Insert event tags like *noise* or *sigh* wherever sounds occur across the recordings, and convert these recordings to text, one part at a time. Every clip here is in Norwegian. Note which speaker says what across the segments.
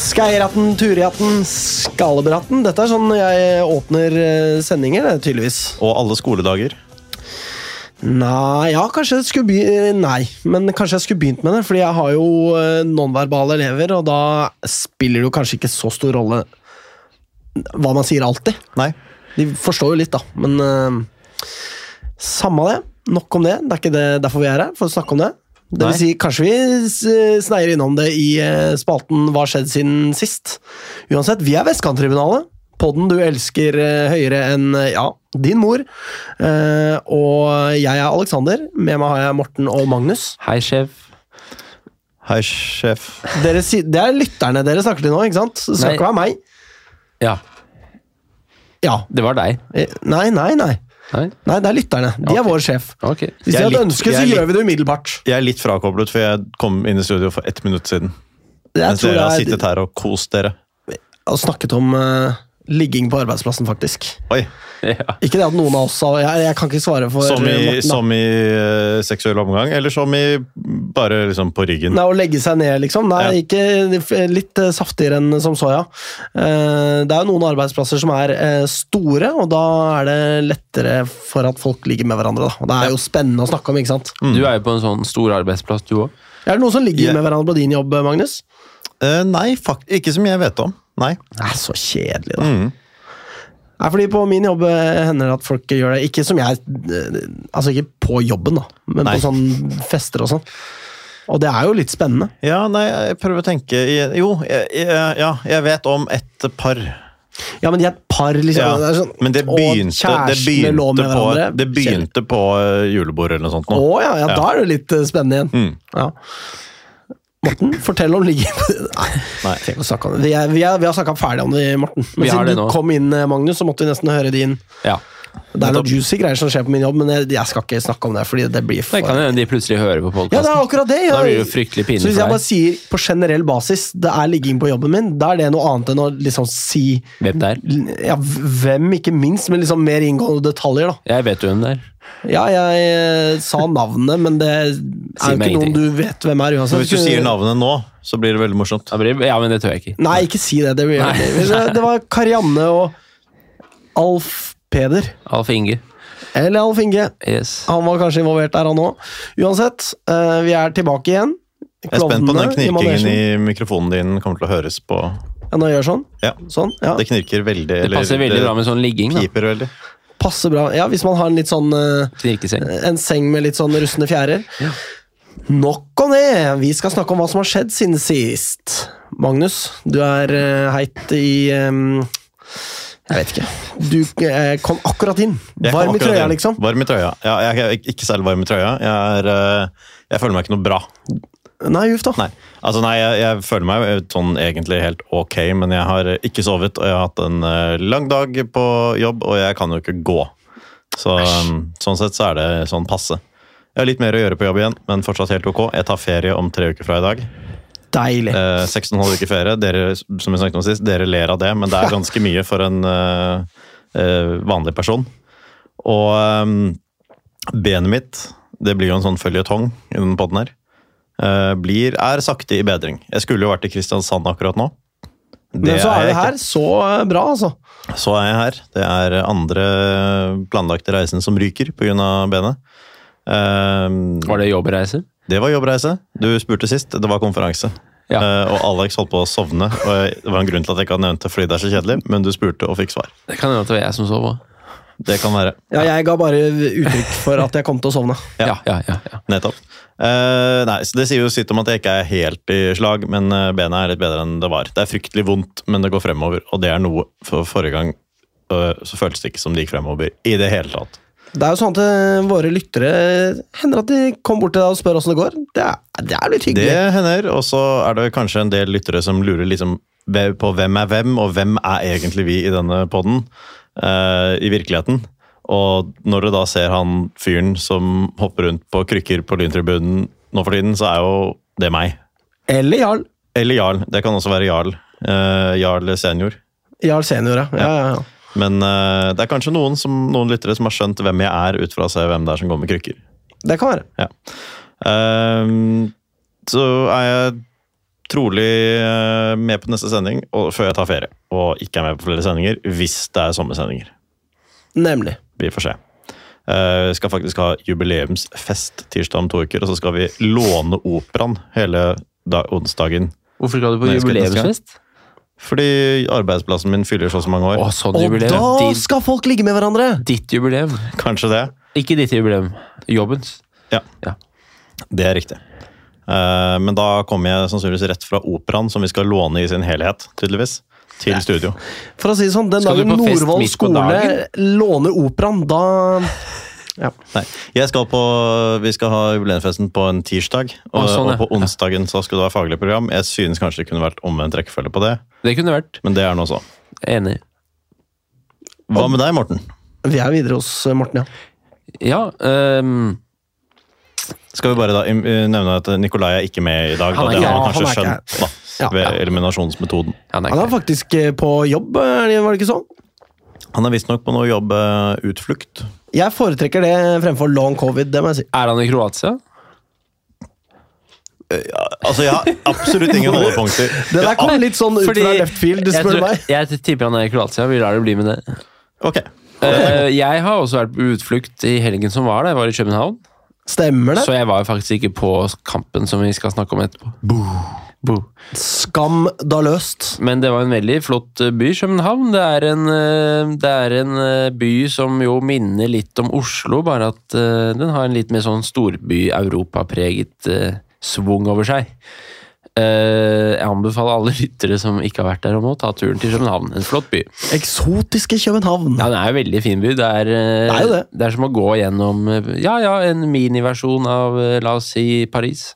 Speaker 1: Skeiratten, Turiatten, Skalebratten. Dette er sånn jeg åpner eh, sendinger, det, tydeligvis.
Speaker 2: Og alle skoledager.
Speaker 1: Nei, ja, kanskje jeg skulle be eh, Nei, men kanskje jeg skulle begynt med det, fordi jeg har jo eh, nonverbale elever, og da spiller det jo kanskje ikke så stor rolle hva man sier alltid.
Speaker 2: Nei.
Speaker 1: De forstår jo litt, da, men eh, Samme det. Nok om det. Det er ikke det derfor vi er her, for å snakke om det. Det vil
Speaker 2: Nei.
Speaker 1: si, kanskje vi s- sneier innom det i eh, spalten Hva har skjedd siden sist? Uansett, vi er Vestkanttribunalet. Podden du elsker eh, høyere enn eh, ja, din mor. Eh, og jeg er Alexander. Med meg har jeg Morten og Magnus.
Speaker 3: Hei, sjef.
Speaker 2: Hei, sjef.
Speaker 1: Dere, si- det er lytterne dere snakker til nå, ikke sant? Det skal
Speaker 3: Nei.
Speaker 1: ikke være meg.
Speaker 3: Ja,
Speaker 1: Ja.
Speaker 3: det var deg.
Speaker 1: Eh, Nei, nei, nei.
Speaker 3: Nei?
Speaker 1: Nei, det er lytterne. De er vår sjef.
Speaker 3: Ok.
Speaker 1: Hvis de
Speaker 2: Jeg er
Speaker 1: har et
Speaker 2: litt-
Speaker 1: ønske, så
Speaker 2: jeg er
Speaker 1: gjør vi det umiddelbart.
Speaker 2: Jeg er litt frakoblet, for jeg kom inn i studio for ett minutt siden.
Speaker 1: Jeg
Speaker 2: Mens
Speaker 1: tror
Speaker 2: dere har
Speaker 1: det er
Speaker 2: sittet her og kost dere.
Speaker 1: og snakket om eh, ligging på arbeidsplassen, faktisk.
Speaker 2: Oi,
Speaker 3: *laughs* Ja.
Speaker 1: Ikke det at noen av oss har Jeg, jeg kan ikke svare for
Speaker 2: Som
Speaker 1: eh,
Speaker 2: i,
Speaker 1: Morten, da.
Speaker 2: som i eh, seksuell omgang, eller som i bare liksom på ryggen?
Speaker 1: Nei, Å legge seg ned, liksom. Nei, ikke litt eh, saftigere enn som så, ja. Eh, det er jo noen arbeidsplasser som er eh, store, og da er det lettere for at folk ligger med hverandre. Da. Og det er jo spennende å snakke om, ikke sant?
Speaker 3: Du er jo på en sånn stor arbeidsplass, du òg.
Speaker 1: Er det noen som ligger
Speaker 2: Jeg-
Speaker 1: med hverandre på din jobb, Magnus?
Speaker 2: Eh, nei fakt ikke som jeg vet om. Nei. Mm.
Speaker 1: Nei, så kjedelig, da. Nei, fordi På min jobb eh, hender det at folk gjør det. Ikke som jeg eh, Altså ikke på jobben, da, men
Speaker 2: Nei.
Speaker 1: på sånn fester og sånn. Og det er jo litt spennende.
Speaker 2: Ja, nei, jeg prøver å tenke i- Jo, jeg, jeg, ja, jeg vet om et par.
Speaker 1: Ja, men de er et par, liksom.
Speaker 2: Ja,
Speaker 1: det er sånn,
Speaker 2: men det
Speaker 1: og
Speaker 2: begynte, det
Speaker 1: kjærestene lå med
Speaker 2: begynte på,
Speaker 1: hverandre.
Speaker 2: det begynte på eh, julebordet eller noe sånt.
Speaker 1: Å
Speaker 2: Nå.
Speaker 1: ja, ja, da er det litt eh, spennende igjen.
Speaker 2: Mm.
Speaker 1: Ja. Morten, fortell om ligge... *laughs* Nei,
Speaker 2: Nei.
Speaker 1: vi har snakket om det. Vi, er, vi, er, vi har snakka ferdig om det, Morten. Men
Speaker 3: Vi har
Speaker 1: siden
Speaker 3: det
Speaker 1: du
Speaker 3: nå.
Speaker 1: kom inn, eh, Magnus, så måtte vi nesten høre din.
Speaker 3: Ja.
Speaker 1: Det er noen juicy greier som skjer på min jobb, men jeg, jeg skal ikke snakke om det. fordi det blir
Speaker 3: Det
Speaker 1: for...
Speaker 3: kan jo hende de plutselig hører
Speaker 1: Ja,
Speaker 3: på
Speaker 1: det er
Speaker 3: podkasten.
Speaker 1: akkurat det.
Speaker 3: Da
Speaker 1: ja.
Speaker 3: blir det jo fryktelig pinlig
Speaker 1: Så hvis
Speaker 3: for
Speaker 1: jeg
Speaker 3: deg.
Speaker 1: bare sier på generell basis det er ligging på jobben min, da er det noe annet enn å liksom si
Speaker 3: Hvem det er?
Speaker 1: ja, hvem, ikke minst, men liksom mer inngående detaljer. da.
Speaker 3: Jeg vet jo hvem det er.
Speaker 1: Ja, jeg eh, sa navnet, men det er
Speaker 3: *laughs* Si
Speaker 1: jo
Speaker 3: meg
Speaker 1: ikke noen
Speaker 3: ingenting.
Speaker 1: du vet hvem er
Speaker 2: Så
Speaker 1: uansett.
Speaker 2: hvis du sier navnet nå, så blir det veldig morsomt.
Speaker 3: Da blir det- Ja, men det tør jeg ikke.
Speaker 1: Nei, ikke si det. Det, blir,
Speaker 3: Nei.
Speaker 1: det, det var Karianne og Alf Peder.
Speaker 3: Alf Inge.
Speaker 1: Eller Alf Inge.
Speaker 3: Yes.
Speaker 1: Han var kanskje involvert der, han òg. Uansett, eh, vi er tilbake igjen.
Speaker 2: Jeg er spent på den
Speaker 1: Klovnene i
Speaker 2: knirkingen
Speaker 1: manesjen.
Speaker 2: i mikrofonen din kommer til å høres på
Speaker 1: Ja, når jeg gjør sånn.
Speaker 2: Ja,
Speaker 1: Sånn, ja.
Speaker 2: det knirker veldig.
Speaker 3: Det passer veldig bra med sånn ligging. da.
Speaker 2: Piper veldig.
Speaker 1: Passer bra. Ja, hvis man har en litt sånn eh,
Speaker 3: Knirkeseng.
Speaker 1: En seng med litt sånn rustne fjærer. Nok om det! Vi skal snakke om hva som har skjedd siden sist. Magnus, du er eh, heit i eh, Jeg vet ikke. Du eh, kom akkurat inn.
Speaker 2: Jeg kom
Speaker 1: Varm i
Speaker 2: akkurat
Speaker 1: trøya,
Speaker 2: inn.
Speaker 1: liksom.
Speaker 2: Varm i trøya. Ja, jeg er ikke særlig varm i trøya. Jeg, er, eh, jeg føler meg ikke noe bra.
Speaker 1: Nei, uff da.
Speaker 2: Nei, altså nei, jeg, jeg føler meg jo sånn egentlig helt ok, men jeg har ikke sovet, og jeg har hatt en eh, lang dag på jobb, og jeg kan jo ikke gå. Så, um, sånn sett så er det sånn passe. Jeg har litt mer å gjøre på jobb igjen, men fortsatt helt ok. Jeg tar ferie om tre uker fra i dag.
Speaker 1: Deilig.
Speaker 2: Eh, Seks og en halv uke ferie. Dere, som jeg snakket om sist, dere ler av det, men det er ganske mye for en eh, eh, vanlig person. Og ehm, benet mitt, det blir jo en sånn føljetong i denne podden her, eh, blir, er sakte i bedring. Jeg skulle jo vært i Kristiansand akkurat nå. Det
Speaker 1: Men så
Speaker 2: jeg
Speaker 1: er du
Speaker 2: ikke.
Speaker 1: her. Så eh, bra, altså.
Speaker 2: Så er jeg her. Det er andre planlagte reisen som ryker pga. benet. Ehm,
Speaker 3: Var det jobbreise?
Speaker 2: det var jobbreise. Du spurte sist. Det var konferanse.
Speaker 3: Ja.
Speaker 2: Eh, og Alex holdt på å sovne. Og jeg- det var en grunn til at jeg ikke hadde nevnt det, fordi det er så kjedelig. Men du spurte og fikk svar.
Speaker 3: Det kan hende at det var jeg som sov òg.
Speaker 2: Det kan være.
Speaker 1: Ja, jeg ga bare uttrykk for at jeg kom til å sovne.
Speaker 2: Ja.
Speaker 3: Ja, ja, ja, ja.
Speaker 2: Nettopp. Eh, nei, så Det sier jo sitt om at jeg ikke er helt i slag, men eh, benet er litt bedre enn det var. Det er fryktelig vondt, men det går fremover, og det er noe for forrige gang. eh, Så føltes det ikke som det gikk fremover i det hele tatt.
Speaker 1: Det er jo sånn at eh, våre lyttere hender at de kommer bort til deg og spør åssen det går. Det er, det er litt hyggelig.
Speaker 2: Det hender, og så er det kanskje en del lyttere som lurer liksom ve- på hvem er hvem, og hvem er egentlig vi i denne podden, eh, i virkeligheten. Og når du da ser han fyren som hopper rundt på krykker på lyntribunen nå for tiden, så er jo det meg.
Speaker 1: Eller Jarl.
Speaker 2: Eller Jarl. Det kan også være Jarl. Eh, Jarl senior.
Speaker 1: Jarl senior, ja. ja, ja, ja.
Speaker 2: Men eh, det er kanskje noen, som, noen lyttere som har skjønt hvem jeg er, ut fra å se hvem det er som går med krykker.
Speaker 1: Det kan være.
Speaker 2: Ja. Ehm, så er jeg trolig eh, med på neste sending og, før jeg tar ferie. Og ikke er med på flere sendinger hvis det er sommersendinger.
Speaker 1: Nemlig.
Speaker 2: Vi får se. Eh, Vi skal faktisk ha jubileumsfest tirsdag om to uker, og så skal vi låne operaen hele da, onsdagen.
Speaker 3: Hvorfor skal du på
Speaker 2: Nei, jeg skal ikke
Speaker 3: jubileumsfest?
Speaker 2: Fordi arbeidsplassen min fyller så og så mange
Speaker 3: Å,
Speaker 2: år.
Speaker 1: Og
Speaker 3: sånn
Speaker 1: da
Speaker 3: jubileum. Din,
Speaker 1: skal folk ligge med hverandre!
Speaker 3: ditt jubileum.
Speaker 2: Kanskje det.
Speaker 3: Ikke ditt jubileum. Jobbens.
Speaker 2: Det er riktig. Eh, men da kommer jeg sannsynligvis rett fra operaen, som vi skal låne i sin helhet, tydeligvis, til studio.
Speaker 1: For å si det sånn, den
Speaker 3: Skal du
Speaker 1: dagen
Speaker 3: på fest
Speaker 1: Norvoll
Speaker 3: midt på
Speaker 1: skole
Speaker 3: dagen?
Speaker 1: låner operaen, da
Speaker 2: Nei, jeg skal på, Vi skal ha jubileumsfesten på en tirsdag, og,
Speaker 3: Å, sånn, ja.
Speaker 2: og på onsdagen så skal du ha faglig program. Jeg synes kanskje det kunne vært omvendt rekkefølge på det,
Speaker 3: Det kunne vært.
Speaker 2: men det er nå så.
Speaker 3: Enig.
Speaker 2: Hva med deg, Morten?
Speaker 1: Vi er videre hos eh, Morten, ja.
Speaker 3: Ja. ehm, øhm,
Speaker 2: Skal vi bare da im- eh, nevne at Nikolai er ikke med i dag?
Speaker 3: Han
Speaker 2: Da.
Speaker 3: er
Speaker 2: Det
Speaker 3: ikke-
Speaker 2: har
Speaker 1: ja,
Speaker 2: han kanskje
Speaker 1: han er ikke
Speaker 2: skjønt da,
Speaker 1: Ja,
Speaker 2: ved
Speaker 1: ja.
Speaker 2: eliminasjonsmetoden.
Speaker 3: ja, nei,
Speaker 1: Han er
Speaker 3: ikke det.
Speaker 1: faktisk eh, på jobb, er det- var det ikke sånn?
Speaker 2: Han er visstnok på noe eh, jobbutflukt.
Speaker 1: Jeg foretrekker det fremfor long covid, det må jeg si.
Speaker 3: er han i Kroatia?
Speaker 2: Altså, jeg har absolutt ingen holdepunkter.
Speaker 1: Det der kom litt sånn ut
Speaker 3: Fordi-
Speaker 1: fra left field,
Speaker 3: jeg
Speaker 1: spør du
Speaker 3: tror-
Speaker 1: meg.
Speaker 3: Jeg tipper han er i Kroatia. Vi lar det bli med det.
Speaker 2: Ok,
Speaker 3: Eh, jeg har også vært på utflukt i helgen som var. da Jeg var i København.
Speaker 1: Stemmer
Speaker 3: Så
Speaker 1: det?
Speaker 3: jeg var faktisk ikke på kampen som vi skal snakke om etterpå. Boo.
Speaker 1: Skandaløst.
Speaker 3: Men det var en veldig flott eh, by, København. Det er en, eh, det er en eh, by som jo minner litt om Oslo, bare at eh, den har en litt mer sånn storby-europapreget eh, svung over seg. Eh, Jeg anbefaler alle *laughs* lyttere som ikke har vært der, om å ta turen til København. En flott by.
Speaker 1: Eksotiske København.
Speaker 3: Ja, det er en veldig fin by. Det er,
Speaker 1: Det er
Speaker 3: eh,
Speaker 1: jo det.
Speaker 3: det er som å gå gjennom eh, ja, ja, en miniversjon av, eh, la oss si, Paris.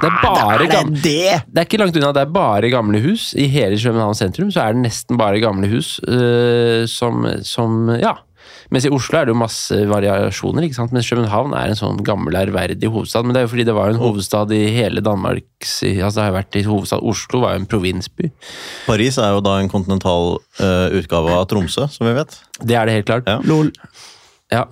Speaker 3: Det er bare
Speaker 1: Er Ah, det
Speaker 3: gamle
Speaker 1: det?
Speaker 3: det er ikke langt unna, det er bare gamle hus. I hele København sentrum så er det nesten bare gamle hus eh, som, som Ja. Mens i Oslo er det jo masse variasjoner, ikke sant? mens København er en sånn gammel, ærverdig hovedstad. Men det er jo fordi det var jo en hovedstad i hele Danmarks Altså det har jo vært i hovedstad Oslo var jo en provinsby.
Speaker 2: Paris er jo da en kontinental eh, utgave av Tromsø, som vi vet.
Speaker 3: Det er det helt klart.
Speaker 2: Ja.
Speaker 1: Lol.
Speaker 3: Ja.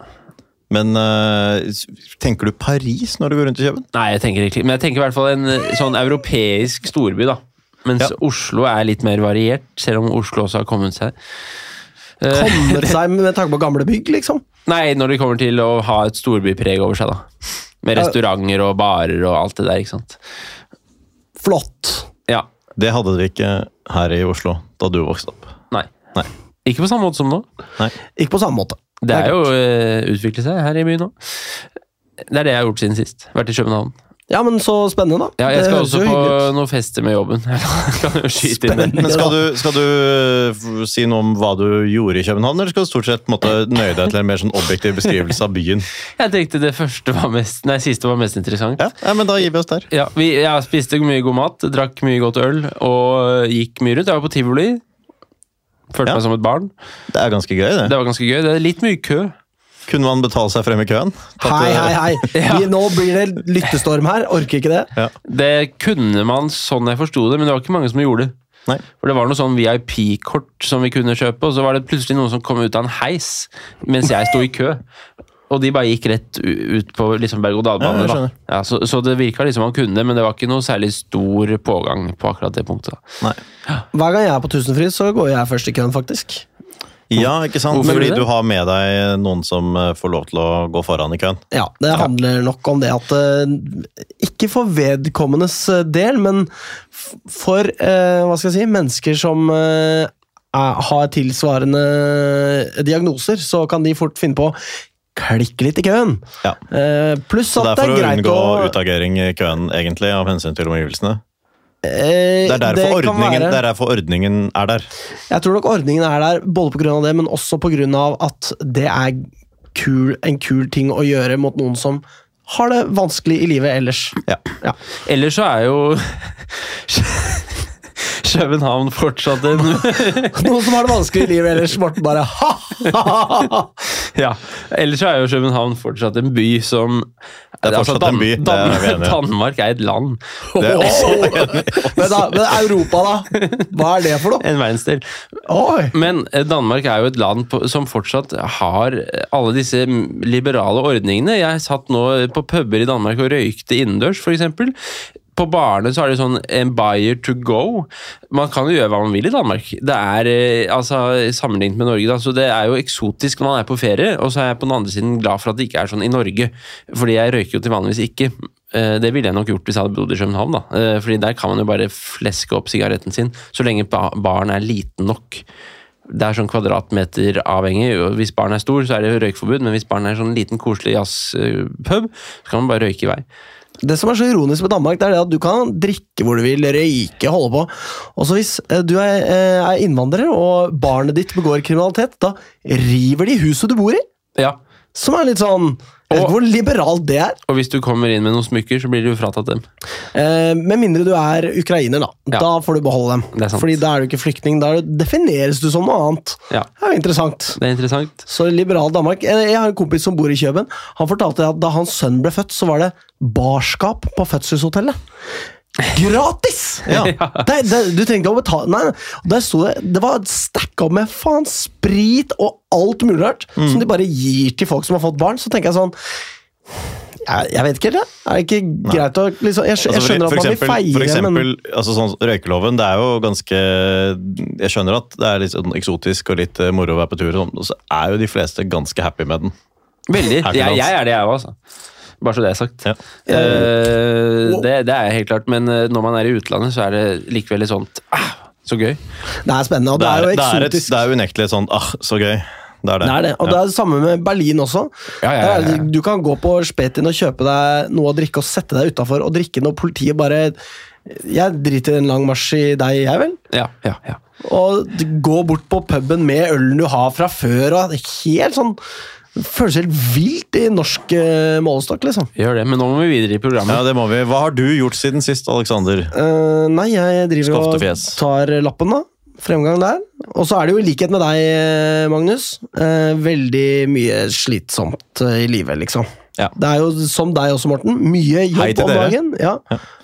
Speaker 2: Men eh, s- tenker du Paris når du går rundt i Kjøben?
Speaker 3: Nei, jeg tenker ikke Men jeg tenker i hvert fall en eh, sånn europeisk storby, da. Mens
Speaker 2: Ja.
Speaker 3: Oslo er litt mer variert, selv om Oslo også har kommet seg. Eh,
Speaker 1: Kommer seg med tanke på gamle bygg, liksom.
Speaker 3: Nei, når det kommer til å ha et storbypreg over seg, da. Med
Speaker 1: Ja.
Speaker 3: restauranter og barer og alt det der, ikke sant.
Speaker 1: Flott.
Speaker 3: Ja.
Speaker 2: Det hadde dere ikke her i Oslo da du vokste opp.
Speaker 3: Nei.
Speaker 2: Nei.
Speaker 3: Ikke på samme måte som nå.
Speaker 2: Nei.
Speaker 1: Ikke på samme måte.
Speaker 3: Det er jo uh, utviklet seg her i byen nå. Det er det jeg har gjort siden sist. Vært i København.
Speaker 1: Ja, men så spennende, da.
Speaker 3: Ja, jeg
Speaker 1: Det
Speaker 3: skal
Speaker 1: høres
Speaker 3: også
Speaker 1: jo
Speaker 3: på
Speaker 1: hyggelig ut.
Speaker 3: noen fester med jobben. *laughs* Jeg kan jo skyte inn det.
Speaker 1: Spennende.
Speaker 2: Men skal du, skal du eh, f- si noe om hva du gjorde i København, eller skal du stort sett på en måte, nøye deg til en mer sånn objektiv beskrivelse av byen?
Speaker 3: Jeg tenkte det første var mest Nei, siste var mest
Speaker 2: *laughs*
Speaker 3: interessant.
Speaker 2: Ja, ja men da gir vi oss der.
Speaker 3: Ja, vi, jeg spiste mye god mat, drakk mye godt øl og gikk mye rundt. Jeg var på tivoli. Følte
Speaker 2: Ja.
Speaker 3: meg som et barn.
Speaker 2: Det er ganske gøy, det.
Speaker 3: Det var ganske gøy. Det er litt mye kø.
Speaker 2: Kunne man betale seg frem i køen? Tatt,
Speaker 1: Hei,
Speaker 2: eh,
Speaker 1: hei,
Speaker 3: *laughs*
Speaker 1: hei. Vi, nå blir det lyttestorm her. Orker ikke det.
Speaker 3: Det kunne man sånn jeg forsto det, men det var ikke mange som gjorde det.
Speaker 2: Nei.
Speaker 3: For det var noe sånn VIP-kort som vi kunne kjøpe, og så var det plutselig noen som kom ut av en heis mens jeg sto i kø. Og de bare gikk rett u- ut på liksom
Speaker 2: Ja,
Speaker 3: berg-og-dal-bane.
Speaker 2: jeg
Speaker 3: da.
Speaker 2: skjønner.
Speaker 3: ja, så, så det virka liksom han kunne det, men det var ikke noe særlig stor pågang på akkurat det punktet. da.
Speaker 2: Nei.
Speaker 1: Hver gang jeg er på Tusenfryd, så går jeg først i køen, faktisk.
Speaker 2: Ja, ikke sant?
Speaker 3: Hvorfor
Speaker 2: Fordi
Speaker 3: gjorde du det?
Speaker 2: du har med deg noen som eh, får lov til å gå foran i køen.
Speaker 1: Ja, Det handler nok om det at eh, Ikke for vedkommendes eh, del, men f- for eh, hva skal jeg si, mennesker som eh, er, har tilsvarende eh, diagnoser, så kan de fort finne på å klikke litt i køen.
Speaker 2: Ja.
Speaker 1: Eh, Pluss
Speaker 2: Så det
Speaker 1: at
Speaker 2: er for
Speaker 1: det
Speaker 2: å
Speaker 1: er greit
Speaker 2: unngå
Speaker 1: å
Speaker 2: utagering i køen, egentlig, av hensyn til omgivelsene.
Speaker 1: Eh,
Speaker 2: Det er derfor,
Speaker 1: det kan
Speaker 2: ordningen,
Speaker 1: være-
Speaker 2: det er derfor ordningen er der.
Speaker 1: Jeg tror nok ordningen er der, både pga. det, men også pga. at det er kul, en kul ting å gjøre mot noen som har det vanskelig i livet ellers.
Speaker 2: Ja.
Speaker 1: Ja. *laughs*
Speaker 3: Ellers så er jo *laughs* København fortsatt en *laughs*
Speaker 1: Noen som har det vanskelig i livet ellers, Morten bare ha, ha, ha, ha.
Speaker 3: Ja, Ellers så er jo København fortsatt en by som Altså,
Speaker 2: Det er fortsatt en by, det er vi enige om.
Speaker 3: Danmark er et land.
Speaker 2: Det er også
Speaker 1: Men, da, men Europa, da? Hva er det for noe?
Speaker 3: En verdensdel.
Speaker 1: Oi.
Speaker 3: *laughs* Men eh, Danmark er jo et land på, som fortsatt har eh, alle disse mm, liberale ordningene. Jeg satt nå på puber i Danmark og røykte innendørs, f.eks. på barene så har de sånn en buyer to go. Man kan jo gjøre hva man vil i Danmark. Det er, eh, altså, Sammenlignet med Norge, da, så det er jo eksotisk når man er på ferie. Og så er jeg på den andre siden glad for at det ikke er sånn i Norge, fordi jeg røyker jo til vanligvis ikke. Eh, Det ville jeg nok gjort hvis jeg hadde bodd i København. da. Eh, Fordi der kan man jo bare fleske opp sigaretten sin, så lenge ba- baren er liten nok. Det er sånn kvadratmeter avhengig. og Hvis baren er stor, så er det røykforbud, men hvis baren er sånn liten, koselig jazzpub, så kan man bare røyke i vei.
Speaker 1: Det som er så ironisk med Danmark, det er det at du kan drikke hvor du vil, røyke, holde på. Og så hvis eh, du er, eh, er innvandrer og barnet ditt begår kriminalitet, da river de huset du bor i.
Speaker 3: Ja,
Speaker 1: Som er litt sånn Jeg vet
Speaker 3: Og-
Speaker 1: ikke hvor liberalt det er.
Speaker 3: Og hvis du kommer inn med noen smykker, så blir du jo fratatt dem.
Speaker 1: Eh, Med mindre du er ukrainer, da.
Speaker 3: Ja.
Speaker 1: Da får du beholde dem.
Speaker 3: Det er sant.
Speaker 1: Fordi da er du ikke flyktning. Da er du- defineres du som noe annet.
Speaker 3: Ja,
Speaker 1: Det er jo interessant.
Speaker 3: Det er interessant.
Speaker 1: Så liberal Danmark eh, Jeg har en kompis som bor i Kjøben. Han fortalte at da hans sønn ble født, så var det barskap på fødselshotellet. Gratis!
Speaker 2: *laughs* Ja.
Speaker 1: Det, det, du trengte å betale Nei, nei. der sto det Det var stacka opp med faen sprit og alt mulig rart
Speaker 2: Mm.
Speaker 1: som de bare gir til folk som har fått barn. Så tenker jeg sånn Jeg, jeg vet ikke helt, jeg. Er det ikke greit å liksom, jeg, skj- jeg
Speaker 2: Altså, for-
Speaker 1: skjønner at
Speaker 2: for
Speaker 1: man vil
Speaker 2: eksempel- For
Speaker 1: feire, men
Speaker 2: eksempel, altså sånn, røykeloven, det er jo ganske Jeg skjønner at det er litt sånn eksotisk og litt eh, moro å være på tur, og sånn, og så er jo de fleste ganske happy med den.
Speaker 3: Veldig.
Speaker 2: Er ikke
Speaker 3: Jeg,
Speaker 2: dans.
Speaker 3: jeg er det, jeg òg, altså. Bare så det er sagt.
Speaker 2: Ja.
Speaker 3: Eh, det, det er helt klart, men eh, når man er i utlandet, så er det likevel litt sånt ah, Så gøy.
Speaker 1: det er spennende. Og det er,
Speaker 2: det, er
Speaker 1: jo
Speaker 2: et,
Speaker 1: eksotisk.
Speaker 2: det er jo unektelig et sånt ah, så gøy. Det er det.
Speaker 1: Det er det. Og
Speaker 2: Ja.
Speaker 1: det er det samme med Berlin også.
Speaker 3: Ja, ja, ja, ja.
Speaker 1: Der, Du kan gå på Spetin og kjøpe deg noe å drikke og sette deg utafor og drikke når politiet bare Jeg driter i en lang marsj i deg, jeg vel.
Speaker 3: Ja, ja, ja.
Speaker 1: Og d- gå bort på puben med ølen du har fra før og helt sånn Føles helt vilt i norsk eh, målestokk, liksom.
Speaker 3: Gjør det. Men nå må vi videre i
Speaker 2: Ja,
Speaker 3: programmet.
Speaker 2: det må vi. Hva har du gjort siden sist, Aleksander?
Speaker 1: Eh, nei, jeg driver og
Speaker 2: Skaftefjes.
Speaker 1: tar lappen, da. Fremgang der. Og så er det jo i likhet med deg, eh, Magnus, eh, veldig mye slitsomt eh, i livet, liksom.
Speaker 2: Ja.
Speaker 1: Det er jo som deg også, Morten. Mye jobb
Speaker 2: Hei til
Speaker 1: om
Speaker 2: dere.
Speaker 1: dagen. Ja.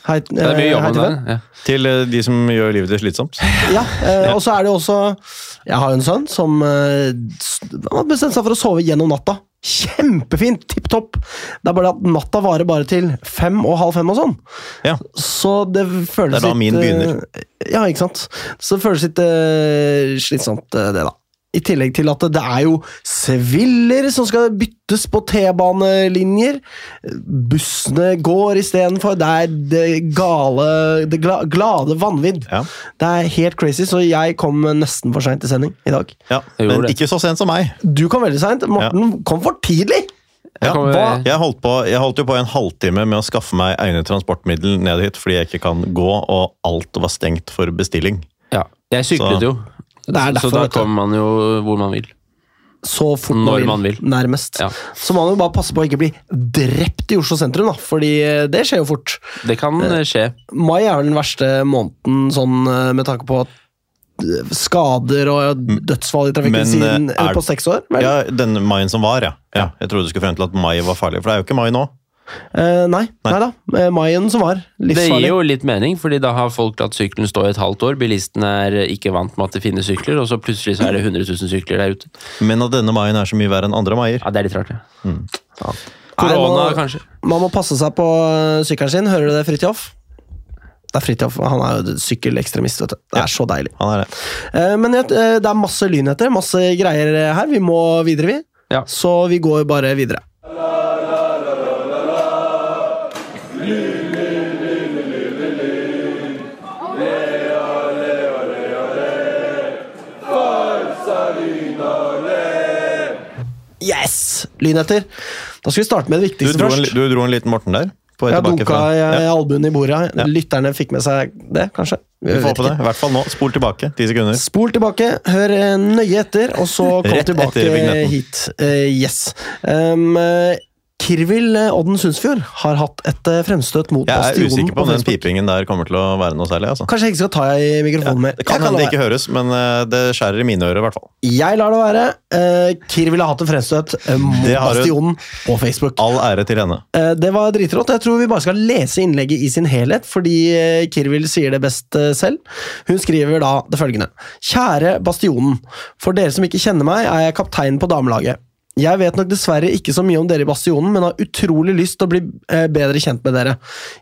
Speaker 1: Hei,
Speaker 3: Det er mye jobb om
Speaker 1: til
Speaker 3: dagen. Ja.
Speaker 2: Til eh, de som gjør livet ditt slitsomt?
Speaker 1: Ja, eh, og så er det jo også Jeg har jo en sønn som eh, s- han har bestemt seg for å sove gjennom natta. Kjempefint! Tipp topp! Det er bare at natta varer bare til fem og halv fem og sånn.
Speaker 2: Ja.
Speaker 1: Så det føles
Speaker 2: Det er da min
Speaker 1: litt, eh,
Speaker 2: begynner.
Speaker 1: Ja, ikke sant. Så det føles litt eh, slitsomt, eh, det, da. I tillegg til at det er jo seviller som skal byttes på T-banelinjer. Bussene går istedenfor. Det er det gale Det gla, glade vanvidd.
Speaker 2: Ja.
Speaker 1: Det er helt crazy, så jeg kom nesten for seint til sending i dag.
Speaker 2: ja.
Speaker 3: Jeg gjorde
Speaker 2: Men
Speaker 3: det.
Speaker 2: ikke så sent som meg.
Speaker 1: Du kom veldig seint. Morten kom for tidlig!
Speaker 3: Jeg
Speaker 2: Ja,
Speaker 3: kommer-
Speaker 2: hva? Jeg, holdt på, jeg holdt jo på en halvtime med å skaffe meg egnet transportmiddel ned hit fordi jeg ikke kan gå, og alt var stengt for bestilling.
Speaker 3: Ja. Jeg
Speaker 2: Så-
Speaker 3: syklet jo.
Speaker 1: Det er derfor,
Speaker 3: så da
Speaker 1: vet du.
Speaker 3: kommer man jo hvor man vil.
Speaker 1: Så fort
Speaker 3: Når
Speaker 1: man
Speaker 3: man vil.
Speaker 1: vil. Nærmest.
Speaker 3: Ja.
Speaker 1: Så må man jo bare passe på å ikke bli drept i Oslo sentrum, da, fordi eh, det skjer jo fort.
Speaker 3: Det kan eh, skje.
Speaker 1: Mai er vel den verste måneden sånn eh, med tanke på eh, skader og
Speaker 3: Mm.
Speaker 1: eh, dødsfall i trafikken
Speaker 2: Men,
Speaker 1: siden
Speaker 2: eh, er-
Speaker 1: på seks år. Vel?
Speaker 2: Ja, Den maien som var, ja. ja. Jeg trodde du skulle frem til at mai var farlig, for det er jo ikke mai nå.
Speaker 1: Eh, nei, nei. da. Eh, maien som var.
Speaker 3: Det gir
Speaker 1: Livsfarlig.
Speaker 3: jo litt mening, fordi da har folk latt sykkelen stå i et halvt år. Bilistene er eh, ikke vant med at det finnes sykler, og så plutselig så er det 100 000 sykler der ute.
Speaker 2: Men at denne maien er så mye verre enn andre maier.
Speaker 3: Ja, Det er litt rart, ja.
Speaker 1: Nei,
Speaker 3: Korona,
Speaker 1: man-
Speaker 3: kanskje.
Speaker 1: Man må passe seg på eh, sykkelen sin. Hører du det, Fridtjof? Det er Fridtjof. Han er jo sykkelekstremist. vet du. Det er så deilig.
Speaker 2: Han er det.
Speaker 1: Eh, Men jeg- eh, det er masse lynheter, masse greier eh, her. Vi må videre, vi.
Speaker 3: Ja.
Speaker 1: Så vi går bare videre. Yes! Lynheter. Da skal vi starte med det
Speaker 2: Du
Speaker 1: viktigste
Speaker 2: dro, en,
Speaker 1: først.
Speaker 2: li- du dro en liten Morten der? På vei
Speaker 1: Jeg
Speaker 2: tilbake
Speaker 1: dunka
Speaker 2: fra
Speaker 1: i i
Speaker 2: ja,
Speaker 1: albuen i bordet. Lytterne fikk med seg det, kanskje?
Speaker 2: Vi
Speaker 1: Jeg
Speaker 2: får
Speaker 1: vet
Speaker 2: håpe det.
Speaker 1: ikke.
Speaker 2: I hvert fall nå. Spol tilbake ti sekunder.
Speaker 1: Spol tilbake, hør eh, nøye etter, og så kom
Speaker 2: Rett
Speaker 1: tilbake
Speaker 2: etter vignetten.
Speaker 1: hit. Eh, yes. Um, eh, Kirvil eh, Odden Sundsfjord har hatt et eh, fremstøt mot
Speaker 2: Jeg er
Speaker 1: Bastionen
Speaker 2: usikker på
Speaker 1: på
Speaker 2: om den
Speaker 1: Facebook.
Speaker 2: pipingen der kommer til å være noe særlig. altså.
Speaker 1: Kanskje jeg ikke skal ta i mikrofonen mer.
Speaker 2: Det kan
Speaker 1: Jeg
Speaker 2: hende
Speaker 1: la
Speaker 2: det ikke høres, men eh, det skjærer i mine ører i hvert fall.
Speaker 1: være. jeg lar det være. Eh, Kirvil har hatt et fremstøt eh, mot
Speaker 2: Det har hun.
Speaker 1: Bastionen på Facebook.
Speaker 2: All ære til henne.
Speaker 1: Eh, Det var dritrått. Jeg tror vi bare skal lese innlegget i sin helhet, fordi eh, Kirvil sier det best eh, selv. Hun skriver da det følgende. Kjære Bastionen. For dere som ikke kjenner meg, er jeg kaptein på damelaget. Jeg vet nok dessverre ikke så mye om dere i Bastionen, men har utrolig lyst til å bli eh, bedre kjent med dere.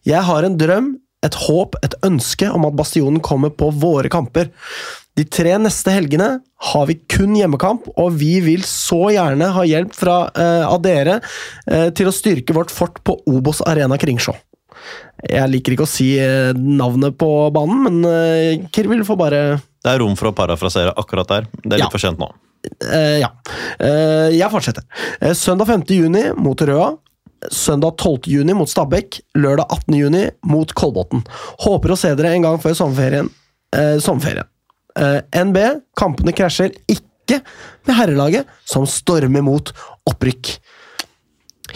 Speaker 1: Jeg har en drøm et håp, et ønske om at Bastionen kommer på våre kamper. De tre neste helgene har vi kun hjemmekamp, og vi vil så gjerne ha hjelp fra, eh, av dere eh, til å styrke vårt fort på Obos Arena Kringsjå. Jeg liker ikke å si eh, navnet på banen, men eh, Kirvil får bare
Speaker 2: Det er rom for å parafrasere akkurat der. Det er litt
Speaker 1: Ja.
Speaker 2: for sent nå.
Speaker 1: Eh, ja. Eh, jeg fortsetter. Eh, søndag 5. juni mot Røa. Søndag 12. juni mot Stabæk. Lørdag 18. juni mot Kolbotn. Håper å se dere en gang før sommerferien. Eh, sommerferien. Eh, NB, kampene krasjer ikke med herrelaget, som stormer mot opprykk.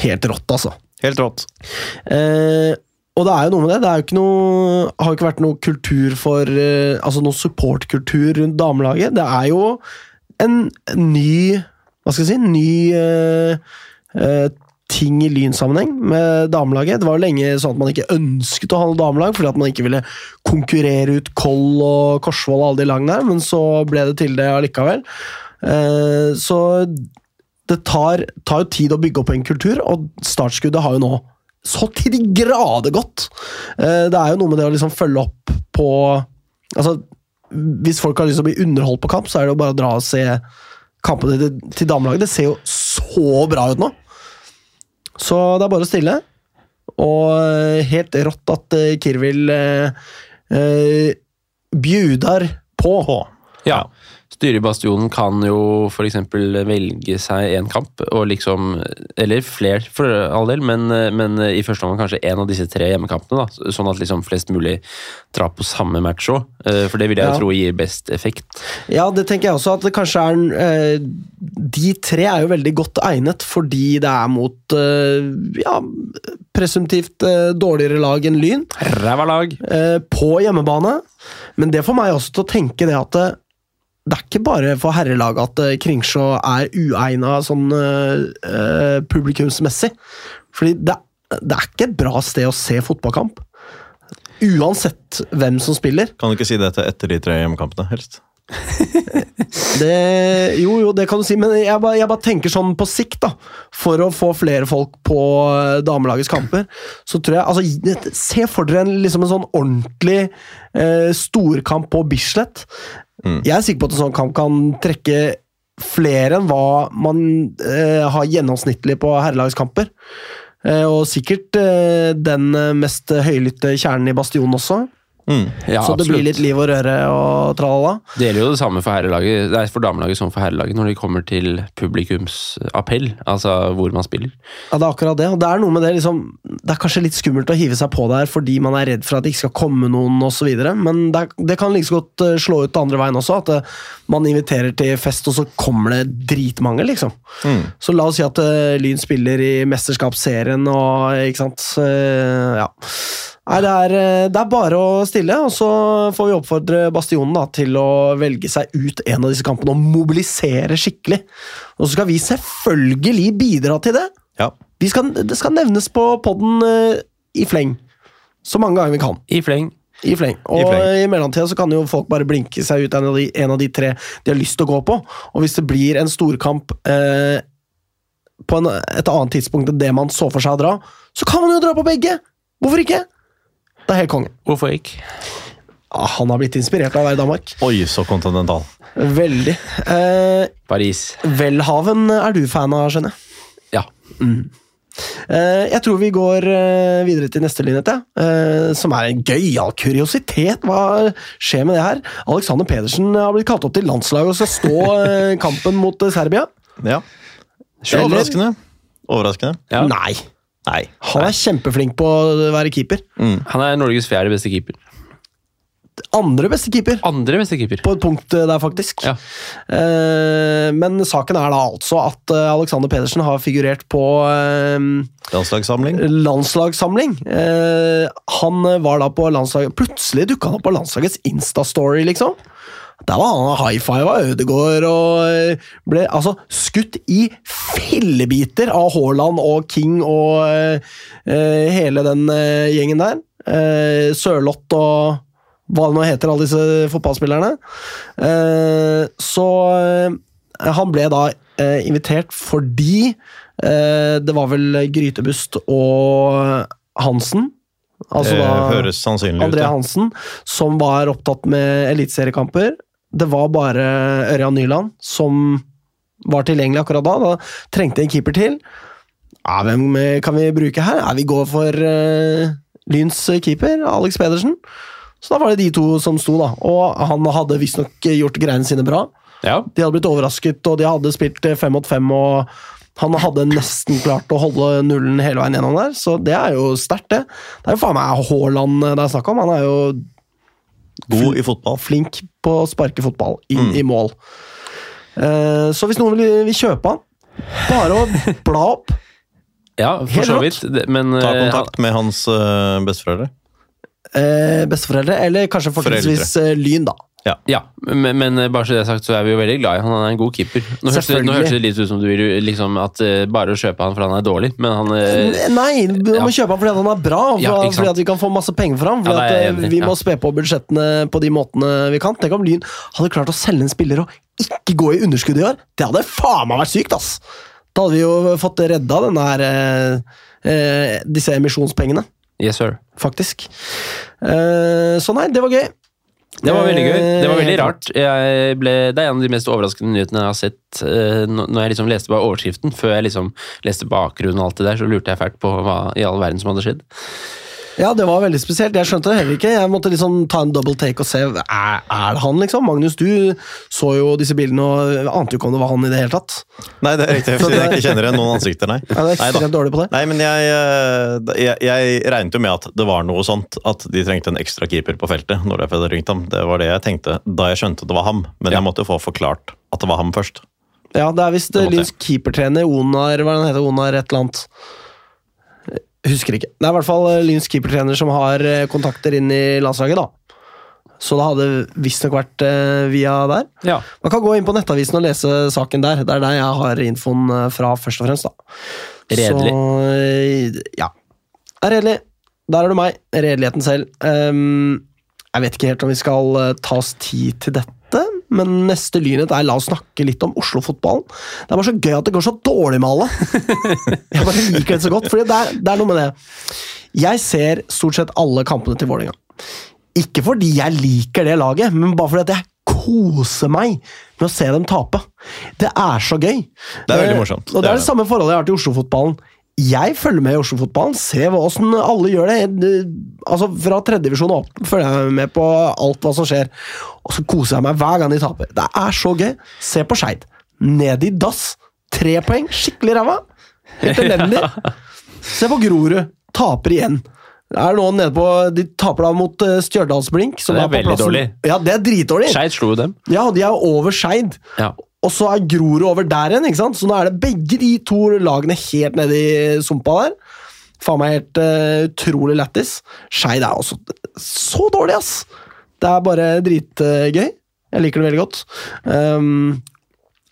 Speaker 1: Helt rått, altså.
Speaker 2: Helt rått.
Speaker 1: Eh, og det er jo noe med det. Det er jo ikke noe, har jo ikke vært noe kultur for eh, Altså noe supportkultur rundt damelaget. Det er jo en ny Hva skal jeg si? Ny eh, eh, ting i lynsammenheng med damelaget. Det var jo lenge sånn at man ikke ønsket å ha noe damelag fordi at man ikke ville konkurrere ut Koll og Korsvoll og alle de lagene der, men så ble det til det allikevel. Eh, så det tar, tar jo tid å bygge opp en kultur, og startskuddet har jo nå så til de grader gått. Eh, Det er jo noe med det å liksom følge opp på Altså, hvis folk har lyst til å bli underholdt på kamp, så er det jo bare å dra og se kampene til, til damelaget. Det ser jo så bra ut nå! Så det er bare å stille. Og eh, helt rått at eh, Kirvil eh, eh, bjudar på.
Speaker 3: Ja. Styret i Bastionen kan jo f.eks. velge seg en kamp, og liksom, eller flere for all del, men, eh, men i første omgang kanskje en av disse tre hjemmekampene. da, Sånn at liksom flest mulig drar på samme match òg. For det vil
Speaker 1: Ja.
Speaker 3: jeg jo tro gir best effekt.
Speaker 1: Ja, det tenker jeg også at det kanskje er en, eh, De tre er jo veldig godt egnet fordi det er mot eh, ja, presumptivt eh, dårligere lag enn Lyn
Speaker 3: Ræva lag!
Speaker 1: eh, på hjemmebane. Men det får meg også til å tenke det at det, det er ikke bare for herrelaget at eh, Kringsjå er uegna sånn eh, eh, publikumsmessig. Fordi det, det er ikke et bra sted å se fotballkamp. Uansett hvem som spiller.
Speaker 2: Kan du ikke si dette etter de tre hjemmekampene, helst?
Speaker 1: Det, jo, jo, det kan du si, men jeg bare, jeg bare tenker sånn på sikt, da. For å få flere folk på eh, damelagets kamper, så tror jeg Altså, se for dere en, liksom en sånn ordentlig eh, storkamp på Bislett.
Speaker 2: Mm.
Speaker 1: Jeg er sikker på at en sånn kamp kan trekke flere enn hva man eh, har gjennomsnittlig på herrelagskamper. Eh, og sikkert eh, den eh, mest høylytte kjernen i bastionen også.
Speaker 2: Mm.
Speaker 3: Ja,
Speaker 1: så det blir
Speaker 3: absolutt.
Speaker 1: litt liv og røre og tralala.
Speaker 3: Det gjelder jo det samme for, herrelaget, nei, for damelaget som for herrelaget når de kommer til publikumsappell, altså hvor man spiller.
Speaker 1: Ja, det er akkurat det. Og det er noe med det liksom Det er kanskje litt skummelt å hive seg på der fordi man er redd for at det ikke skal komme noen osv., men det, er, det kan like så godt eh, slå ut andre veien også. At eh, man inviterer til fest, og så kommer det dritmange, liksom.
Speaker 2: Mm.
Speaker 1: Så la oss si at eh, Lyn spiller i mesterskapsserien og eh, Ikke sant? Eh, ja. Nei, det er, eh, det er bare å stille, og så får vi oppfordre Bastionen da, til å velge seg ut en av disse kampene og mobilisere skikkelig. Og så skal vi selvfølgelig bidra til det.
Speaker 2: Ja.
Speaker 1: Vi skal, det skal nevnes på podden eh, i fleng. Så mange ganger vi kan.
Speaker 3: I fleng.
Speaker 1: I fleng. Og
Speaker 2: I
Speaker 1: i,
Speaker 2: fleng.
Speaker 1: mellomtida så kan jo folk bare blinke seg ut en av, de, en av de tre de har lyst til å gå på. Og hvis det blir en storkamp eh, på en, et annet tidspunkt enn det man så for seg å dra, så kan man jo dra på begge! Hvorfor ikke? Det er helt konge.
Speaker 3: Hvorfor ikke?
Speaker 1: Ah, han har blitt inspirert av å være i Danmark.
Speaker 2: Oi, så kontinental.
Speaker 1: Veldig. Eh,
Speaker 3: Paris.
Speaker 1: Welhaven er du fan av, skjønner jeg.
Speaker 3: Ja.
Speaker 1: Eh, jeg tror vi går eh, videre til neste lynhet, ja. eh, som er en gøyal kuriositet. Hva skjer med det her? Alexander Pedersen har blitt kalt opp til landslaget og skal stå eh, kampen mot eh, Serbia.
Speaker 2: Ja.
Speaker 1: Eller-
Speaker 2: Overraskende. Overraskende.
Speaker 3: ja.
Speaker 1: Nei!
Speaker 2: Nei.
Speaker 1: Han er kjempeflink på å være keeper.
Speaker 3: Han er Norges fjerde beste keeper.
Speaker 1: Andre beste keeper.
Speaker 3: Andre beste keeper.
Speaker 1: På et punkt eh, der, faktisk.
Speaker 3: Ja.
Speaker 1: Eh, men saken er da altså at eh, Alexander Pedersen har figurert på eh,
Speaker 2: Landslagssamling.
Speaker 1: landslagssamling. Eh, han eh, var da på landslaget Plutselig dukka han opp på landslagets Insta-story, liksom. Der var han high-fiva Ødegaard og eh, ble altså skutt i fillebiter av Haaland og King og eh, eh, hele den eh, gjengen der. Eh, Sørloth og hva det nå heter, alle disse fotballspillerne. Eh, så eh, han ble da eh, invitert fordi eh, det var vel Grytebust og Hansen Altså
Speaker 2: det
Speaker 1: da-
Speaker 2: høres sannsynlig
Speaker 1: André
Speaker 2: ut.
Speaker 1: Hansen, som var opptatt med eliteseriekamper. Det var bare Ørjan Nyland som var tilgjengelig akkurat da. Da trengte en keeper til. Ja, hvem eh, kan vi bruke her? Ja, vi går for eh, Lyns keeper, Alex Pedersen. Så da var det de to som sto, da. Og han hadde visstnok eh, gjort greiene sine bra.
Speaker 3: Ja.
Speaker 1: De hadde blitt overrasket, og de hadde spilt eh, fem mot fem, og han hadde nesten klart å holde nullen hele veien gjennom der, så det er jo sterkt, det. Det er jo faen meg Haaland eh, det er snakk om. Han er jo
Speaker 2: ja. God i fotball. Mm.
Speaker 1: flink på å sparke fotball inn i mål. Eh, Så hvis noen vil, vil kjøpe han, bare å bla opp.
Speaker 3: ja,
Speaker 1: Helt
Speaker 3: for så
Speaker 1: rått.
Speaker 3: vidt. Det- Men
Speaker 2: Ta
Speaker 3: eh,
Speaker 2: kontakt med hans eh, besteforeldre.
Speaker 1: eh, Besteforeldre, eller kanskje fortrinnsvis eh, Lyn, da.
Speaker 3: Ja, men, men bare så det er sagt, så er vi jo veldig glad i han. Han er en god keeper. Nå hørtes det,
Speaker 1: Selvfølgelig.
Speaker 3: nå hørtes det litt ut som du vil liksom, at eh, bare å kjøpe han for han er dårlig, men han eh,
Speaker 1: Nei, du må kjøpe han fordi at han er bra, og
Speaker 3: Ja,
Speaker 1: for-
Speaker 3: ikke sant.
Speaker 1: fordi at vi kan få masse penger for ham. Fordi
Speaker 3: Ja, det
Speaker 1: at
Speaker 3: er jeg
Speaker 1: eh,
Speaker 3: enig i,
Speaker 1: vi
Speaker 3: ja.
Speaker 1: må spe på budsjettene på de måtene vi kan. Tenk om Lyn hadde klart å selge en spiller og ikke gå i underskudd i år. Det hadde faen meg vært sykt, ass! Da hadde vi jo fått redda den her eh, eh, disse emisjonspengene,
Speaker 3: Yes, sir.
Speaker 1: faktisk. Eh, så nei, det var gøy.
Speaker 3: Det var veldig gøy. Det var veldig
Speaker 1: Eh,
Speaker 3: rart. Jeg ble, det er en av de mest overraskende nyhetene jeg har sett. eh, nå- Når jeg liksom leste bare overskriften, før jeg liksom leste bakgrunnen og alt det der, så lurte jeg fælt på hva i all verden som hadde skjedd.
Speaker 1: Ja, det var veldig spesielt. Jeg skjønte det heller ikke. Jeg måtte liksom ta en double take og se er, er det han, liksom. Magnus, du så jo disse bildene og ante jo ikke om det var han i det hele tatt.
Speaker 2: Nei, det er riktig. fordi Jeg ikke kjenner igjen noen ansikter, nei.
Speaker 1: Jeg er
Speaker 2: Neida.
Speaker 1: ekstremt dårlig på det.
Speaker 2: Nei, men jeg, eh, jeg, jeg regnet jo med at det var noe sånt, at de trengte en ekstra keeper på feltet. når Det hadde ringt ham. Det var det jeg tenkte da jeg skjønte det var ham. Men
Speaker 3: Ja.
Speaker 2: jeg måtte jo få forklart at det var ham først.
Speaker 1: Ja, det er visst
Speaker 2: Det
Speaker 1: eh,
Speaker 2: måtte jeg.
Speaker 1: Lyns keepertrener Onar Hva er det han heter Onar et eller annet? Eh, Husker ikke. Det er i hvert fall eh, Lyns keepertrener som har eh, kontakter inn i landslaget, da. Så det hadde visstnok vært eh, via der.
Speaker 3: Ja.
Speaker 1: Man kan gå inn på nettavisen og lese saken der. Det er der jeg har infoen eh, fra, først og fremst. da.
Speaker 3: Redelig.
Speaker 1: Så, eh, ja. Det er redelig. Der er du meg. Redeligheten selv. Ehm, jeg vet ikke helt om vi skal eh, ta oss tid til dette, men neste lynhet er la oss snakke litt om Oslo-fotballen. Det er bare så gøy at det går så dårlig med alle. Jeg bare liker det så godt, for det, er- det er noe med det. Jeg ser stort sett alle kampene til Vålerenga. Ikke fordi jeg liker det laget, men bare fordi at jeg koser meg med å se dem tape. Det er så gøy.
Speaker 2: Det er veldig
Speaker 1: Eh,
Speaker 2: morsomt.
Speaker 1: Og
Speaker 2: Det
Speaker 1: det
Speaker 2: er
Speaker 1: er det
Speaker 2: det.
Speaker 1: samme forholdet jeg har til Oslo-fotballen. Jeg følger med i Oslo-fotballen, ser hva- åssen alle gjør det. Eh, Altså, Fra tredjedivisjon og opp følger jeg med på alt hva som skjer. Og så koser jeg meg hver gang de taper. Det er så gøy. Se på Skeid. Ned i dass. Tre poeng. Skikkelig ræva.
Speaker 3: *laughs*
Speaker 1: Helt elendig. Se på Grorud. Taper igjen. Er nå nede på, De taper da mot eh, Stjørdalsblink. Som
Speaker 3: Det er
Speaker 1: på
Speaker 3: veldig
Speaker 1: plassen-
Speaker 3: dårlig.
Speaker 1: Ja, det er dritdårlig.
Speaker 3: Skeid slo jo dem.
Speaker 1: Ja, og De er jo over Skeid.
Speaker 3: Ja.
Speaker 1: Og så er Grorud over der igjen. ikke sant? Så nå er det begge de to lagene helt nede i sumpa der. Faen meg helt eh, utrolig lættis. Skeid er også så dårlig, ass! Det er bare dritgøy. Jeg liker det veldig godt. Um,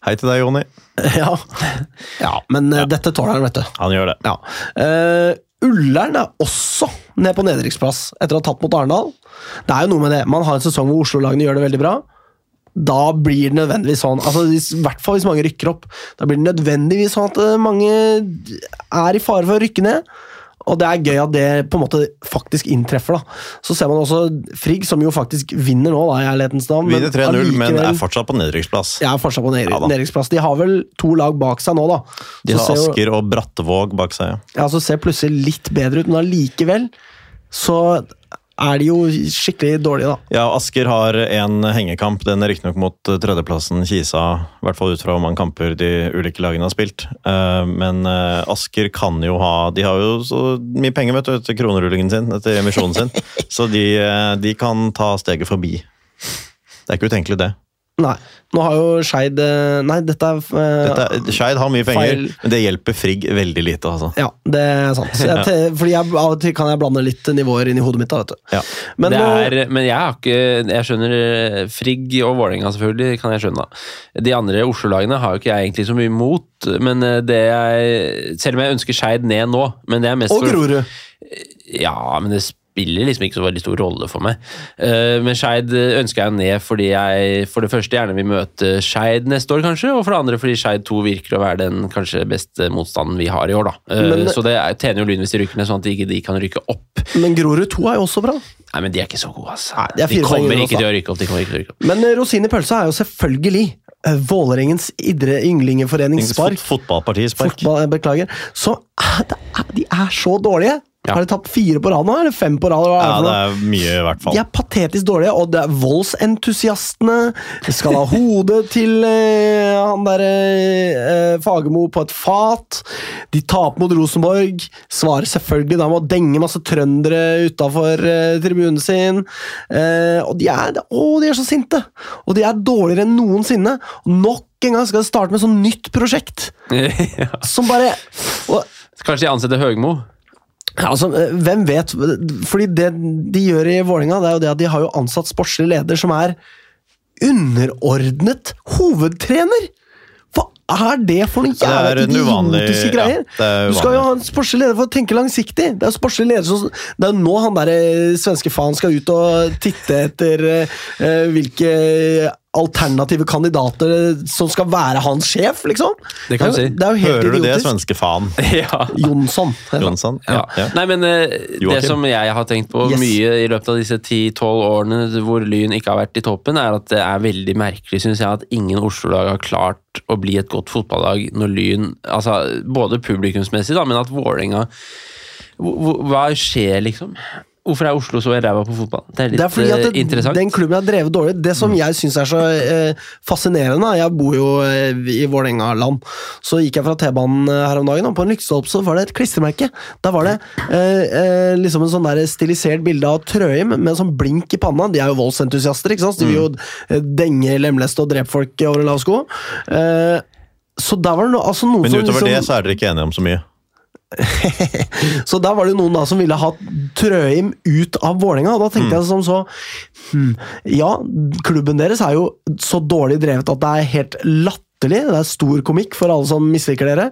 Speaker 2: Hei til deg, Jonny.
Speaker 1: *laughs* ja. ja, men eh, dette tåler han, vet du.
Speaker 2: Han gjør det.
Speaker 1: Ja. Eh, Ullern er også ned på nedrykksplass etter å ha tatt mot Arendal. Det er jo noe med det. Man har en sesong hvor Oslo-lagene gjør det veldig bra. Da blir det nødvendigvis sånn, altså hvis, i hvert fall hvis mange rykker opp, da blir det nødvendigvis sånn at eh, mange er i fare for å rykke ned. Og det er gøy at det på en måte faktisk inntreffer. da. Så ser man også Frigg, som jo faktisk vinner nå, da, i ærlighetens navn.
Speaker 2: Vinner 3-0, men
Speaker 1: allikevel-
Speaker 2: er fortsatt på nedrykksplass.
Speaker 1: Jeg er fortsatt på ned-
Speaker 2: Ja da.
Speaker 1: nedrykksplass. De har vel to lag bak seg nå, da.
Speaker 2: De
Speaker 1: Så
Speaker 2: har
Speaker 1: ser jo-
Speaker 2: Asker og Brattevåg bak seg. ja.
Speaker 1: ja, så ser plutselig litt bedre ut, men allikevel så er de jo skikkelig dårlige, da.
Speaker 2: Ja, og Asker har en hengekamp. Den er riktignok mot eh, tredjeplassen Kisa. I hvert fall ut fra hvor mange kamper de ulike lagene har spilt. Eh, Men eh, Asker kan jo ha De har jo så mye penger vet du, etter kronerullingen sin, etter emisjonen
Speaker 1: *laughs*
Speaker 2: sin. Så de, eh, de kan ta steget forbi. Det er ikke utenkelig, det.
Speaker 1: Nei. Nå har jo Skeid eh, Nei, dette er, eh,
Speaker 2: Dette er- Skeid har mye penger,
Speaker 1: Feil.
Speaker 2: men det hjelper Frigg veldig lite, altså.
Speaker 1: Ja, det er sant. Så Jeg, te- Fordi jeg, av og til kan jeg blande litt nivåer inn i hodet mitt, da, vet du.
Speaker 2: Ja.
Speaker 1: Men
Speaker 3: det
Speaker 1: nå-
Speaker 3: er, men jeg har ikke Jeg skjønner eh, Frigg og Vålerenga, selvfølgelig, kan jeg skjønne. da. De andre Oslo-lagene har jo ikke jeg egentlig så mye imot, men eh, det jeg Selv om jeg ønsker Skeid ned nå, men det er mest
Speaker 1: Og
Speaker 3: for-
Speaker 1: Grorud.
Speaker 3: Ja, men det spiller liksom ikke så veldig stor rolle for meg. Eh, Men Skeid ønsker jeg ned fordi jeg for det første gjerne vil møte Skeid neste år, kanskje, og for det andre fordi Skeid 2 virker å være den kanskje beste motstanden vi har i år, da. Eh,
Speaker 1: Men-
Speaker 3: så det er- tjener jo Lyn hvis de rykker ned, sånn at ikke de kan rykke opp.
Speaker 1: Men Grorud 2 er jo også bra.
Speaker 3: Nei, men de er ikke så gode, altså.
Speaker 1: Nei, de er
Speaker 3: de
Speaker 1: fire poeng
Speaker 3: kommer
Speaker 1: unna,
Speaker 3: ikke til å rykke opp. De kommer ikke til å rykke opp. *laughs*
Speaker 1: Men eh, rosin i pølsa er jo selvfølgelig eh, Vålerengens idre ynglingeforening Spark.
Speaker 2: Fot- Fotballparti spark.
Speaker 1: Fotball, eh, beklager. Så eh, det er, de er så dårlige!
Speaker 3: Ja.
Speaker 1: Har de tapt fire på rad nå, eller fem på rad? eller hva er
Speaker 2: Ja,
Speaker 1: det for
Speaker 2: det
Speaker 1: noe?
Speaker 2: er mye, i hvert fall.
Speaker 1: De er patetisk dårlige, og det er voldsentusiastene skal ha hodet til eh, han derre eh, Fagermo på et fat. De taper mot Rosenborg. Svarer selvfølgelig da med å denge masse trøndere utafor eh, tribunen sin. Eh, og de er, å, de er så sinte! Og de er dårligere enn noensinne. Og nok en gang skal de starte med et sånt nytt prosjekt
Speaker 3: Ja.
Speaker 1: som bare og,
Speaker 3: Kanskje de ansetter Høgmo? *laughs*
Speaker 1: ja, altså, eh, hvem vet? Fordi det de gjør i Vålinga, det er jo det at de har jo ansatt sportslig leder som er underordnet hovedtrener! Hva er det for noen
Speaker 2: Ja, det
Speaker 1: jævla
Speaker 2: er en uvanlig-
Speaker 1: idiotiske
Speaker 2: ja,
Speaker 1: greier?
Speaker 2: det er
Speaker 1: du skal
Speaker 2: uvanlig.
Speaker 1: jo ha en sportslig leder for å tenke langsiktig! Det er jo sportslig leder som Det er jo nå han derre svenske faen skal ut og titte etter eh, hvilke alternative kandidater som skal være hans sjef, liksom!
Speaker 3: Det kan du
Speaker 1: er jo-
Speaker 3: si.
Speaker 1: Det er jo helt
Speaker 2: Hører du det,
Speaker 1: idiotisk.
Speaker 2: svenske faen?
Speaker 3: Ja.
Speaker 1: Jonsson. heter han.
Speaker 2: Jonsson?
Speaker 3: Ja.
Speaker 2: Ja.
Speaker 3: Nei, men eh, det
Speaker 2: Joakim.
Speaker 3: som jeg har tenkt på
Speaker 1: Yes.
Speaker 3: mye i løpet av disse 10-12 årene hvor Lyn ikke har vært i toppen, er at det er veldig merkelig, synes jeg, at ingen Oslo-lag har klart å bli et godt fotballag når Lyn altså Både publikumsmessig, da, men at Vålerenga hvor- hvor- Hva skjer, liksom? Hvorfor er Oslo så ræva på fotball? Det er litt
Speaker 1: Det er fordi at
Speaker 3: eh,
Speaker 1: det,
Speaker 3: interessant.
Speaker 1: den klubben er drevet dårlig. Det som jeg syns er så eh, fascinerende da, Jeg bor jo eh, i Vålerenga-land. Så gikk jeg fra T-banen eh, her om dagen, og på en lyktestolpe så var det et klistremerke. Da var det eh, eh, liksom en sånn der stilisert bilde av Trøim med en sånn blink i panna. De er jo voldsentusiaster, ikke sant? Så de vil jo eh, denge, lemleste og drepe folk over en lav sko. Eh, så der var det no, altså noen
Speaker 2: Men
Speaker 1: som
Speaker 2: utover
Speaker 1: liksom-
Speaker 2: det så er dere ikke enige om så mye.
Speaker 1: så der var det jo noen da som ville ha Trøim ut av Vålerenga. og Da tenkte
Speaker 2: Mm.
Speaker 1: jeg som så hm, Ja, klubben deres er jo så dårlig drevet at det er helt latterlig. Det er stor komikk for alle som misliker dere.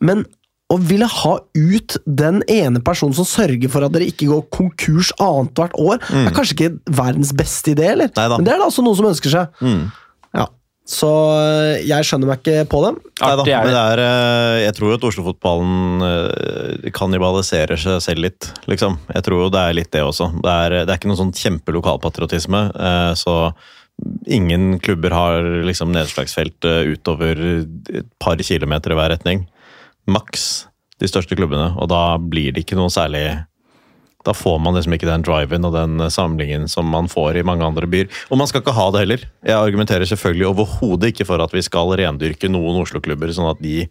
Speaker 1: Men å ville ha ut den ene personen som sørger for at dere ikke går konkurs annethvert år,
Speaker 2: Mm.
Speaker 1: er kanskje ikke verdens beste idé, eller?
Speaker 2: Neida.
Speaker 1: Men det er det altså noen som ønsker seg.
Speaker 2: Mm.
Speaker 1: Ja. Så eh, jeg skjønner meg ikke på dem.
Speaker 2: Neida,
Speaker 3: Artig er
Speaker 2: men
Speaker 3: det.
Speaker 2: det er, eh, jeg tror jo at Oslo-fotballen eh, kannibaliserer seg selv litt, liksom. Jeg tror jo det er litt det også. Det er, det er ikke noen sånn kjempelokalpatriotisme, eh, så ingen klubber har liksom nedslagsfelt eh, utover et par kilometer i hver retning. Maks de største klubbene, og da blir det ikke noe særlig da får man liksom ikke den driven og den eh, samlingen som man får i mange andre byer. Og man skal ikke ha det heller. Jeg argumenterer selvfølgelig overhodet ikke for at vi skal rendyrke noen Oslo-klubber, sånn at de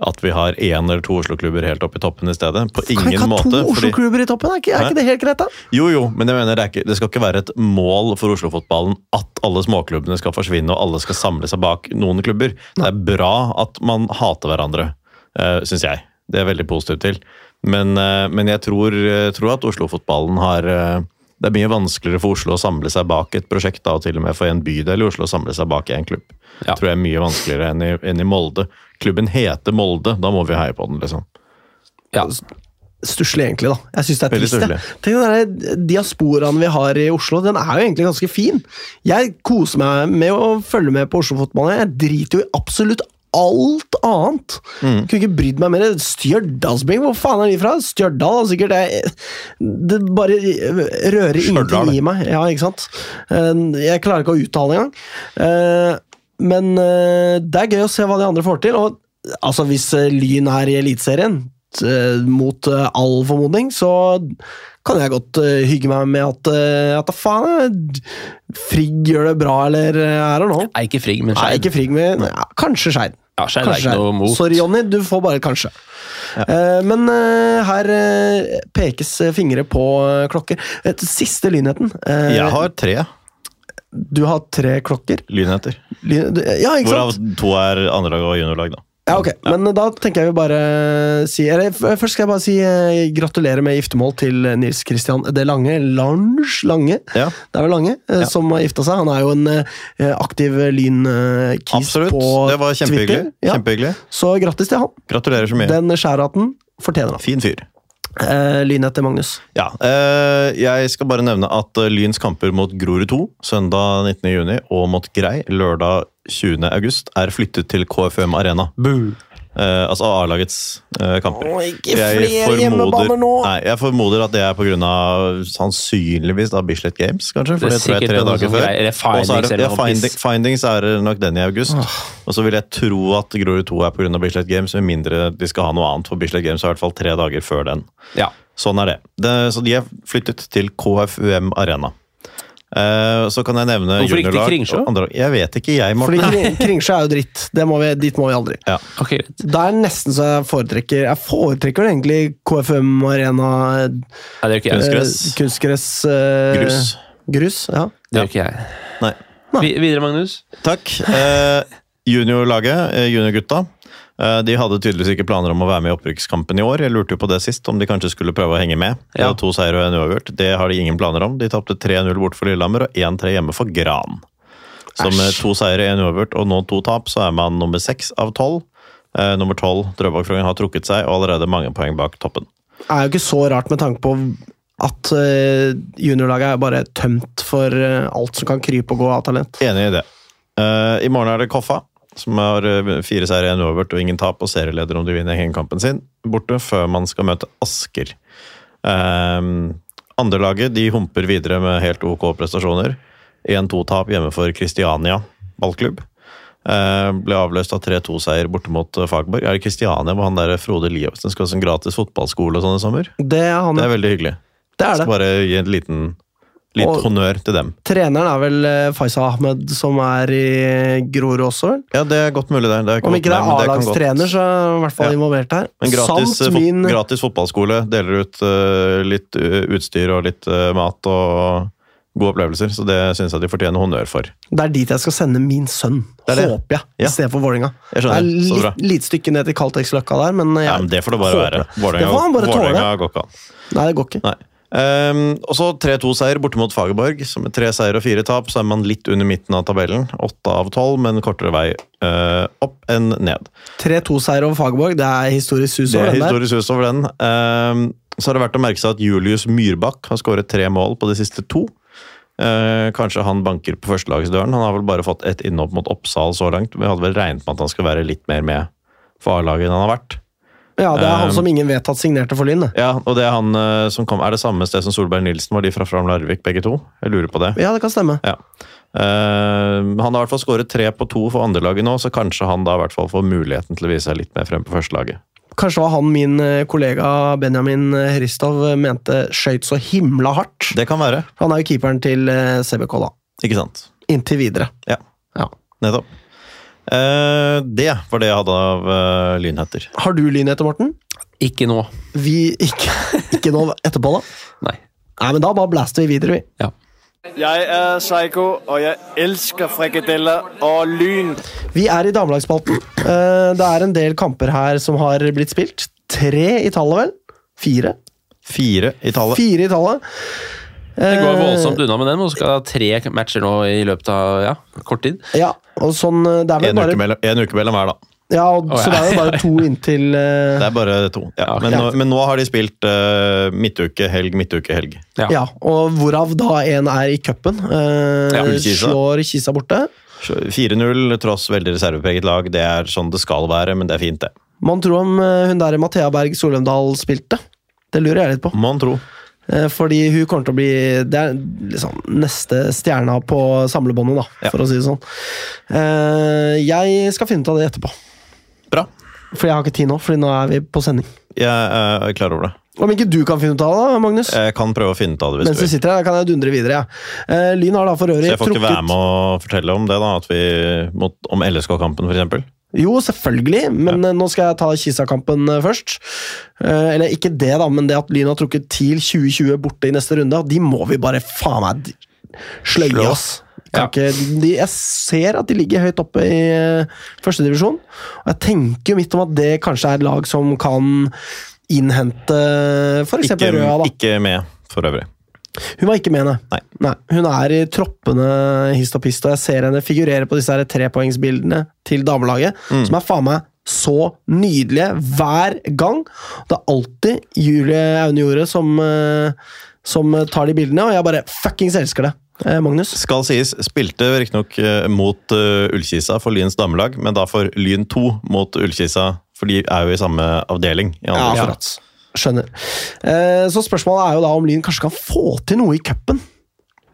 Speaker 2: at vi har én eller to Oslo-klubber helt opp i toppen i stedet. På
Speaker 1: Kan vi
Speaker 2: ingen
Speaker 1: ikke ha to
Speaker 2: måte. fordi-
Speaker 1: Oslo-klubber i toppen? Er ikke, er
Speaker 2: Hæ?
Speaker 1: ikke det helt greit, da?
Speaker 2: jo, jo, men jeg mener det, er ikke, det skal ikke være et mål for Oslo-fotballen at alle småklubbene skal forsvinne og alle skal samle seg bak noen klubber. Det er bra at man hater hverandre, uh, syns jeg. Det er jeg veldig positiv til. Men, eh, men jeg tror, eh, tror at Oslo-fotballen har eh, Det er mye vanskeligere for Oslo å samle seg bak et prosjekt, da, og til og med for en bydel i Oslo å samle seg bak en klubb.
Speaker 3: Ja.
Speaker 2: Tror jeg er mye vanskeligere enn i, enn i Molde. Klubben heter Molde, da må vi heie på den, liksom.
Speaker 3: Ja.
Speaker 1: stusslig, egentlig. da. Jeg synes det er
Speaker 2: Veldig
Speaker 1: trist. jeg. Tenk den der Diasporaen vi har i Oslo, den er jo egentlig ganske fin. Jeg koser meg med å følge med på Oslo-fotballen. Jeg driter jo i absolutt alt annet. Kunne ikke brydd meg mer. Stjørdalsbring, hvor faen er de fra? Stjørdal er sikkert jeg, Det bare rører
Speaker 2: Stjørdal.
Speaker 1: ingenting i meg. Ja, ikke sant? Eh, Jeg klarer ikke å uttale det engang. Eh, Men eh, det er gøy å se hva de andre får til. og Altså, hvis eh, Lyn er i Eliteserien, t- eh, mot eh, all formodning, så kan jeg godt eh, hygge meg med at, eh, at da faen, eh, Frigg gjør det bra, eller eh, er det nå?
Speaker 3: Er ikke Frigg, men
Speaker 1: Nei,
Speaker 3: Skeid.
Speaker 1: ikke Frigg, men ja, kanskje Skeid.
Speaker 3: Ja, Skeid er
Speaker 1: Kanskje
Speaker 3: ikke noe
Speaker 1: Skeid.
Speaker 3: mot.
Speaker 1: Sorry, Jonny, du får bare et kanskje. Eh, men eh, her eh, pekes eh, fingre på eh, klokker. Et siste lynheten. Eh,
Speaker 2: Jeg har tre
Speaker 1: Du har tre klokker.
Speaker 2: lynheter.
Speaker 1: Lyn, du- eh, ja, ikke sant?
Speaker 2: Hvorav to er andrelag og juniorlag, da.
Speaker 1: Ja, ok. Men eh, da tenker jeg vi bare eh, si Eller f- først skal jeg bare si eh, gratulerer med giftermål til eh, Nils Christian det Lange. Lange, Lange.
Speaker 2: Ja.
Speaker 1: Det er vel Lange eh,
Speaker 2: Ja.
Speaker 1: som har gifta seg. Han er jo en eh, aktiv lyn-kis
Speaker 2: Absolutt.
Speaker 1: på
Speaker 2: Det var kjempehyggelig.
Speaker 1: Twitter. Ja.
Speaker 2: kjempehyggelig.
Speaker 1: Så grattis til han.
Speaker 2: Gratulerer så mye.
Speaker 1: Den skjærhatten fortjener han.
Speaker 2: Fin fyr.
Speaker 1: Eh, Lyn etter Magnus.
Speaker 2: Ja, eh, Jeg skal bare nevne at eh, Lyns kamper mot Grorud 2 søndag 19.6 og mot Grei lørdag 20.8 er flyttet til KFUM Arena. Eh, altså A-lagets eh, kamper.
Speaker 1: ikke
Speaker 2: Nei, jeg formoder at det er pga. sannsynligvis da Bislett Games, kanskje. For
Speaker 3: Det er
Speaker 2: det, tror jeg er
Speaker 3: sikkert
Speaker 2: tre
Speaker 3: noe
Speaker 2: dager
Speaker 3: sånn
Speaker 2: før.
Speaker 3: greier, eller
Speaker 2: Og så er det-
Speaker 3: Findings eller
Speaker 2: ja,
Speaker 3: noe
Speaker 2: finding,
Speaker 3: piss.
Speaker 2: findings er nok den i august. Og så vil jeg tro at Grorud 2 er pga. Bislett Games, med mindre de skal ha noe annet. For Bislett Games er i hvert fall tre dager før den.
Speaker 3: Ja.
Speaker 2: Sånn er det. det så de er flyttet til KFUM Arena. Eh, så kan jeg nevne
Speaker 3: Hvorfor ikke til
Speaker 2: juniorlag
Speaker 3: Kringsjå?
Speaker 2: og andre- Jeg vet ikke, jeg,
Speaker 1: Fordi
Speaker 2: Morten.
Speaker 1: Kring- Kringsjå er jo dritt. Det må vi, dit må vi aldri.
Speaker 2: Ja.
Speaker 3: Ok, greit.
Speaker 1: Det er nesten så jeg foretrekker Jeg foretrekker det egentlig KFM Arena eh,
Speaker 3: Nei, det gjør ikke jeg.
Speaker 2: Kunstgress.
Speaker 1: kunstgress eh,
Speaker 2: Grus.
Speaker 1: Grus, ja.
Speaker 3: Det gjør ikke jeg.
Speaker 2: Nei.
Speaker 3: Vi, videre, Magnus.
Speaker 2: Takk. Eh, juniorlaget, eh, juniorgutta, eh, de hadde tydeligvis ikke planer om å være med i opprykkskampen i år. Jeg lurte jo på det sist, om de kanskje skulle prøve å henge med. De
Speaker 3: Ja.
Speaker 2: hadde to seier og en uavgjort. Det har de ingen planer om. De tapte 3-0 bort for Lillehammer og 1-3 hjemme for Gran. Så med to seire, en uavgjort og nå to tap, så er man nummer seks av tolv. Eh, nummer tolv, Drøbak-Frogn, har trukket seg og allerede mange poeng bak toppen.
Speaker 1: er jo ikke så rart med tanke på at eh, juniorlaget er bare tømt for eh, alt som kan krype og gå av talent.
Speaker 2: Enig i det. Eh, I morgen er det Koffa, som har eh, fire seire, en uavgjort og ingen tap, og serieleder om de vinner hengekampen sin, borte før man skal møte Asker. Uh, Andrelaget de humper videre med helt ok prestasjoner. 1-2-tap hjemme for Kristiania ballklubb. Eh, ble avløst av 3-2-seier borte mot eh, Fagborg. Er det Kristiania hvor han der eh, Frode Liavsen skal ha sånn gratis fotballskole og sånn i sommer?
Speaker 1: Det er han.
Speaker 2: Det
Speaker 1: ja.
Speaker 2: er veldig hyggelig.
Speaker 1: Det er
Speaker 2: Skal
Speaker 1: det.
Speaker 2: bare gi en liten, liten
Speaker 1: Og-
Speaker 2: honnør til dem.
Speaker 1: Treneren er vel eh, Faisal Ahmed, som er i Grorud også. vel?
Speaker 2: Ja, det er godt mulig, det. det er
Speaker 1: Om
Speaker 2: godt
Speaker 1: ikke det er
Speaker 2: mulig, men kan godt-
Speaker 1: A-lagstrener, så er han i hvert fall
Speaker 2: Ja.
Speaker 1: involvert her.
Speaker 2: Men gratis, eh,
Speaker 1: Samt
Speaker 2: fot
Speaker 1: min
Speaker 2: gratis fotballskole. Deler ut eh, litt eh, utstyr og litt eh, mat og gode opplevelser. Så det syns jeg de fortjener honnør for.
Speaker 1: Det er dit jeg skal sende min sønn,
Speaker 2: Det er det.
Speaker 1: håper jeg,
Speaker 2: Ja.
Speaker 1: i stedet for Vålerenga. Det
Speaker 2: Jeg
Speaker 1: er
Speaker 2: skjønner. Så bra.
Speaker 1: litt, litt stykke ned til Kaltex-løkka der, men jeg,
Speaker 2: Ja, men det får det bare
Speaker 1: håper
Speaker 2: være.
Speaker 1: det. Det får han
Speaker 2: Vålerenga
Speaker 1: bare tåle.
Speaker 2: Vålerenga går ikke an.
Speaker 1: Nei, det går ikke.
Speaker 2: Nei. Ehm, og så 3-2-seier borte mot Fagerborg. Så med tre seier og fire tap så er man litt under midten av tabellen. Åtte av tolv, men kortere vei eh, opp enn ned.
Speaker 1: 3-2-seier over Fagerborg, det er historisk sus
Speaker 2: Det
Speaker 1: over
Speaker 2: er
Speaker 1: den der.
Speaker 2: historisk hus over den. Ehm, så har det vært å merke seg at Julius Myrbakk har skåret tre mål på de siste to. Eh, kanskje han banker på førstelagsdøren. Han har vel bare fått ett innhopp mot Oppsal så langt. Men jeg hadde vel regnet med at han skal være litt mer med for A-laget enn han har vært.
Speaker 1: Ja, det er han
Speaker 2: Eh,
Speaker 1: som ingen vet at signerte for Lyn, det.
Speaker 2: Ja, og det Er han eh, som kom, er det samme sted som Solberg Nilsen? Var de fra Fram Larvik, begge to? Jeg lurer på det.
Speaker 1: Ja, det kan stemme.
Speaker 2: Ja. Eh, han har i hvert fall skåret tre på to for andrelaget nå, så kanskje han da i hvert fall får muligheten til å vise seg litt mer frem på førstelaget.
Speaker 1: Kanskje var han min eh, kollega Benjamin eh, Hristov eh, mente skøyt så himla hardt.
Speaker 2: Det kan være.
Speaker 1: Han er jo keeperen til eh, CBK, da.
Speaker 2: Ikke sant?
Speaker 1: Inntil videre.
Speaker 2: Ja.
Speaker 1: Ja.
Speaker 2: Nettopp. Eh, det var det jeg hadde av eh, lynheter.
Speaker 1: Har du lyn etter, Morten?
Speaker 3: Ikke nå.
Speaker 1: Vi ikke, *laughs* ikke nå etterpå, da?
Speaker 3: Nei.
Speaker 1: Nei, men da bare blaster vi videre, vi.
Speaker 3: Ja.
Speaker 4: Jeg er Psycho, og jeg elsker frikadeller og lyn.
Speaker 1: Vi er i damelagsspalten. Eh, Det er en del kamper her som har blitt spilt. Tre i tallet, vel? Fire?
Speaker 2: Fire i tallet.
Speaker 1: Fire i tallet.
Speaker 3: Det
Speaker 1: Eh.
Speaker 3: går voldsomt unna med den. Man skal ha tre matcher nå i løpet av ja, kort tid.
Speaker 1: Ja, og sånn eh, Det er vel
Speaker 2: En uke,
Speaker 1: bare
Speaker 2: mellom, en uke mellom hver, da.
Speaker 1: Ja, og,
Speaker 3: Å,
Speaker 1: så det
Speaker 3: ja.
Speaker 1: er jo bare
Speaker 3: *laughs*
Speaker 1: to inntil eh,
Speaker 2: Det er bare to. Ja. Men, nå, men nå har de spilt eh, midtuke, helg, midtuke, helg.
Speaker 1: Ja, og hvorav da én er i cupen. Eh,
Speaker 2: Ja, Kisa.
Speaker 1: slår Kisa borte.
Speaker 2: Så 4-0, tross veldig reservepreget lag. Det er sånn det skal være, men det er fint, det.
Speaker 1: Man tror om eh, hun der Mathea Berg Solheimdal spilte. Det lurer jeg litt på.
Speaker 2: Mon tro.
Speaker 1: Eh, Fordi hun kommer til å bli Det er liksom neste stjerna på samlebåndet, da,
Speaker 2: Ja.
Speaker 1: for å si det sånn. Eh, Jeg skal finne ut av det etterpå.
Speaker 2: Bra.
Speaker 1: For jeg har ikke tid nå, fordi nå er vi på sending.
Speaker 2: Jeg eh, er klar over det.
Speaker 1: Om ikke du kan finne ut av det, da, Magnus,
Speaker 2: Jeg kan prøve å finne ut av Eh, det hvis
Speaker 1: mens
Speaker 2: du
Speaker 1: vi
Speaker 2: vil.
Speaker 1: sitter her, da kan jeg dundre videre. Ja. Eh, Lyn har da for
Speaker 2: Så
Speaker 1: øvrig
Speaker 2: jeg får ikke være med å fortelle om det, da? At vi, mot, om LSK-kampen, f.eks.?
Speaker 1: Jo, selvfølgelig, men eh, nå skal jeg ta Kisa-kampen eh, først. Eh, eller ikke det, da, men det at Lyn har trukket TIL 2020 borte i neste runde, de må vi bare faen meg d- sløye
Speaker 2: Slå.
Speaker 1: oss. Kan
Speaker 3: Ja.
Speaker 1: ikke, de, jeg ser at de ligger høyt oppe i eh, første divisjon, og jeg tenker jo mitt om at det kanskje er et lag som kan innhente f.eks.
Speaker 2: Ikke,
Speaker 1: Røa. da.
Speaker 2: ikke med, for øvrig.
Speaker 1: Hun var ikke med, nei.
Speaker 2: Nei.
Speaker 1: Hun er i troppene hist og pist, og jeg ser henne figurere på disse her trepoengsbildene til damelaget, som er faen meg så nydelige hver gang. Det er alltid Julie Aune Jorde som, eh, som tar de bildene, og jeg bare fuckings elsker det. Eh, Magnus?
Speaker 2: Skal sies, spilte riktignok eh, mot eh, Ullkisa for Lyns damelag, men da for Lyn 2 mot Ullkisa, for de er jo i samme avdeling. I andre.
Speaker 1: Ja, akkurat. Skjønner. Eh, Så spørsmålet er jo da om Lyn kanskje kan få til noe i cupen.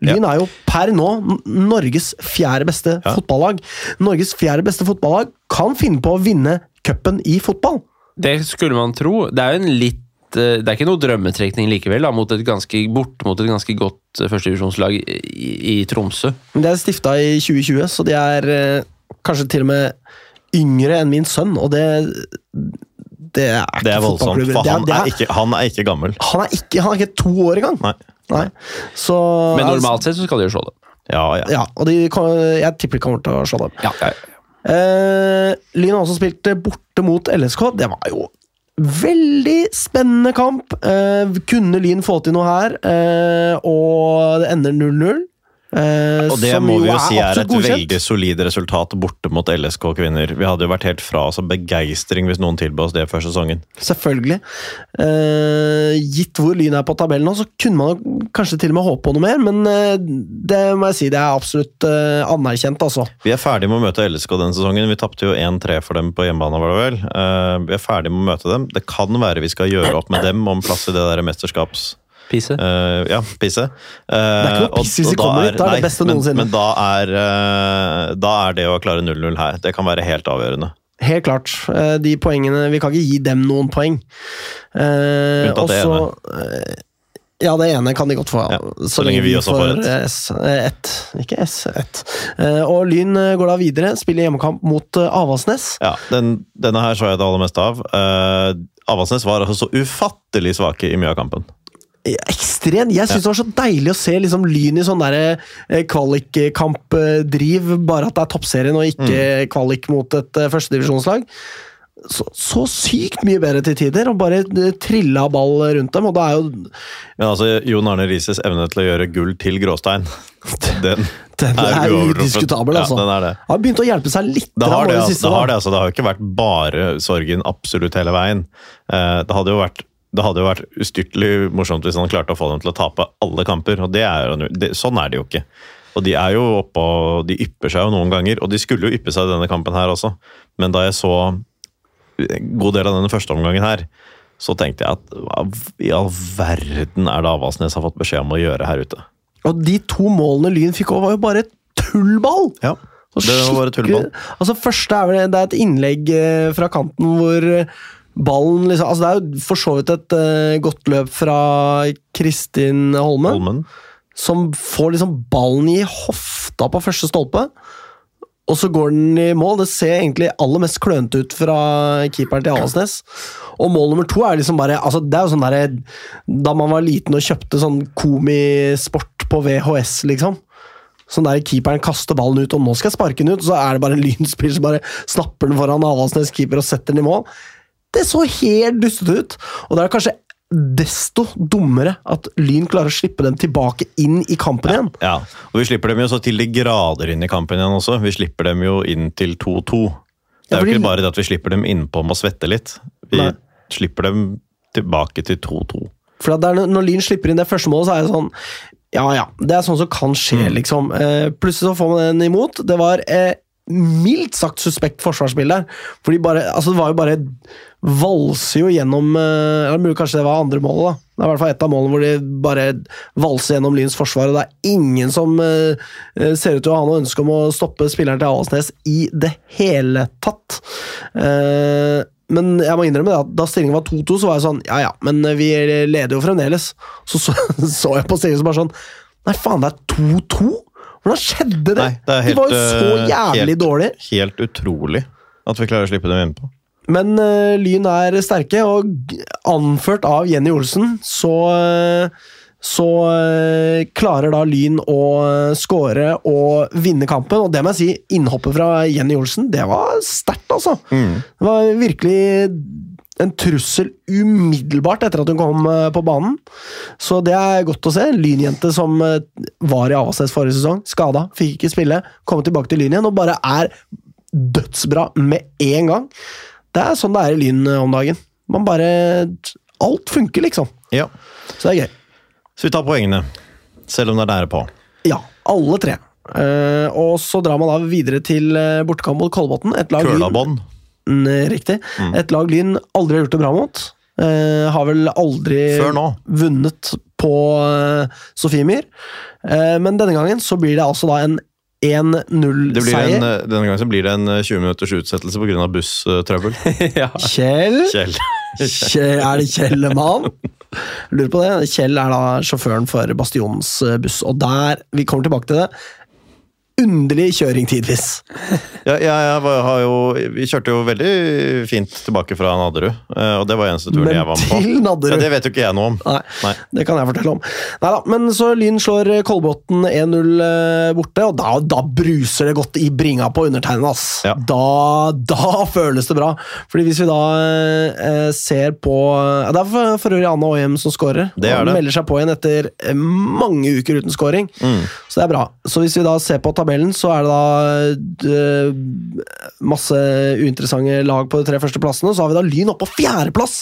Speaker 1: Lyn er jo per nå N- Norges fjerde beste
Speaker 2: Ja.
Speaker 1: fotballag. Norges fjerde beste fotballag kan finne på å vinne cupen i fotball.
Speaker 3: Det skulle man tro. Det er jo en litt eh, det er ikke noe drømmetrekning likevel, da, mot et ganske, bort mot et ganske godt eh, førstedivisjonslag i, i Tromsø.
Speaker 1: Men Det er stifta i 2020, så de er eh, kanskje til og med yngre enn min sønn, og det Det er ikke
Speaker 2: Det er voldsomt,
Speaker 1: fotballklubber.
Speaker 2: for
Speaker 1: Det er-
Speaker 2: han
Speaker 1: det
Speaker 2: er ikke, han er ikke gammel.
Speaker 1: han er ikke Han er ikke to år engang!
Speaker 2: Nei.
Speaker 1: Nei. Så
Speaker 3: Men
Speaker 1: Altså-
Speaker 3: normalt sett så skal de jo slå det.
Speaker 2: Ja, ja.
Speaker 1: Ja, og de, kan- jeg tipper de kommer til å slå dem.
Speaker 3: Ja.
Speaker 1: Eh, Lyn har også spilt eh, borte mot LSK. Det var jo veldig spennende kamp. Eh, kunne Lyn få til noe her? Eh, og det ender 0-0. eh,
Speaker 2: Og det
Speaker 1: som
Speaker 2: må vi jo
Speaker 1: er
Speaker 2: si er
Speaker 1: absolutt
Speaker 2: et veldig solid resultat borte mot LSK kvinner. Vi hadde jo vært helt fra oss av begeistring hvis noen tilbød oss det før sesongen.
Speaker 1: Selvfølgelig. Eh, gitt hvor Lyn er på tabellen nå, så kunne man jo kanskje til og med håpe på noe mer, men eh, det må jeg si det er absolutt eh, anerkjent, altså.
Speaker 2: Vi er ferdig med å møte LSK denne sesongen. Vi tapte jo 1-3 for dem på hjemmebane, var det vel. Eh, Vi er ferdig med å møte dem. Det kan være vi skal gjøre opp med dem om plass i det der mesterskaps...
Speaker 3: Pisse.
Speaker 2: Eh, ja, pisse. Eh, det
Speaker 1: er ikke noe piss hvis vi kommer dit, da er det beste noensinne.
Speaker 2: Men, men da, er, eh, da er det å klare 0-0 her. Det kan være helt avgjørende.
Speaker 1: Helt klart. Eh, De poengene Vi kan ikke gi dem noen poeng. Eh,
Speaker 2: Unntatt det
Speaker 1: også- eh, Ja, det ene kan de godt få.
Speaker 2: Ja, så lenge vi også får ett.
Speaker 1: S, eh, ett. Ikke S, ett. Eh, Og Lyn eh, går da videre. Spiller hjemmekamp mot eh, Avaldsnes.
Speaker 2: Ja, den, Denne her så jeg det aller meste av. Eh, Avaldsnes var altså så ufattelig svake i mye av kampen.
Speaker 1: Ekstremt! Eh, Jeg syns det var så deilig å se liksom Lyn i sånn derre kvalikkampdriv, bare at det er toppserien og
Speaker 2: Mm.
Speaker 1: ikke kvalik mot et eh, førstedivisjonslag. Så, så sykt mye bedre til tider, og bare eh, trilla ball rundt dem, og da er jo
Speaker 2: Men altså, Jon Arne Rises evne til å gjøre gull til gråstein, *laughs* den,
Speaker 1: Den er
Speaker 2: uovertruffet.
Speaker 1: udiskutabel, altså.
Speaker 2: Ja, den er det.
Speaker 1: Han har begynt å hjelpe seg litt
Speaker 2: Det har
Speaker 1: da,
Speaker 2: det,
Speaker 1: i
Speaker 2: altså,
Speaker 1: siste,
Speaker 2: det,
Speaker 1: da.
Speaker 2: har det, altså. det har jo ikke vært bare sorgen absolutt hele veien. Eh, Det hadde jo vært det hadde jo vært ustyrtelig morsomt hvis han klarte å få dem til å tape alle kamper. og det er jo, det, Sånn er det jo ikke. Og De er jo oppe og de ypper seg jo noen ganger, og de skulle jo yppe seg i denne kampen her også. Men da jeg så en god del av denne første omgangen her, så tenkte jeg at hva i all verden er det Avaldsnes har fått beskjed om å gjøre her ute?
Speaker 1: Og de to målene Lyn fikk òg, var jo bare tullball!
Speaker 2: Ja,
Speaker 1: Og
Speaker 2: Det var bare
Speaker 1: skikkelig-
Speaker 2: tullball.
Speaker 1: Altså, første er vel det- det er et innlegg eh, fra kanten hvor eh, ballen liksom Altså, det er jo for så vidt et eh, godt løp fra Kristin Holme,
Speaker 2: Holmen.
Speaker 1: som får liksom ballen i hofta på første stolpe. Og så går den i mål. Det ser egentlig aller mest klønete ut fra keeperen til Avaldsnes. Og mål nummer to er liksom bare altså Det er jo sånn derre Da man var liten og kjøpte sånn komisport på VHS, liksom. Sånn der keeperen kaster ballen ut, og nå skal jeg sparke den ut. Så er det bare en lynspiller som bare snapper den foran Avaldsnes keeper og setter den i mål. Det så helt dustete ut. Og det er kanskje desto dummere at Lyn klarer å slippe dem tilbake inn i kampen igjen.
Speaker 2: Ja, og vi slipper dem jo så til de grader inn i kampen igjen også. Vi slipper dem jo inn til 2-2. Det
Speaker 1: Ja,
Speaker 2: er jo
Speaker 1: fordi-
Speaker 2: ikke bare det at vi slipper dem innpå med å svette litt. Vi
Speaker 1: Nei.
Speaker 2: slipper dem tilbake til 2-2.
Speaker 1: For at det er, no- når Lyn slipper inn det første målet, så er det sånn Ja, ja, det er sånn som kan skje, liksom. Eh, plutselig så får man den imot. Det var eh, mildt sagt suspekt forsvarsbilde der. Fordi bare, altså det var jo bare Valser jo gjennom eh, eller mulig Kanskje det var andre målet, da. Det er i hvert fall ett av målene hvor de bare valser gjennom Lyns forsvar, og det er ingen som eh, eh, ser ut til å ha noe ønske om å stoppe spilleren til Avaldsnes i det hele tatt. Eh, men jeg må innrømme det at da stillingen var 2-2, så var jeg sånn Ja ja, men vi leder jo fremdeles. Så *laughs* så, så jeg på stillingen som bare sånn Nei, faen, det er 2-2? Hvordan skjedde det?
Speaker 2: Nei, det er helt,
Speaker 1: De var jo så
Speaker 2: eh,
Speaker 1: jævlig
Speaker 2: helt-
Speaker 1: dårlige.
Speaker 2: Helt utrolig at vi klarer å slippe dem innpå.
Speaker 1: Men eh, Lyn er sterke, og g- anført av Jenny Olsen, så eh, så eh, klarer da Lyn å eh, score og vinne kampen. Og det må jeg si, innhoppet fra Jenny Olsen, det var sterkt, altså. Det var virkelig en trussel umiddelbart etter at hun kom eh, på banen. Så det er godt å se. En Lynjente som eh, var i Avaldsnes forrige sesong, skada, fikk ikke spille, kom tilbake til Lyn igjen og bare er dødsbra med en gang. Det er sånn det er i Lyn om dagen. Man bare Alt funker, liksom.
Speaker 2: Ja.
Speaker 1: Så det er gøy.
Speaker 2: Så vi tar poengene, selv om det er nære på.
Speaker 1: Ja, alle tre. Eh, og så drar man da videre til eh, bortekamp mot Kolbotn. Et lag Lyn
Speaker 2: Kølabånd.
Speaker 1: Mm, Riktig. Et lag Lyn aldri har gjort det bra mot. Eh, har vel aldri
Speaker 2: Før nå.
Speaker 1: vunnet på eh, Sofiemyr. Eh, men denne gangen så blir det altså da en
Speaker 2: Det blir en,
Speaker 1: 1-0-seier.
Speaker 2: eh, denne gangen så blir det en eh, 20 minutters utsettelse pga. busstrøbbel.
Speaker 1: *laughs*
Speaker 3: ja.
Speaker 1: Kjell
Speaker 2: Kjell.
Speaker 1: Kjell, er det Kjellemann? Lurer på det. Kjell er da sjåføren for Bastionens eh, buss, og der Vi kommer tilbake til det. Underlig kjøring tidvis.
Speaker 2: Ja, ja, jeg var, har jo, vi kjørte jo veldig fint tilbake fra Nadderud, eh, og det var eneste turen
Speaker 1: Men
Speaker 2: jeg var med på.
Speaker 1: til
Speaker 2: Ja,
Speaker 1: Nadderud!
Speaker 2: det vet jo ikke jeg noe om.
Speaker 1: Nei,
Speaker 2: Nei.
Speaker 1: det kan jeg fortelle om. Neida, men så Lyn slår eh, Kolbotn 1-0 eh, borte, og da, da bruser det godt i bringa på undertegnede. ass.
Speaker 2: Ja.
Speaker 1: Da, da føles det bra! Fordi hvis vi da eh, ser på ja, Det er for, for øvrig Anne Åhjem som skårer.
Speaker 2: Det er
Speaker 1: Hun
Speaker 2: det.
Speaker 1: melder seg på igjen etter eh, mange uker uten scoring,
Speaker 2: Mm.
Speaker 1: så det er bra. Så hvis vi da ser på tabellen, så er det da eh, masse uinteressante lag på de tre første plassene, og så har vi da Lyn oppe på fjerdeplass!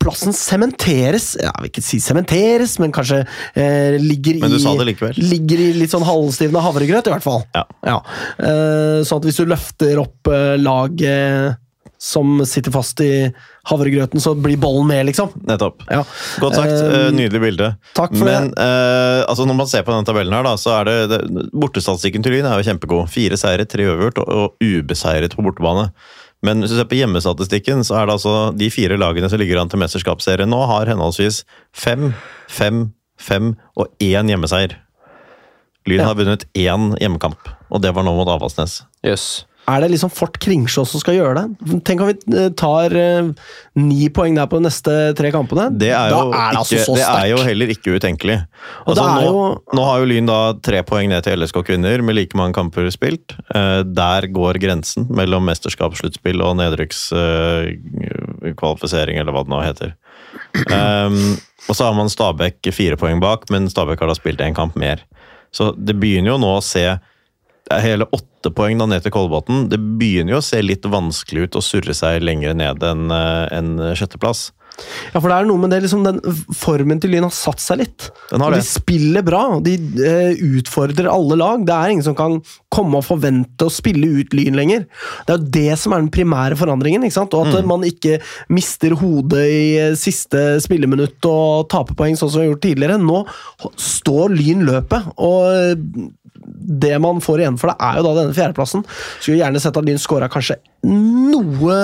Speaker 1: plassen sementeres Jeg vil ikke si sementeres, men kanskje eh, ligger
Speaker 2: Men du
Speaker 1: i
Speaker 2: sa det likevel.
Speaker 1: Ligger i litt sånn halvstivna havregrøt, i hvert fall.
Speaker 2: Ja.
Speaker 1: Eh, sånn at hvis du løfter opp eh, laget som sitter fast i havregrøten, så blir bollen med, liksom.
Speaker 2: Nettopp.
Speaker 1: Ja.
Speaker 2: Godt sagt.
Speaker 1: Eh,
Speaker 2: eh, Nydelig bilde.
Speaker 1: takk for
Speaker 2: Men eh, altså, når man ser på denne tabellen her, da, så er det, det Bortestatistikken til Lyn er jo kjempegod. Fire seire, tre uavgjort og, og ubeseiret på bortebane. Men hvis du ser på hjemmestatistikken, så er det altså de fire lagene som ligger an til mesterskapsserien nå, har henholdsvis fem, fem, fem og én hjemmeseier. Lyn
Speaker 1: Ja.
Speaker 2: har vunnet én hjemmekamp, og det var nå mot Avaldsnes.
Speaker 3: Jøss.
Speaker 1: Er det liksom Fort Kringsjå som skal gjøre det? Tenk om vi eh, tar eh, ni poeng der på de neste tre kampene.
Speaker 2: Det er, jo
Speaker 1: da er det altså
Speaker 2: ikke,
Speaker 1: så
Speaker 2: det er
Speaker 1: sterkt.
Speaker 2: jo heller ikke utenkelig.
Speaker 1: Og
Speaker 2: Altså,
Speaker 1: det er
Speaker 2: nå,
Speaker 1: jo-
Speaker 2: nå har jo Lyn da tre poeng ned til LSK kvinner med like mange kamper spilt. Eh, der går grensen mellom mesterskap, sluttspill og nedrykkskvalifisering, eller hva det nå heter. Ehm, og så har man Stabæk fire poeng bak, men Stabæk har da spilt én kamp mer. Så det begynner jo nå å se det er hele åtte poeng da ned til Kolbotn. Det begynner jo å se litt vanskelig ut å surre seg lenger ned enn eh, enn sjetteplass.
Speaker 1: Ja, for det er noe med det, liksom, den formen til Lyn har satt seg litt.
Speaker 2: Den har
Speaker 1: Og
Speaker 2: det.
Speaker 1: De spiller bra, og de eh, utfordrer alle lag. Det er ingen som kan komme og forvente å spille ut Lyn lenger. Det er jo det som er den primære forandringen, ikke sant? og
Speaker 2: Mm.
Speaker 1: at eh, man ikke mister hodet i eh, siste spilleminutt og taper poeng, sånn som vi har gjort tidligere. Nå h- står Lyn løpet, og eh, det man får igjen for det, er jo da denne fjerdeplassen. Skulle gjerne sett at Lyn scora kanskje noe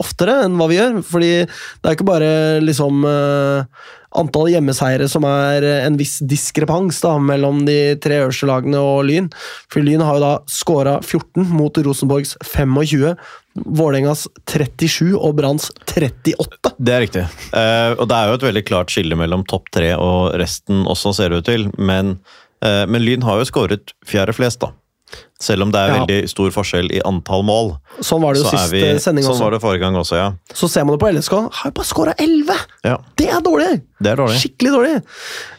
Speaker 1: oftere enn hva vi gjør. Fordi det er ikke bare liksom eh, antall hjemmeseiere som er eh, en viss diskrepans da, mellom de tre øverste lagene og Lyn. For Lyn har jo da scora 14 mot Rosenborgs 25. Vålerengas 37 og Branns 38.
Speaker 2: Det er riktig. Eh, og det er jo et veldig klart skille mellom topp tre og resten også, ser det ut til. Men, eh, men Lyn har jo skåret fjerde flest, da. Selv om det er
Speaker 1: Ja.
Speaker 2: veldig stor forskjell i antall mål.
Speaker 1: Sånn var det jo
Speaker 2: Så er
Speaker 1: siste
Speaker 2: vi-
Speaker 1: sending
Speaker 2: sånn
Speaker 1: også.
Speaker 2: var det forrige gang også, ja.
Speaker 1: Så ser man det på LSK. Har jo bare scora 11!
Speaker 2: ja.
Speaker 1: Det er dårlig!
Speaker 2: Det er dårlig.
Speaker 1: Skikkelig dårlig.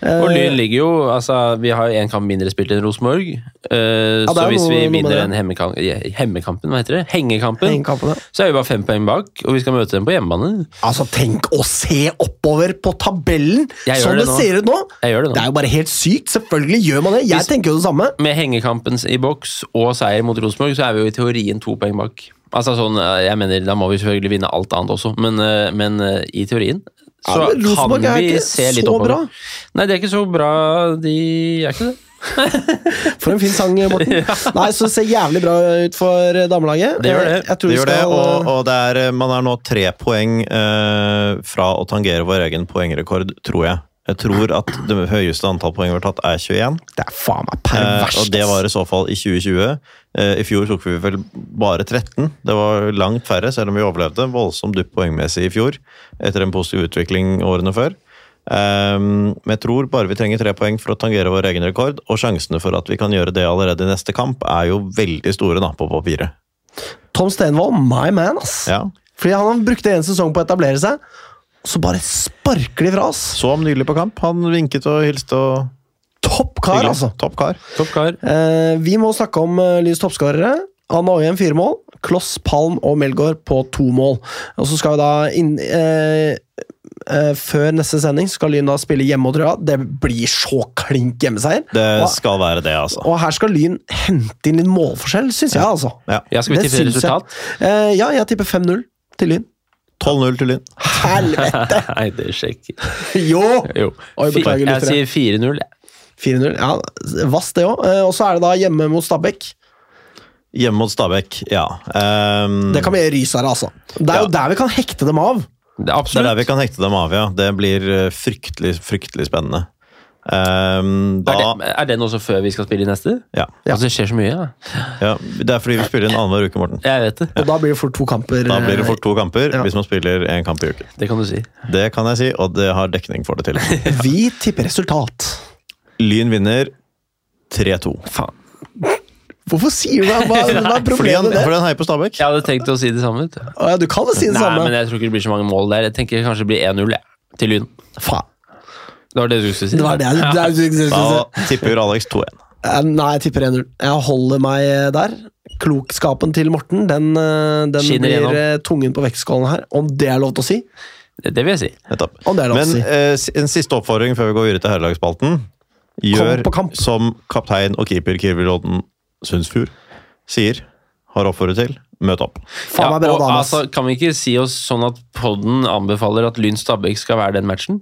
Speaker 1: Eh,
Speaker 3: Og Lyn ligger jo altså, Vi har én kamp mindre spilt enn Rosenborg. eh,
Speaker 1: det
Speaker 3: så
Speaker 1: er
Speaker 3: hvis
Speaker 1: noe-
Speaker 3: vi
Speaker 1: noe med
Speaker 3: vinner
Speaker 1: det.
Speaker 3: den hemmekamp, hemmekampen, hva heter det? Hengekampen,
Speaker 1: ingen kamp på det.
Speaker 3: så er vi bare fem poeng bak, og vi skal møte dem på hjemmebane.
Speaker 1: Altså, tenk å se oppover på tabellen!
Speaker 3: Jeg gjør
Speaker 1: Sånn
Speaker 3: det
Speaker 1: det,
Speaker 3: nå.
Speaker 1: ser ut nå!
Speaker 3: Jeg gjør det nå.
Speaker 1: Det er jo bare helt sykt! Selvfølgelig gjør man det! Jeg
Speaker 3: Hvis-
Speaker 1: tenker jo det samme.
Speaker 3: Med hengekampen i boks og seier mot Rosenborg, så er vi jo i teorien to poeng bak. Altså sånn, eh, jeg mener, Da må vi selvfølgelig vinne alt annet også, men, eh, men eh, i teorien så
Speaker 1: Ja, men
Speaker 3: kan
Speaker 1: Rosenborg er
Speaker 3: vi
Speaker 1: ikke
Speaker 3: se litt
Speaker 1: så
Speaker 3: oppover.
Speaker 1: bra.
Speaker 3: Nei, de er ikke så bra, de er ikke det.
Speaker 1: For en fin sang,
Speaker 3: *laughs*
Speaker 1: Morten. Nei, så det ser jævlig bra ut for eh, damelaget.
Speaker 3: Det gjør det.
Speaker 1: Jeg tror
Speaker 2: Det
Speaker 1: vi
Speaker 2: gjør det,
Speaker 1: skal
Speaker 2: og, og det er, eh, man er nå tre poeng eh, fra å tangere vår egen poengrekord, tror jeg. Jeg tror at det høyeste antall poeng vi har tatt, er 21.
Speaker 1: Det er faen meg
Speaker 2: Eh,
Speaker 1: perverst!
Speaker 2: og det
Speaker 1: ass.
Speaker 2: var i så fall i 2020. Eh, I fjor tok vi vel bare 13. Det var langt færre, selv om vi overlevde. Voldsomt dupp poengmessig i fjor, etter en positiv utvikling årene før. Ehm, men jeg tror bare vi trenger tre poeng for å tangere vår egen rekord. Og sjansene for at vi kan gjøre det allerede i neste kamp, er jo veldig store da, på papiret.
Speaker 1: Tom Stenvold, my man, ass!
Speaker 2: Ja.
Speaker 1: Fordi han brukte en sesong på å etablere seg, og så bare sparker de fra oss!
Speaker 2: Så ham nylig på kamp. Han vinket og hilste og
Speaker 1: Topp kar,
Speaker 2: hyggelig.
Speaker 1: altså!
Speaker 2: Topp kar.
Speaker 3: Topp kar.
Speaker 1: Eh, vi må snakke om uh, Lyns toppskårere. Anna Øyen fire mål. Kloss, Palm og Melgaard på to mål. Og så skal vi da inn eh, eh, Før neste sending skal Lyn da spille hjemme mot Røa. Det blir så klink hjemmeseier.
Speaker 2: Det
Speaker 1: Og,
Speaker 2: skal være det, altså.
Speaker 1: og her skal Lyn hente inn litt målforskjell, syns jeg, altså.
Speaker 2: Ja.
Speaker 3: Ja, skal vi
Speaker 1: Det
Speaker 3: tippe
Speaker 1: syns jeg.
Speaker 3: resultat? *laughs*
Speaker 1: Eh, ja, jeg tipper 5-0 til Lyn.
Speaker 2: 12-0 til Lyn.
Speaker 1: Helvete!
Speaker 3: Nei, det skjer ikke.
Speaker 1: jo!
Speaker 3: Jo.
Speaker 1: Oi,
Speaker 3: Fi-
Speaker 1: beklager,
Speaker 3: jeg
Speaker 1: lyttere.
Speaker 3: sier 4-0. jeg.
Speaker 1: 4-0. Ja, vass det òg. Og så er det da hjemme mot Stabæk.
Speaker 2: Hjemme mot Stabæk, ja. Ehm,
Speaker 1: Det kan bli rysere, altså. Det er jo
Speaker 2: Ja.
Speaker 1: der vi kan hekte dem av.
Speaker 3: Det er
Speaker 2: det er der
Speaker 3: Absolutt.
Speaker 2: vi kan hekte dem av, ja. Det blir eh, fryktelig, fryktelig spennende. Ehm,
Speaker 3: Er
Speaker 2: da,
Speaker 3: det, er den også før vi skal spille i neste?
Speaker 2: ja,
Speaker 1: Ja.
Speaker 3: Altså, det skjer så mye, ja.
Speaker 2: ja. Det er fordi vi spiller inn annenhver uke, Morten.
Speaker 3: Jeg vet det.
Speaker 1: Og da blir det fort to kamper.
Speaker 2: Da blir det fort to kamper
Speaker 1: Ja.
Speaker 2: hvis man spiller én kamp i uken.
Speaker 3: Det kan du si.
Speaker 2: Det kan jeg si, og det har dekning for
Speaker 1: *laughs*
Speaker 2: det til.
Speaker 1: Eh, Vi tipper resultat.
Speaker 2: Lyn vinner 3-2.
Speaker 3: Faen.
Speaker 1: Hvorfor sier du det? Hva, hva er
Speaker 2: Fordi han,
Speaker 1: problemet med det?
Speaker 2: fordi han heier på Stabæk.
Speaker 3: Jeg hadde tenkt å si det samme. Vet du.
Speaker 1: Å, ja, du kan jo si det
Speaker 3: Nei, men
Speaker 1: samme.
Speaker 3: jeg tror ikke det blir så mange mål der. Jeg tenker kanskje det blir 1-0 jeg, til Lyn.
Speaker 1: Faen.
Speaker 3: Det var det du skulle si?
Speaker 1: Det var det jeg det er- det *laughs* er-
Speaker 2: Da tipper Alex 2-1.
Speaker 1: Eh, Nei, jeg tipper 1-0. Jeg holder meg eh, der. Klokskapen til Morten den, eh, den
Speaker 3: Skinner
Speaker 1: blir
Speaker 3: gjennom.
Speaker 1: eh, tungen på vektskålen her. Om det er lov til å si?
Speaker 3: Det, det vil jeg si.
Speaker 2: Nettopp.
Speaker 1: Om det er lov
Speaker 2: Men
Speaker 1: til å si.
Speaker 2: eh, s- en siste oppfordring før vi går videre til herrelagsspalten. Gjør
Speaker 1: på kamp.
Speaker 2: som kaptein og keeper Kirvil Odden Sundsfjord sier, har oppfordret til. Møt opp.
Speaker 1: Faen meg bra
Speaker 3: og
Speaker 1: dame, ass.
Speaker 3: altså, kan vi ikke si oss sånn at podden anbefaler at Lyn Stabæk skal være den matchen?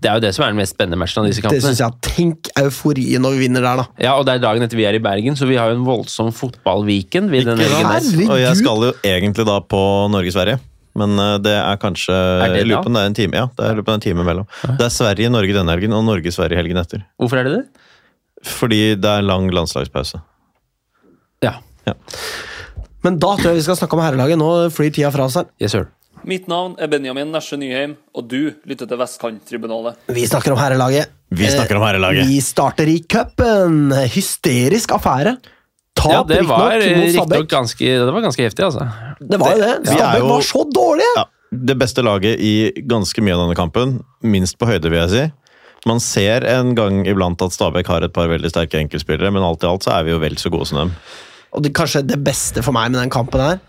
Speaker 3: Det er jo det som er den mest spennende matchen av disse
Speaker 1: Det
Speaker 3: kampene.
Speaker 1: syns jeg. Tenk euforien når vi vinner der, da.
Speaker 3: Ja, og det er dagen etter vi er i Bergen, så vi har jo en voldsom fotballweekend. Vi, den
Speaker 2: Ikke sant?
Speaker 3: helgen der.
Speaker 1: Herregud.
Speaker 2: Og jeg skal jo egentlig da på Norge-Sverige. Men eh, det er kanskje
Speaker 3: det
Speaker 2: jeg lurer
Speaker 3: da?
Speaker 2: på om det er en time, ja, det er, jeg lurer på om det er en time imellom. Det er Sverige-Norge denne helgen, og Norge-Sverige helgen etter.
Speaker 3: Hvorfor er det det?
Speaker 2: Fordi det er lang landslagspause.
Speaker 3: Ja,
Speaker 1: Men da tror jeg vi skal snakke om herrelaget. Nå flyr tida fra oss her.
Speaker 3: yes sir.
Speaker 5: Mitt navn er Benjamin Nesje Nyheim, og du lytter til Vestkanttribunalet.
Speaker 1: Vi snakker om herrelaget.
Speaker 2: Vi snakker om herrelaget.
Speaker 1: Eh, Vi starter i cupen. Hysterisk affære. Tap
Speaker 3: Ja, det var eh,
Speaker 1: riktignok mot
Speaker 3: riktignok
Speaker 1: Stabæk.
Speaker 3: ganske, det var ganske heftig, altså.
Speaker 1: Det var jo det.
Speaker 2: Vi er
Speaker 1: Stabæk
Speaker 2: jo-
Speaker 1: var så dårlige!
Speaker 2: Ja, det beste laget i ganske mye av denne kampen. Minst på høyde, vil jeg si. Man ser en gang iblant at Stabæk har et par veldig sterke enkeltspillere, men alt i alt så er vi jo vel så gode som dem.
Speaker 1: Og det, kanskje det beste for meg med den kampen her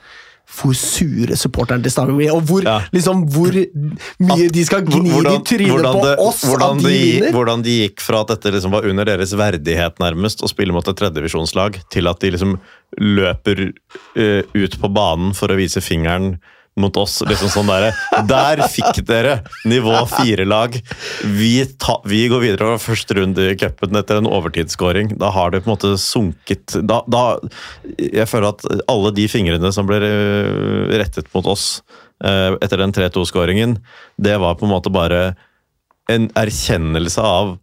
Speaker 1: hvor sure supporteren til Stabæk blir, og hvor,
Speaker 2: Ja.
Speaker 1: liksom, hvor mye de skal gni i trynet på
Speaker 2: hvordan det,
Speaker 1: oss
Speaker 2: hvordan,
Speaker 1: at
Speaker 2: de,
Speaker 1: de vinner!
Speaker 2: hvordan de gikk fra at dette liksom var under deres verdighet, nærmest, å spille mot et tredjedivisjonslag, til at de liksom løper eh, ut på banen for å vise fingeren mot oss. liksom sånn Der, der fikk dere nivå fire-lag. Vi, ta- vi går videre over første runde i cupen etter en overtidsskåring. Da har det på en måte sunket da, da, Jeg føler at alle de fingrene som ble eh, rettet mot oss eh, etter den 3-2-skåringen, det var på en måte bare en erkjennelse av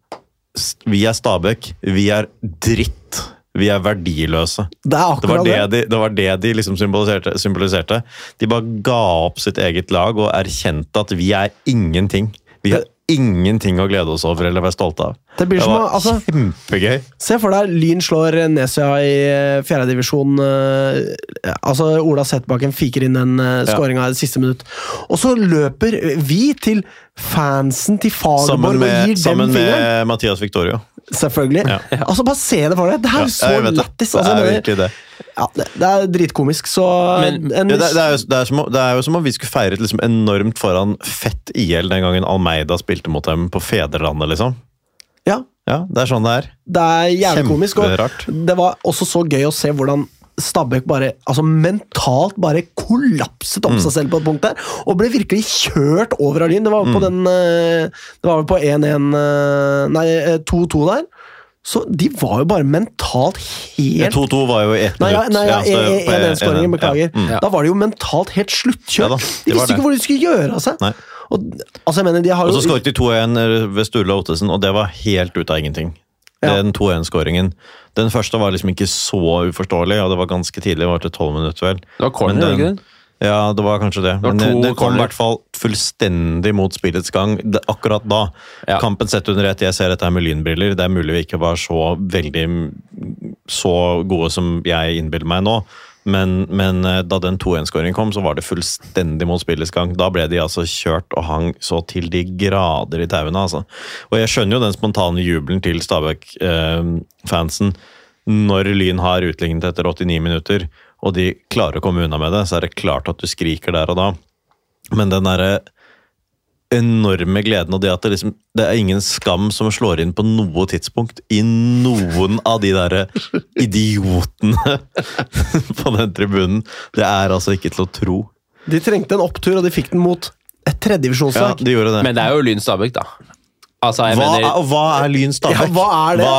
Speaker 2: s- Vi er Stabæk, vi er dritt. Vi er verdiløse.
Speaker 1: Det er
Speaker 2: Det var
Speaker 1: akkurat det.
Speaker 2: det de, det var det de liksom symboliserte, symboliserte. De bare ga opp sitt eget lag og erkjente at vi er ingenting. Vi har ingenting å glede oss over eller være stolte av.
Speaker 1: Det blir
Speaker 2: Det
Speaker 1: som,
Speaker 2: var
Speaker 1: å- altså,
Speaker 2: kjempegøy.
Speaker 1: Se for deg Lyn slår Nesøya i eh, fjerde divisjon. eh, Altså, Ola Setbakken fiker inn den eh,
Speaker 2: Ja.
Speaker 1: skåringa i siste minutt. Og så løper vi til fansen til
Speaker 2: Sammen
Speaker 1: Fagerborg og
Speaker 2: med,
Speaker 1: gir dem
Speaker 2: sammen
Speaker 1: fingeren!
Speaker 2: med Mathias Victorio.
Speaker 1: Selvfølgelig. Altså, bare se det for deg! Det her er jo så
Speaker 2: jeg vet det.
Speaker 1: lættis!
Speaker 2: det
Speaker 1: Altså,
Speaker 2: er
Speaker 1: det,
Speaker 2: virkelig det.
Speaker 1: ja, det, det er dritkomisk, så
Speaker 3: Men-
Speaker 1: en,
Speaker 2: Ja, det, det, er jo, det, er som, om- det er jo som om vi skulle feiret liksom enormt foran Fett IL den gangen Almeida spilte mot dem på fedrelandet, liksom.
Speaker 1: ja,
Speaker 2: Ja, det er sånn det er.
Speaker 1: det er jævlig komisk. Og
Speaker 2: Kjemperart.
Speaker 1: det var også så gøy å se hvordan Stabæk bare, altså mentalt bare kollapset
Speaker 2: Mm.
Speaker 1: om seg selv på et punkt der, og ble virkelig kjørt over av Lyn. Det var
Speaker 2: Mm.
Speaker 1: jo på den eh, Det var vel på 1-1 eh, Nei, eh, 2-2 der. Så de var jo bare mentalt
Speaker 2: Ja,
Speaker 1: helt
Speaker 2: 2-2 var jo i ett
Speaker 1: Nei, ja,
Speaker 2: minutt.
Speaker 1: nei ja, e-
Speaker 2: så det er jo på 1-1,
Speaker 1: 1-1-skåringen, beklager.
Speaker 2: ja. Mm.
Speaker 1: Da var de jo mentalt helt sluttkjørt.
Speaker 2: Ja da,
Speaker 1: de
Speaker 2: det var
Speaker 1: visste
Speaker 2: det.
Speaker 1: ikke hvor de skulle gjøre av seg.
Speaker 2: Nei.
Speaker 1: Og, altså, jeg mener, de har
Speaker 2: Og så
Speaker 1: jo
Speaker 2: skåret de 2-1 ved Sturla Ottesen, og det var helt ut av ingenting.
Speaker 1: Ja.
Speaker 2: Den 2-1-skåringen. Den første var liksom ikke så uforståelig, og det var ganske tidlig. Det var til 12 minutter, vel.
Speaker 3: Det var corner,
Speaker 2: Men
Speaker 3: var det ikke
Speaker 2: den-
Speaker 3: det?
Speaker 2: Ja, det var kanskje det.
Speaker 3: var
Speaker 2: Men
Speaker 3: to
Speaker 2: det, det kom i
Speaker 3: corner.
Speaker 2: hvert fall fullstendig mot spillets gang det, akkurat da.
Speaker 3: Ja.
Speaker 2: Kampen sett under ett. Jeg ser dette her med lynbriller. Det er mulig vi ikke var så veldig så gode som jeg innbiller meg nå. Men, men eh, da den 2-1-skåringen kom, så var det fullstendig mot spillets gang. Da ble de altså kjørt og hang så til de grader i tauene, altså. Og jeg skjønner jo den spontane jubelen til Stabæk-fansen når Lyn har utlignet etter 89 minutter, og de klarer å komme unna med det, så er det klart at du skriker der og da. Men den derre enorme gleden og det at det liksom Det er ingen skam som slår inn på noe tidspunkt i noen av de derre idiotene *laughs* på den tribunen. Det er altså ikke til å tro.
Speaker 1: De trengte en opptur, og de fikk den mot et
Speaker 2: Ja,
Speaker 1: tredjevisjonslag.
Speaker 2: de gjorde det.
Speaker 3: Men det er jo Lyn Stabæk, da. Altså, jeg
Speaker 2: hva,
Speaker 3: mener
Speaker 2: er, og hva er Lyn Stabæk?
Speaker 1: Ja, hva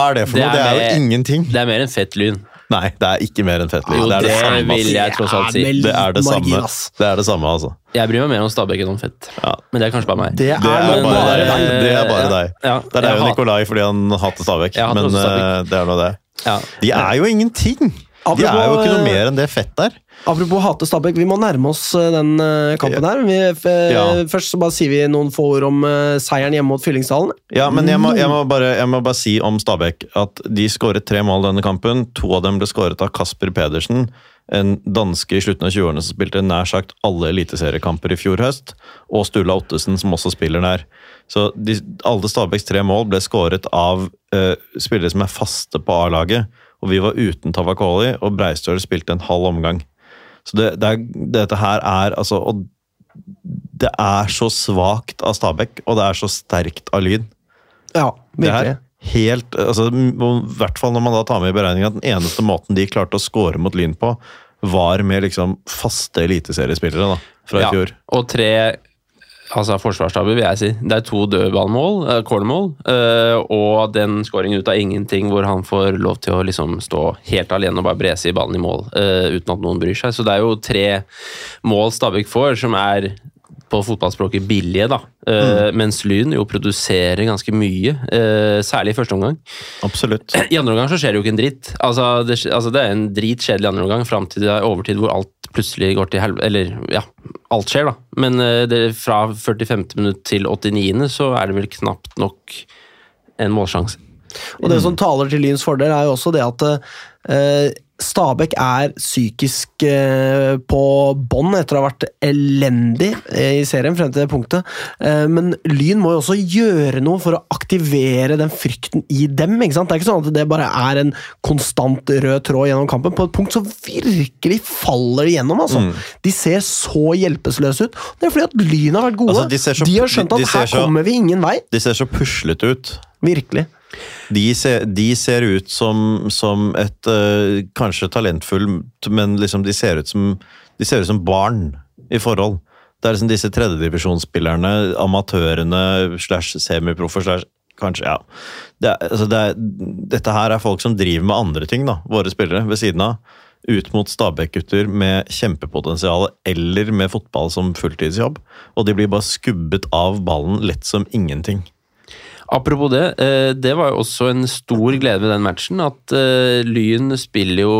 Speaker 1: er det?
Speaker 2: for noe? Det er,
Speaker 3: mer-
Speaker 2: jo ingenting.
Speaker 3: Det er mer enn fett lyn.
Speaker 2: Nei, det er ikke mer enn Fettlyn.
Speaker 3: Jo,
Speaker 2: det er det,
Speaker 3: det
Speaker 2: samme.
Speaker 3: vil
Speaker 2: ass.
Speaker 3: jeg tross alt si.
Speaker 1: Ja, med
Speaker 2: Det er det
Speaker 1: liten
Speaker 2: samme.
Speaker 1: margin, ass.
Speaker 2: Det er det samme, altså.
Speaker 3: Jeg bryr meg mer om Stabæk enn om fett.
Speaker 2: Ja.
Speaker 3: Men det er kanskje bare meg.
Speaker 1: Det er,
Speaker 2: Det er
Speaker 1: noe
Speaker 2: bare
Speaker 1: bare
Speaker 2: deg.
Speaker 1: deg.
Speaker 2: Det er bare
Speaker 3: Ja.
Speaker 2: deg.
Speaker 3: Ja.
Speaker 2: Det er
Speaker 3: Jeg
Speaker 2: jo
Speaker 3: hat-
Speaker 2: Nikolai fordi han hater Stabæk,
Speaker 3: Jeg hater
Speaker 2: men
Speaker 3: også Stabæk.
Speaker 2: eh, det er nå det.
Speaker 3: Ja.
Speaker 2: De er jo ingenting! De er jo
Speaker 1: Apropos,
Speaker 2: ikke noe
Speaker 1: eh,
Speaker 2: mer enn det Fett er.
Speaker 1: Apropos hate Stabæk, vi må nærme oss eh, den eh, kampen her. Vi, f- eh,
Speaker 2: Ja.
Speaker 1: Først så bare sier vi noen få ord om eh, seieren hjemme mot Fyllingsdalen.
Speaker 2: Ja, men jeg må, jeg, må bare, jeg må bare si om Stabæk at de skåret tre mål denne kampen. To av dem ble skåret av Kasper Pedersen, en danske i slutten av 20-årene som spilte nær sagt alle eliteseriekamper i fjor høst, og Sturla Ottesen, som også spiller der. Så de, alle Stabæks tre mål ble skåret av eh, spillere som er faste på A-laget. Og vi var uten Tavakoli, og Breistøl spilte en halv omgang. Så det, det er, dette her er altså Og det er så svakt av Stabæk, og det er så sterkt av Lyn.
Speaker 1: Ja,
Speaker 2: Det er
Speaker 1: virkelig.
Speaker 2: helt, altså, m- I hvert fall når man da tar med i beregninga at den eneste måten de klarte å score mot Lyn på, var med liksom faste eliteseriespillere da, fra i fjor.
Speaker 3: Og tre altså forsvarsstaber, vil jeg si. Det er to dødballmål, eh, cornermål, eh, og den skåringen ut av ingenting hvor han får lov til å liksom stå helt alene og bare brese i ballen i mål eh, uten at noen bryr seg. Så det er jo tre mål Stabæk får, som er på fotballspråket billige, da.
Speaker 2: Mm.
Speaker 3: Eh, Mens Lyn jo produserer ganske mye, eh, særlig i første omgang.
Speaker 2: Absolutt.
Speaker 3: I andre omgang så skjer det jo ikke en dritt. Altså, det, skje- altså, det er en dritkjedelig andre omgang fram til det er overtid hvor alt plutselig går til helvete Eller ja, alt skjer, da. Men eh, det, fra 45. minutt til 89. så er det vel knapt nok en målsjanse.
Speaker 1: Og
Speaker 2: Mm.
Speaker 1: det som taler til Lyns fordel, er jo også det at eh, Stabæk er psykisk eh, på bånn etter å ha vært elendig eh, i serien frem til det punktet. Eh, men Lyn må jo også gjøre noe for å aktivere den frykten i dem. ikke sant? Det er ikke sånn at det bare er en konstant rød tråd gjennom kampen. På et punkt så virkelig faller det gjennom. altså.
Speaker 2: Mm.
Speaker 1: De ser så hjelpeløse ut. Det er fordi at Lyn har vært gode.
Speaker 2: Altså, de ser så-
Speaker 1: de har skjønt
Speaker 2: de-
Speaker 1: at
Speaker 2: de ser
Speaker 1: her
Speaker 2: så-
Speaker 1: kommer vi ingen vei.
Speaker 2: De ser så puslete ut.
Speaker 1: Virkelig.
Speaker 2: De ser, de ser ut som, som et eh, Kanskje talentfullt, men liksom de ser ut som, de ser ut som barn i forhold. Det er liksom disse tredjedivisjonsspillerne, amatørene slash semiproffer slash Kanskje, ja. Det er, altså det er, dette her er folk som driver med andre ting, da. Våre spillere ved siden av. Ut mot Stabæk-gutter med kjempepotensial eller med fotball som fulltidsjobb. Og de blir bare skubbet av ballen lett som ingenting.
Speaker 3: Apropos det, eh, det var jo også en stor glede ved den matchen. At eh, Lyn spiller jo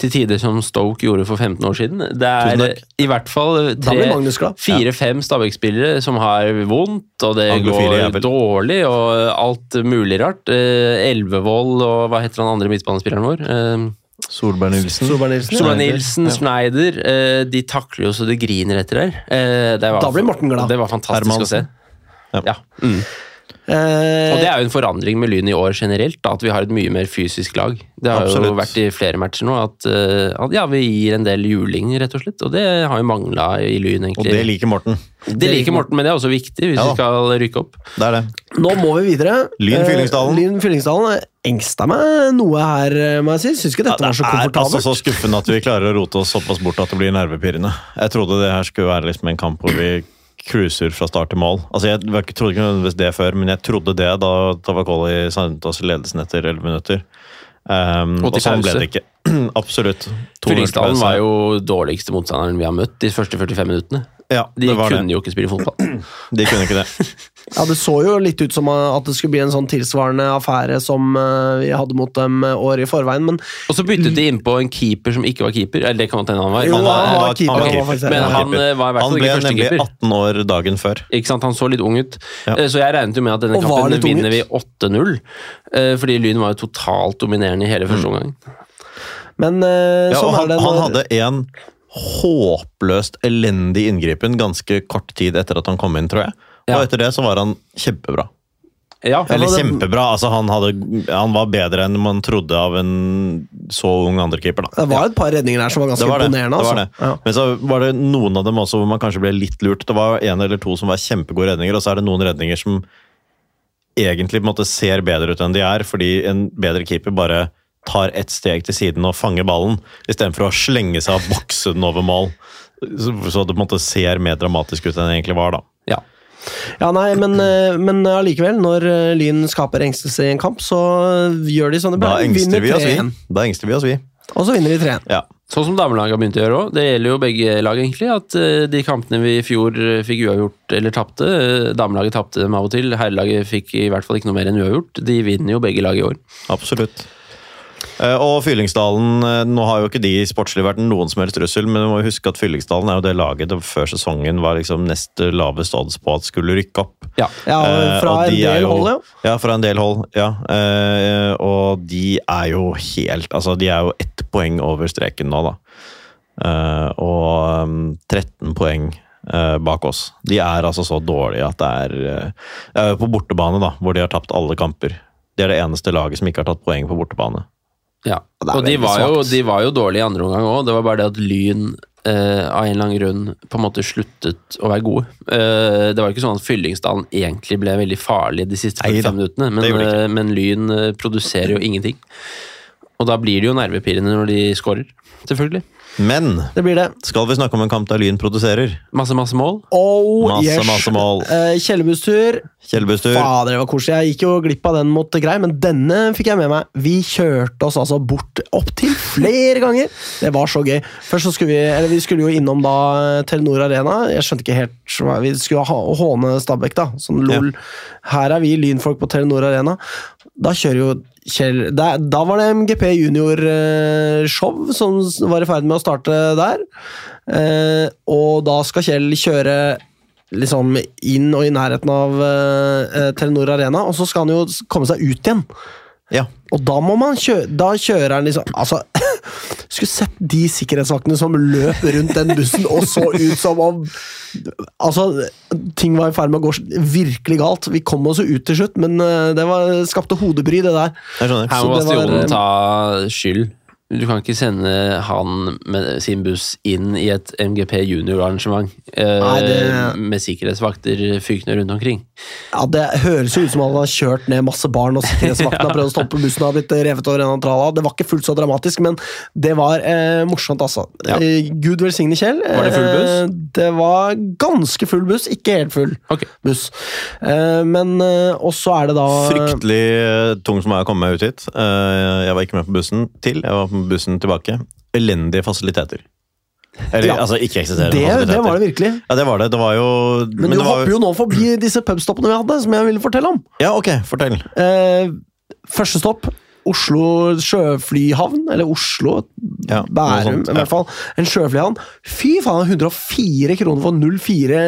Speaker 3: til tider som Stoke gjorde for 15 år siden. Det
Speaker 2: Tusen
Speaker 3: er
Speaker 2: takk.
Speaker 3: eh, i hvert fall
Speaker 1: Da blir Magnus
Speaker 3: tre-
Speaker 1: glad.
Speaker 3: fire-fem Stabæk-spillere som har vondt, og det
Speaker 2: Anglofile
Speaker 3: går
Speaker 2: jævel.
Speaker 3: dårlig, og alt mulig rart. Eh, Elvevold og hva heter han andre midtbanespilleren vår? Eh,
Speaker 2: Solberg Nilsen.
Speaker 1: Solberg Nilsen,
Speaker 3: Solveig Nilsen, Schneider, eh, de takler jo så det griner etter der. Eh, det var-
Speaker 1: Da blir Morten glad.
Speaker 3: Det var fantastisk å se.
Speaker 2: Hermansen. Ja.
Speaker 3: Ja. Mm.
Speaker 1: Eh,
Speaker 3: Og det er jo en forandring med Lyn i år generelt, da, at vi har et mye mer fysisk lag. Det har
Speaker 2: Absolutt.
Speaker 3: jo vært i flere matcher nå at, eh, at ja, vi gir en del juling, rett og slett. Og det har jo mangla i Lyn,
Speaker 2: Og det
Speaker 3: egentlig.
Speaker 2: liker Morten.
Speaker 3: det, liker Morten, men det er også viktig hvis
Speaker 2: Ja.
Speaker 3: vi skal rykke opp.
Speaker 2: Det er det.
Speaker 1: Nå må vi videre.
Speaker 2: Lyn Fyllingsdalen.
Speaker 1: Eh, Lyn Fyllingsdalen engsta meg noe her, eh, må jeg si. Syns ikke dette var så komfortabelt.
Speaker 2: altså så skuffende at vi klarer å rote oss såpass bort at det blir nervepirrende. Jeg trodde det her skulle være liksom en kamp hvor vi cruiser fra start til mål. Altså Jeg var ikke- trodde ikke nødvendigvis det før, men jeg trodde det da Tavakoli sendet oss i ledelsen etter 11 minutter. Um,
Speaker 3: Og
Speaker 2: og
Speaker 3: til
Speaker 2: sånn ble
Speaker 3: pause.
Speaker 2: det ikke. *clears throat* Absolutt. 2-0 pause.
Speaker 3: Fyllingsdalen var jo dårligste motstanderen vi har møtt de første 45 minuttene.
Speaker 2: ja,
Speaker 3: De
Speaker 2: det var
Speaker 3: kunne
Speaker 2: det.
Speaker 3: jo ikke spille fotball.
Speaker 2: De kunne ikke det.
Speaker 1: Ja, Det så jo litt ut som eh, at det skulle bli en sånn tilsvarende affære som eh, vi hadde mot dem eh, året i forveien, men
Speaker 3: Og så byttet de innpå en keeper som ikke var keeper. Eller det kan godt hende han var.
Speaker 1: Jo,
Speaker 3: men,
Speaker 1: han
Speaker 3: eh,
Speaker 1: var keeper,
Speaker 3: ok.
Speaker 1: han var faktisk-
Speaker 3: Men
Speaker 1: han var
Speaker 3: han eh, var i hvert
Speaker 2: Han
Speaker 3: fall ikke
Speaker 2: ble nemlig
Speaker 3: førstekeeper.
Speaker 2: 18 år dagen før.
Speaker 3: Ikke sant? Han så litt ung ut.
Speaker 2: Ja.
Speaker 3: Eh, Så jeg regnet jo med at denne
Speaker 1: Og var
Speaker 3: kampen
Speaker 1: litt ung
Speaker 3: vinner
Speaker 1: ut.
Speaker 3: vi 8-0. eh, Fordi Lyn var jo totalt dominerende i hele første omgang.
Speaker 1: Men eh,
Speaker 2: Ja, og
Speaker 1: sånn
Speaker 2: han,
Speaker 1: er det.
Speaker 2: han
Speaker 1: når-
Speaker 2: hadde en håpløst elendig inngripen ganske kort tid etter at han kom inn, tror jeg. Og
Speaker 3: Ja.
Speaker 2: etter det så var han kjempebra.
Speaker 3: Ja,
Speaker 2: Eller
Speaker 1: det-
Speaker 2: kjempebra. Altså, han, hadde, han var bedre enn man trodde av en så ung andrekeeper. da.
Speaker 1: Det var et par redninger der som var ganske
Speaker 2: Det var det.
Speaker 1: imponerende.
Speaker 2: det,
Speaker 1: Altså.
Speaker 2: var det. Men så var det noen av dem også hvor man kanskje ble litt lurt. Det var en eller to som var kjempegode redninger, og så er det noen redninger som egentlig på en måte ser bedre ut enn de er, fordi en bedre keeper bare tar ett steg til siden og fanger ballen, istedenfor å slenge seg og bokse den over mål. Så så det på en måte ser mer dramatisk ut enn det egentlig var, da.
Speaker 3: ja.
Speaker 1: Ja. ja, nei, men, eh, men allikevel, når eh, Lyn skaper engstelse i en kamp, så gjør de sånn det
Speaker 2: Da
Speaker 1: ble.
Speaker 2: engster
Speaker 1: Vinner
Speaker 2: vi oss, vi.
Speaker 1: 3-1.
Speaker 2: Da engster vi oss, vi.
Speaker 1: Og så vinner vi 3-1.
Speaker 2: Ja.
Speaker 3: Sånn som damelaget har begynt å gjøre òg. Det gjelder jo begge lag, egentlig. At eh, de kampene vi i fjor eh, fikk uavgjort eller tapte eh, Damelaget tapte dem av og til. Herrelaget fikk i hvert fall ikke noe mer enn uavgjort. De vinner jo begge lag i år.
Speaker 2: Absolutt. Eh, Og Fyllingsdalen eh, Nå har jo ikke de sportslig vært noen som helst trussel, men du må jo huske at Fyllingsdalen er jo det laget det før sesongen var liksom nest lavest odds på at skulle rykke opp.
Speaker 3: Ja.
Speaker 1: Ja,
Speaker 2: Eh,
Speaker 1: fra
Speaker 2: og
Speaker 1: en
Speaker 2: de er
Speaker 1: del
Speaker 2: jo-
Speaker 1: hold, ja.
Speaker 2: Ja, fra en del hold, ja. Eh, Og de er jo helt Altså, de er jo ett poeng over streken nå, da. Eh, Og um, 13 poeng eh, bak oss. De er altså så dårlige at det er eh, det er jo På bortebane, da, hvor de har tapt alle kamper. De er det eneste laget som ikke har tatt poeng på bortebane.
Speaker 3: Ja,
Speaker 1: Og det er
Speaker 3: og de
Speaker 1: veldig
Speaker 3: var, jo,
Speaker 1: svakt.
Speaker 3: de var jo dårlige i andre omgang òg. Det var bare det at Lyn eh, av en eller annen grunn på en måte sluttet å være gode. Eh, det var ikke sånn at Fyllingsdalen egentlig ble veldig farlig de siste
Speaker 2: Neida,
Speaker 3: 45 minuttene, men,
Speaker 2: det gjorde det
Speaker 3: eh, men Lyn eh, produserer jo ingenting. Og da blir det jo nervepirrende når de scorer, selvfølgelig.
Speaker 2: Men
Speaker 1: Det blir det.
Speaker 2: skal vi snakke om en kamp der Lyn produserer?
Speaker 3: Masse, masse mål.
Speaker 1: Oh,
Speaker 2: Masse,
Speaker 1: yes.
Speaker 2: masse mål.
Speaker 1: Eh, Kjellebustur.
Speaker 2: Kjellbøstur.
Speaker 1: Fader, det var koselig. Jeg gikk jo glipp av den mot Grei, men denne fikk jeg med meg. Vi kjørte oss altså bort opptil flere ganger. Det var så gøy. Først så skulle vi, eller vi skulle jo innom da eh, Telenor Arena. Jeg skjønte ikke helt hva- Vi skulle ha, håne Stabæk, da. Sånn lol. Her er vi lynfolk på Telenor Arena. Da kjører jo Kjell Da, da var det MGP junior-show eh, som s- var i ferd med å starte der. Eh, og da skal Kjell kjøre liksom inn og i nærheten av eh, eh, Telenor Arena, og så skal han jo s- komme seg ut igjen.
Speaker 2: Ja.
Speaker 1: Og da må man kjøre Da kjører han liksom Altså, *laughs* skulle sett de sikkerhetsvaktene som løp rundt den bussen og så ut som om Altså, ting var i ferd med å gå s- virkelig galt. Vi kom oss jo ut til slutt, men eh, det var, skapte hodebry, det der.
Speaker 2: Jeg skjønner.
Speaker 3: Her
Speaker 1: Så
Speaker 3: må
Speaker 1: det var, eh,
Speaker 3: Bastionen ta skyld. Du kan ikke sende han med sin buss inn i et MGP junior-arrangement eh,
Speaker 1: Nei, det-
Speaker 3: med sikkerhetsvakter fykende rundt omkring.
Speaker 1: Ja, Det høres jo ut som han har kjørt ned masse barn, og sikkerhetsvakten har prøvd å stoppe bussen og har blitt revet over en trala. Det var ikke fullt så dramatisk, men det var eh, morsomt, altså.
Speaker 3: Ja.
Speaker 1: Eh, Gud velsigne Kjell.
Speaker 3: Var det full buss?
Speaker 1: Eh, det var ganske full buss, ikke helt full
Speaker 3: Ok.
Speaker 1: buss. Eh, men eh, Og så er det da
Speaker 2: Fryktelig eh, tung som er å komme meg ut hit. Eh, Jeg var ikke med på bussen til, jeg var på bussen tilbake. Elendige fasiliteter.
Speaker 1: Ja.
Speaker 2: Eller altså ikke-eksisterende
Speaker 1: Det,
Speaker 2: fasiliteter.
Speaker 1: det var det virkelig.
Speaker 2: Ja, det var det. Det var jo
Speaker 1: Men, du
Speaker 2: det var,
Speaker 1: hopper jo nå forbi disse pubstoppene vi hadde, som jeg ville fortelle om.
Speaker 2: Ja, ok, fortell.
Speaker 1: Eh, første stopp Oslo sjøflyhavn, eller Oslo
Speaker 2: Ja, noe
Speaker 1: Bærum, i
Speaker 2: sånt, ja.
Speaker 1: hvert fall. En sjøflyhavn. Fy faen, 104 kroner for 04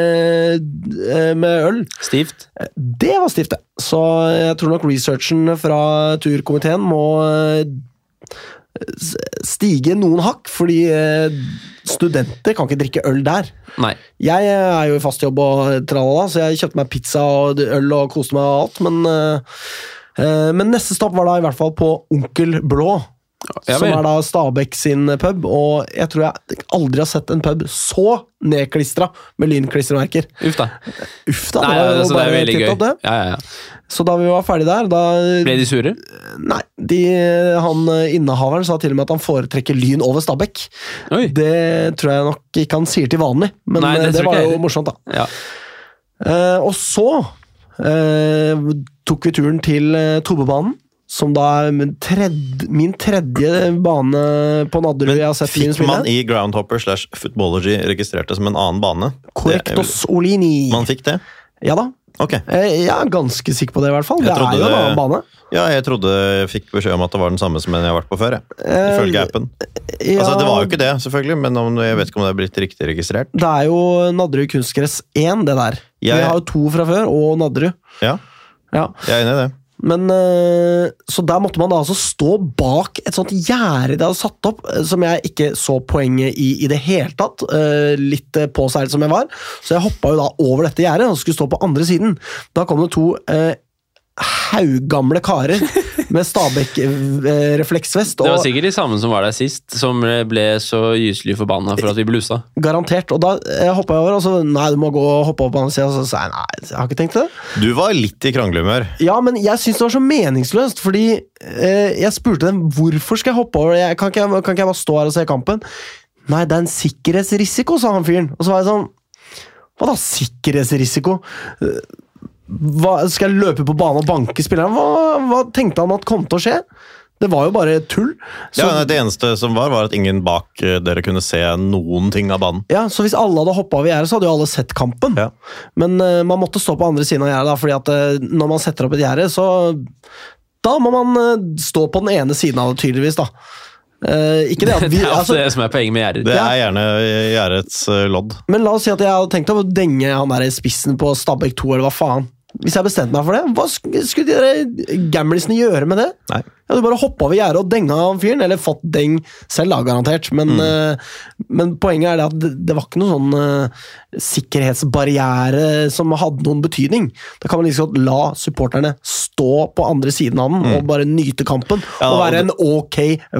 Speaker 1: eh, med øl!
Speaker 3: Stivt.
Speaker 1: Det var stivt, det. Så jeg tror nok researchen fra turkomiteen må eh, s- stige noen hakk, fordi eh, studenter kan ikke drikke øl der.
Speaker 3: Nei.
Speaker 1: Jeg eh, er jo i fast jobb og tralala, så jeg kjøpte meg pizza og øl og koste meg og alt, men eh, eh, Men neste stopp var da i hvert fall på Onkel Blå,
Speaker 3: Ja
Speaker 1: som
Speaker 3: vel.
Speaker 1: er da Stabæk sin pub. Og jeg tror jeg aldri har sett en pub så nedklistra med lynklistremerker.
Speaker 3: Uff da.
Speaker 1: Uff da,
Speaker 3: Nei,
Speaker 1: det var jo
Speaker 3: altså, det er
Speaker 1: bare
Speaker 3: veldig
Speaker 1: titt
Speaker 3: gøy.
Speaker 1: opp det.
Speaker 3: Ja, ja, ja.
Speaker 1: Så da vi var ferdig der, da
Speaker 3: Ble de sure?
Speaker 1: Nei, de, han eh, innehaveren sa til og med at han foretrekker Lyn over Stabæk.
Speaker 3: Oi.
Speaker 1: Det tror jeg nok ikke han sier til vanlig, men
Speaker 3: Nei, det
Speaker 1: eh, det
Speaker 3: tror
Speaker 1: var
Speaker 3: ikke jeg
Speaker 1: jo
Speaker 3: heller.
Speaker 1: morsomt, da.
Speaker 3: Ja.
Speaker 1: Eh, og så eh, tok vi turen til eh, Tobebanen, som da er min tredje, min tredje bane på Nadderud jeg har sett Lyn
Speaker 2: Fikk
Speaker 1: spille.
Speaker 2: man i Groundhopper slash Footballogy registrert det som en annen bane? Det er vel-
Speaker 1: Correctos Olini.
Speaker 2: Man fikk det?
Speaker 1: Ja da.
Speaker 2: Ok.
Speaker 1: Eh, jeg er ganske sikker på det, i hvert fall.
Speaker 2: Jeg
Speaker 1: Det er
Speaker 2: trodde
Speaker 1: jo en
Speaker 2: det-
Speaker 1: annen bane.
Speaker 2: Ja, jeg trodde jeg fikk beskjed om at det var den samme som en jeg har vært på før. jeg.
Speaker 1: Eh,
Speaker 2: Ifølge appen. Altså, det var jo ikke det, selvfølgelig, men om, jeg vet ikke om det er blitt riktig registrert.
Speaker 1: Det er jo Nadderud kunstgress 1, det der.
Speaker 2: Jeg-
Speaker 1: Vi har jo to fra før, og Nadderud.
Speaker 2: Ja,
Speaker 1: Ja.
Speaker 2: jeg er enig i det.
Speaker 1: Men eh, Så der måtte man da altså stå bak et sånt gjerde de hadde satt opp, eh, som jeg ikke så poenget i i det hele tatt. eh, Litt eh, påseilt som jeg var. Så jeg hoppa jo da over dette gjerdet og skulle stå på andre siden. Da kom det to eh, haugamle
Speaker 3: *laughs*
Speaker 1: karer med Stabæk-refleksvest.
Speaker 3: Det var
Speaker 1: Og
Speaker 3: sikkert de samme som var der sist, som ble så gyselig forbanna for at
Speaker 1: *laughs*
Speaker 3: vi blussa.
Speaker 1: garantert. Og da eh, hoppa jeg over, og så Nei, du må gå og hoppe opp på andre sida. Og så sa jeg nei, jeg har ikke tenkt det.
Speaker 2: Du var litt i kranglehumør.
Speaker 1: Ja, men jeg syns det var så meningsløst, fordi eh, jeg spurte dem hvorfor skal jeg hoppe over, jeg, kan, ikke jeg, kan ikke jeg bare stå her og se kampen? Nei, det er en sikkerhetsrisiko, sa han fyren. Og så var jeg sånn Hva da, sikkerhetsrisiko? Eh, Hva, skal jeg løpe på banen og banke spilleren? Hva, hva tenkte han at kom til å skje? Det var jo bare tull. Så,
Speaker 2: Ja, nei, det eneste som var, var at ingen bak eh, dere kunne se noen ting av banen.
Speaker 1: Ja, så hvis alle hadde hoppa over gjerdet, så hadde jo alle sett kampen.
Speaker 2: Ja.
Speaker 1: Men eh, man måtte stå på andre siden av gjerdet, da, fordi at eh, når man setter opp et gjerde, så Da må man eh, stå på den ene siden av det, tydeligvis, da. Eh, ikke det at vi
Speaker 3: *laughs* det er
Speaker 1: altså,
Speaker 3: altså det som er poenget med Gjerder.
Speaker 2: Det er gjerne eh, gjerdets eh, lodd.
Speaker 1: Men la oss si at jeg hadde tenkt å denge han der i spissen på Stabæk 2, eller hva faen. Hvis jeg bestemte meg for det, hva sk- skulle de der gamlisene gjøre med det?
Speaker 2: Nei.
Speaker 1: Jeg hadde bare hoppa over gjerdet og denga han fyren, eller fått deng selv, da, garantert. Men,
Speaker 2: Mm.
Speaker 1: eh, men poenget er det at det, det var ikke noen sånn eh, sikkerhetsbarriere som hadde noen betydning. Da kan man like så godt la supporterne stå på andre siden av den og bare nyte kampen.
Speaker 2: Mm. Ja,
Speaker 1: og
Speaker 2: og
Speaker 1: være
Speaker 2: det-
Speaker 1: en ok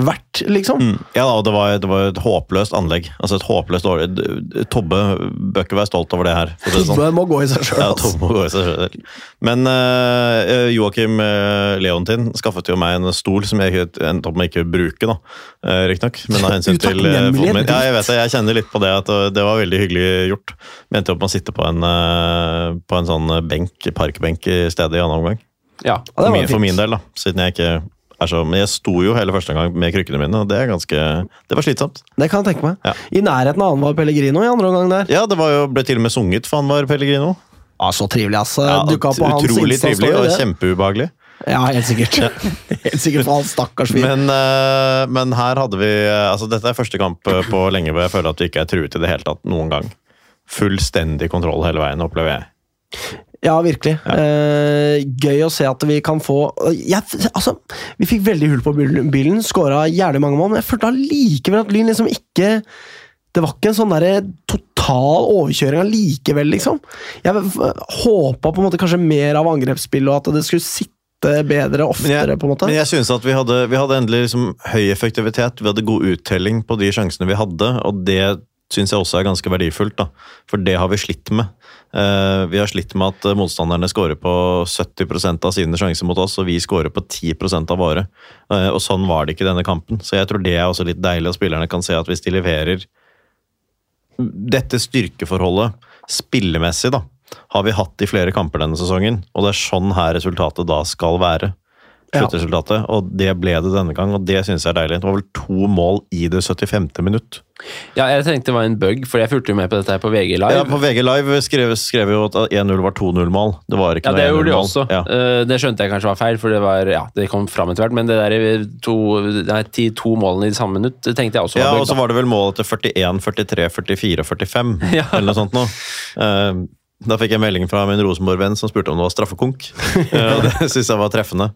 Speaker 1: vert, liksom.
Speaker 2: Mm. Ja, og det var, det var et håpløst anlegg. Altså et håpløst dårlig d- Tobbe bør ikke være stolt over det her. For å si det sånn.
Speaker 1: Tobbe må gå i seg altså. sjøl.
Speaker 2: Ja, Tobbe må gå i seg selv. Men uh, Joakim eh, Leontin skaffet jo meg en stol som jeg ikke- endte opp med ikke å bruke, da. Uh, Riktignok. Men av
Speaker 1: *laughs*
Speaker 2: hensyn til eh,
Speaker 1: Utakknemlig
Speaker 2: foten min. Ja, jeg
Speaker 1: dritt.
Speaker 2: vet det. Jeg kjenner litt på det at eh, det var veldig hyggelig gjort. Men endte opp med å sitte på en, eh, på en sånn benk, parkbenk i stedet i annen omgang.
Speaker 3: Ja.
Speaker 1: Ja, det
Speaker 2: For
Speaker 1: var
Speaker 2: min, for
Speaker 1: fint.
Speaker 2: min del, da. Siden jeg ikke er så Men jeg sto jo hele første gang med krykkene mine, og det er ganske Det var slitsomt.
Speaker 1: Det kan jeg tenke meg.
Speaker 2: Ja.
Speaker 1: I nærheten av han var Pellegrino i andre omgang der.
Speaker 2: Ja, det var jo, ble til og med sunget, for han var Pellegrino.
Speaker 1: Ja, så trivelig, ass.
Speaker 2: Ja,
Speaker 1: Dukka opp på hans
Speaker 2: utrolig
Speaker 1: Insta-story,
Speaker 2: trivelig og
Speaker 1: det.
Speaker 2: kjempeubehagelig.
Speaker 1: Ja, helt sikkert. *laughs* helt sikkert for han stakkars fyr.
Speaker 2: Men, eh, men her hadde vi eh, Altså, dette er første kamp eh, på lenge hvor jeg føler at vi ikke er truet i det hele tatt noen gang. Fullstendig kontroll hele veien, opplever jeg.
Speaker 1: Ja, virkelig. Eh, gøy å se at vi kan få jeg, altså, Vi fikk veldig hull på bil- bilen, skåra jævlig mange mål, men jeg følte allikevel at Lyn liksom ikke Det var ikke en sånn derre total overkjøring allikevel, liksom. Jeg håpa på en måte kanskje mer av angrepsspillet, og at det skulle sitte bedre
Speaker 2: Men
Speaker 1: oftere,
Speaker 2: jeg,
Speaker 1: på en måte.
Speaker 2: men jeg synes at vi hadde, vi hadde endelig liksom høy effektivitet, vi hadde god uttelling på de sjansene vi hadde, og det synes jeg også er ganske verdifullt, da. for det har vi slitt med. Eh, vi har slitt med at eh, motstanderne scorer på 70 av sine sjanser mot oss, og vi scorer på 10 av våre. Eh, og sånn var det ikke i denne kampen, så jeg tror det er også litt deilig at spillerne kan se at hvis de leverer dette styrkeforholdet spillemessig da, har vi hatt i flere kamper denne sesongen, og det er sånn her resultatet da skal være.
Speaker 1: Ja.
Speaker 2: Sluttresultatet, og det ble det denne gang, og det synes jeg er deilig. Det var vel to mål i det 75. minutt.
Speaker 3: ja, jeg tenkte det var en bug, for jeg fulgte jo med på dette her på VG Live.
Speaker 2: Ja, på VG Live skrev, skrev jo at 1-0 var 2-0-mål. Det var ikke
Speaker 3: Ja, det
Speaker 2: noe
Speaker 3: gjorde de
Speaker 2: 1-0-mål.
Speaker 3: også.
Speaker 2: Ja.
Speaker 3: Eh, Det skjønte jeg kanskje var feil, for det var, ja, det kom fram etter hvert. Men det der to, nei, ti, to målene i samme minutt det tenkte jeg også
Speaker 2: Ja,
Speaker 3: var
Speaker 2: og så
Speaker 3: bøyd.
Speaker 2: var det vel mål etter 41, 43, 44 og 45,
Speaker 3: *laughs* Ja.
Speaker 2: eller noe sånt nå. Eh, Da fikk jeg melding fra min Rosenborg-venn som spurte om det var straffekonk.
Speaker 3: *laughs*
Speaker 2: Eh, Og det syns jeg var treffende.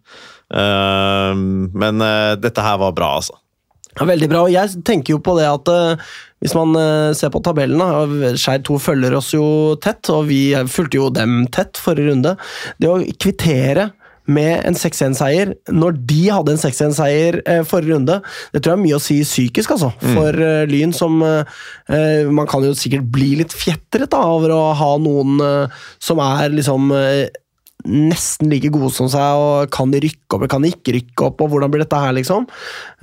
Speaker 2: Eh, Men eh, dette her var bra, altså.
Speaker 1: Ja, Veldig bra. og Jeg tenker jo på det at eh, hvis man eh, ser på tabellen da, og Skeid 2 følger oss jo tett, og vi eh, fulgte jo dem tett forrige runde. Det å kvittere med en 6-1-seier når de hadde en 6-1-seier eh, forrige runde, det tror jeg er mye å si psykisk, altså. For eh, Lyn som eh, eh, Man kan jo sikkert bli litt fjetret da, over å ha noen eh, som er liksom eh, nesten like gode som seg, og kan de rykke opp, eller kan de ikke rykke opp, og hvordan blir dette her, liksom.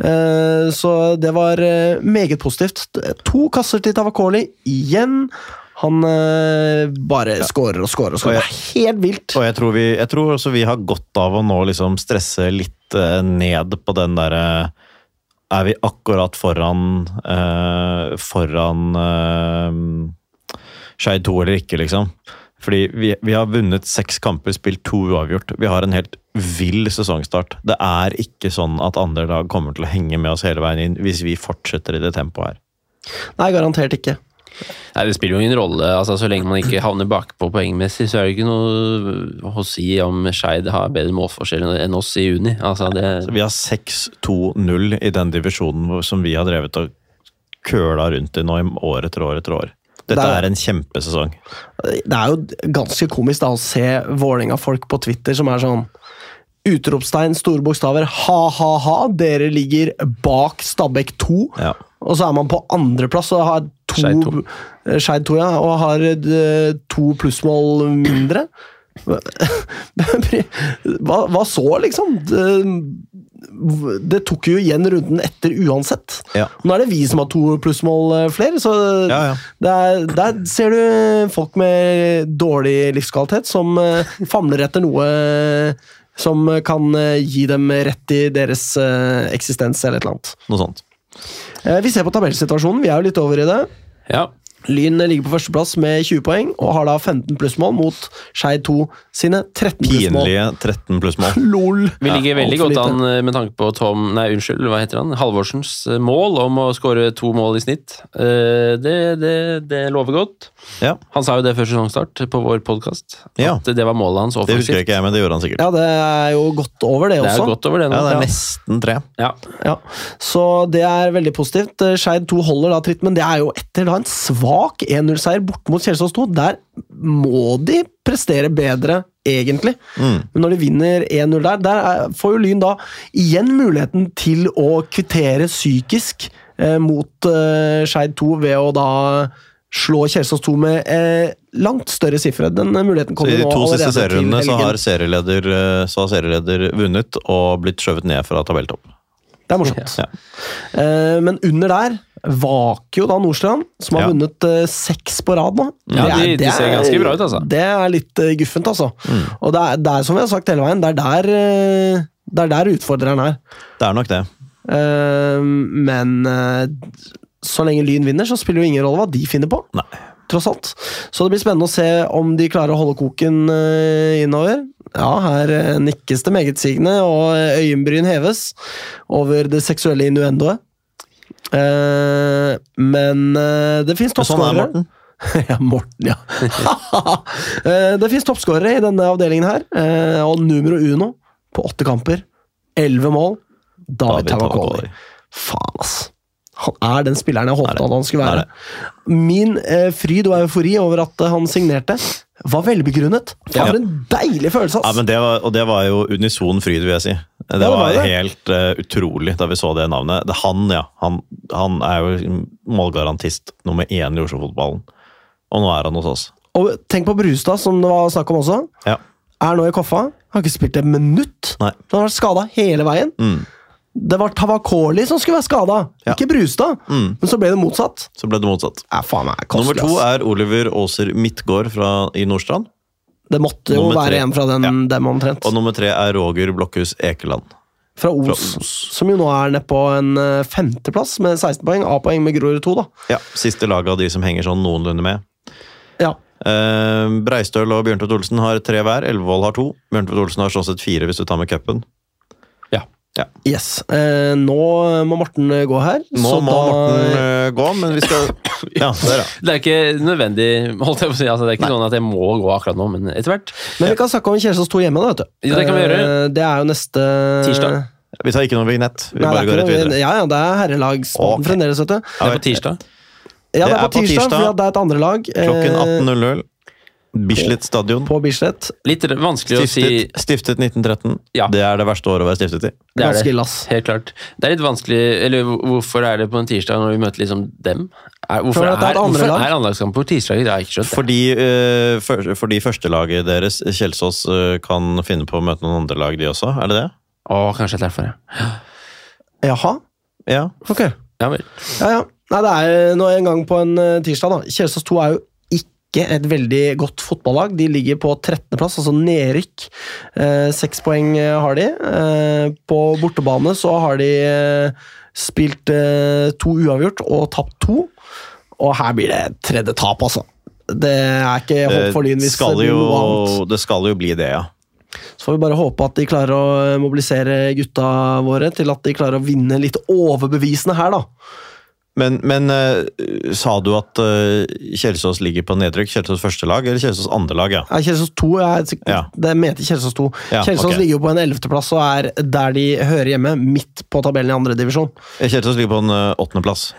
Speaker 1: Eh, Så det var eh, meget positivt. To kasser til Tavakoli igjen. Han eh, bare skårer og skårer og
Speaker 2: Og
Speaker 1: skårer. Det
Speaker 2: jeg-
Speaker 1: er helt vilt.
Speaker 2: Og jeg tror, vi, jeg tror også vi har godt av å nå liksom stresse litt eh, ned på den derre Er vi akkurat foran eh, Foran eh, Skeid 2 eller ikke, liksom? Fordi vi, vi har vunnet seks kamper, spilt to uavgjort. Vi har en helt vill sesongstart. Det er ikke sånn at andre lag kommer til å henge med oss hele veien inn hvis vi fortsetter i det tempoet her.
Speaker 1: Nei, garantert ikke.
Speaker 3: Nei, Det spiller jo ingen rolle. altså Så lenge man ikke havner bakpå poengmessig, så er det ikke noe å si om Skeid har bedre målforskjell enn oss i juni. altså
Speaker 2: Så
Speaker 3: det...
Speaker 2: Vi har 6-2-0 i den divisjonen hvor- som vi har drevet og køla rundt i nå i år etter år etter år. Dette
Speaker 1: Det er-
Speaker 2: er en kjempesesong.
Speaker 1: Det er jo ganske komisk da å se Vålerenga-folk på Twitter som er sånn Utropstegn, store bokstaver, ha-ha-ha, dere ligger bak Stabæk 2.
Speaker 2: Ja.
Speaker 1: Og så er man på andreplass og har to
Speaker 2: Skeid to.
Speaker 1: eh, Skeid to, ja. Og har eh, to plussmål mindre. *laughs* Hva, hva så, liksom? Det, det tok jo igjen runden etter uansett.
Speaker 2: Ja.
Speaker 1: Nå er det vi som har to plussmål eh, flere, så
Speaker 2: Ja, ja.
Speaker 1: Der, der ser du folk med dårlig livskvalitet som eh, famler etter noe eh, som kan eh, gi dem rett i deres eh, eksistens eller et eller annet.
Speaker 2: Noe sånt.
Speaker 1: Eh, Vi ser på tabellsituasjonen. Vi er jo litt over i det.
Speaker 3: Ja.
Speaker 1: Lyn ligger på førsteplass med 20 poeng og har da 15 plussmål mot Skeid 2 sine 13 plussmål.
Speaker 2: Pinlige 13 plussmål.
Speaker 1: Lol!
Speaker 3: Vi ligger veldig
Speaker 1: altfor
Speaker 3: godt
Speaker 1: lite.
Speaker 3: an eh, med tanke på Tom Nei, unnskyld, hva heter han? Halvorsens eh, mål om å skåre to mål i snitt. Eh, Det, det, det lover godt.
Speaker 2: Ja.
Speaker 3: Han sa jo det før sesongstart på vår podkast.
Speaker 2: Ja.
Speaker 3: At det var målet hans
Speaker 2: Det husker
Speaker 3: offensivt.
Speaker 2: jeg ikke, jeg, men det gjorde han sikkert.
Speaker 1: Ja, det er jo godt over, det,
Speaker 3: Det er
Speaker 1: også.
Speaker 3: jo godt over det nå.
Speaker 2: Ja, det
Speaker 3: Ja.
Speaker 2: er nesten tre.
Speaker 1: Ja. Så det er veldig positivt. Eh, Skeid 2 holder da tritt, men det er jo etter da en svak 1-0-seier borte mot Kjelsås 2. Der må de prestere bedre, egentlig.
Speaker 2: Mm.
Speaker 1: Men når de vinner 1-0 der, der er- får jo Lyn da igjen muligheten til å kvittere psykisk eh, mot eh, Skeid 2 ved å da slå Kjelsås 2 med eh, langt større sifre. Den eh, muligheten
Speaker 2: I
Speaker 1: kommer
Speaker 2: de
Speaker 1: nå
Speaker 2: to
Speaker 1: allerede
Speaker 2: siste
Speaker 1: til
Speaker 2: serierundene så
Speaker 1: helgen.
Speaker 2: har serieleder, eh, så har serieleder vunnet og blitt skjøvet ned fra tabelltopp.
Speaker 1: Det er morsomt.
Speaker 2: Ja.
Speaker 1: Eh, men under der vaker jo da Nordstrand, som har
Speaker 2: Ja.
Speaker 1: vunnet eh, seks på rad nå.
Speaker 3: Ja,
Speaker 1: Det er-
Speaker 3: de- de
Speaker 1: det
Speaker 3: ser
Speaker 1: er-
Speaker 3: ganske bra ut, altså. Mm.
Speaker 1: Det er litt eh, guffent, altså. Og det er, det er som vi har sagt hele veien, det er der, eh, det er der utfordreren er.
Speaker 2: Det er nok det.
Speaker 1: Eh, men eh, så lenge Lyn vinner, så spiller jo ingen rolle hva de finner på.
Speaker 2: Nei.
Speaker 1: Tross alt. Så det blir spennende å se om de klarer å holde koken eh, innover. Ja, her eh, nikkes det megetsigende, og eh, øyenbryn heves over det seksuelle innuendoet. Eh, men eh, det fins
Speaker 2: Men sånn er
Speaker 1: toppskårere.
Speaker 2: Morten.
Speaker 1: ja, Morten, ja. *laughs* Eh, det fins toppskårere i denne avdelingen her, eh, og numero uno på åtte kamper. Elleve mål. David Tavakoli. Faen, ass. Han er den spilleren jeg
Speaker 2: Er
Speaker 1: håpet
Speaker 2: det?
Speaker 1: at han skulle
Speaker 2: Er
Speaker 1: være. Min eh, fryd og eufori over at eh, han signerte, var velbegrunnet. Faen,
Speaker 2: Ja.
Speaker 1: for en deilig følelse,
Speaker 2: Ja,
Speaker 1: ass!
Speaker 2: men det var, og det var jo unison fryd, vil jeg si. Det,
Speaker 1: det var
Speaker 2: var,
Speaker 1: det.
Speaker 2: helt eh, utrolig da vi så det navnet. Det, han, ja. Han, han er jo liksom målgarantist nummer én i Oslo-fotballen. Og nå er han hos oss.
Speaker 1: Og tenk på Brustad, som det var snakk om også.
Speaker 2: Ja.
Speaker 1: Er nå i Koffa. Har ikke spilt et minutt.
Speaker 2: Nei. Mm.
Speaker 1: Han har vært skada hele veien. Det var Tavakoli som skulle være skada,
Speaker 2: Ja.
Speaker 1: ikke Brustad. Men så ble det motsatt.
Speaker 2: Så ble det motsatt.
Speaker 1: Ja, faen, det er
Speaker 2: Nummer
Speaker 1: kostelig,
Speaker 2: to
Speaker 1: ass.
Speaker 2: er Oliver Aaser Midtgaard fra, i Nordstrand.
Speaker 1: Det måtte jo
Speaker 2: Nummer
Speaker 1: være
Speaker 2: tre.
Speaker 1: en fra den, dem omtrent.
Speaker 2: Og nummer tre er Roger Blokhus Ekeland.
Speaker 1: Fra Os,
Speaker 2: fra
Speaker 1: som jo nå er nede på en eh, femteplass med 16 poeng. A-poeng med Grorud 2, da.
Speaker 2: Ja, Siste laget av de som henger sånn noenlunde med.
Speaker 1: Ja.
Speaker 2: Eh, Breistøl og Bjørntvedt Olsen har tre hver. Elvevold har to. Bjørntvedt Olsen har sånn sett fire, hvis du tar med cupen.
Speaker 1: Yes. Eh, nå må Morten eh, gå her.
Speaker 2: Nå
Speaker 1: så
Speaker 2: må
Speaker 1: da-
Speaker 2: Morten eh, gå, men vi skal *coughs* Ja, der, ja.
Speaker 3: Det er ikke nødvendig, holdt jeg på å si. Altså, det er ikke sånn at jeg må gå akkurat nå, men etter hvert.
Speaker 1: Men vi kan snakke om Kjelsås 2 hjemme, da, vet du.
Speaker 3: Ja, det kan vi gjøre.
Speaker 1: Eh, Det er jo neste
Speaker 3: Tirsdag.
Speaker 2: Vi tar ikke noe vignett.
Speaker 1: Nei,
Speaker 2: Vi
Speaker 1: det
Speaker 2: bare
Speaker 1: er
Speaker 2: går
Speaker 1: ikke
Speaker 2: rett
Speaker 1: noe-
Speaker 2: videre.
Speaker 1: Ja, ja, det er herrelagsspalten
Speaker 2: Ok.
Speaker 1: fremdeles, vet du.
Speaker 3: Det er på tirsdag.
Speaker 1: Ja, det
Speaker 2: Det
Speaker 1: er på tirsdag, fordi at det er et andre lag. eh,
Speaker 2: Klokken 18.00. Bislett stadion.
Speaker 1: På Bislett.
Speaker 3: Litt r- vanskelig å si
Speaker 2: Stiftet, stiftet 1913.
Speaker 3: Ja.
Speaker 2: Det er det verste året å være stiftet i.
Speaker 3: Det er
Speaker 1: Ganske
Speaker 3: det.
Speaker 1: ille, ass.
Speaker 3: Helt klart. Det er litt vanskelig Eller hvor- hvorfor er det på en tirsdag når vi møter liksom dem? Er,
Speaker 1: Tror
Speaker 3: hvorfor er,
Speaker 1: du at det er et andre
Speaker 3: hvorfor
Speaker 1: lag?
Speaker 3: er anlagskamp på tirsdag? Det har jeg ikke skjønt.
Speaker 2: Fordi, eh, for, fordi førstelaget deres, Kjelsås, eh, kan finne på å møte noen andre lag, de også? Er det det?
Speaker 3: Å, kanskje det er derfor, ja.
Speaker 1: Jaha?
Speaker 2: Ja.
Speaker 1: Ok.
Speaker 3: Ja vel.
Speaker 1: Ja, ja. Nei, det er jo nå en gang på en eh, tirsdag, da. Kjelsås 2 er jo ikke et veldig godt fotballag. De ligger på 13.-plass, altså nedrykk. Eh, Seks poeng eh, har de. Eh, på bortebane så har de eh, spilt eh, to uavgjort og tapt to. Og her blir det tredje tap, altså. Det er ikke håp for Lyn
Speaker 2: Det
Speaker 1: hvis
Speaker 2: Eh, skal
Speaker 1: det blir noe annet.
Speaker 2: jo, det skal jo bli det, ja.
Speaker 1: Så får vi bare håpe at de klarer å eh, mobilisere gutta våre til at de klarer å vinne litt overbevisende her, da.
Speaker 2: Men, men eh, sa du at eh, Kjelsås ligger på nedrykk? Kjelsås første lag eller Kjelsås andre lag? Ja.
Speaker 1: Ja, Kjelsås 2 er sikkert,
Speaker 2: Ja.
Speaker 1: Det mente Kjelsås 2.
Speaker 2: Ja,
Speaker 1: Kjelsås
Speaker 2: ok.
Speaker 1: ligger jo på en 11.-plass og er der de hører hjemme, midt på tabellen i andredivisjon.
Speaker 2: Kjelsås ligger på en eh, åttendeplass.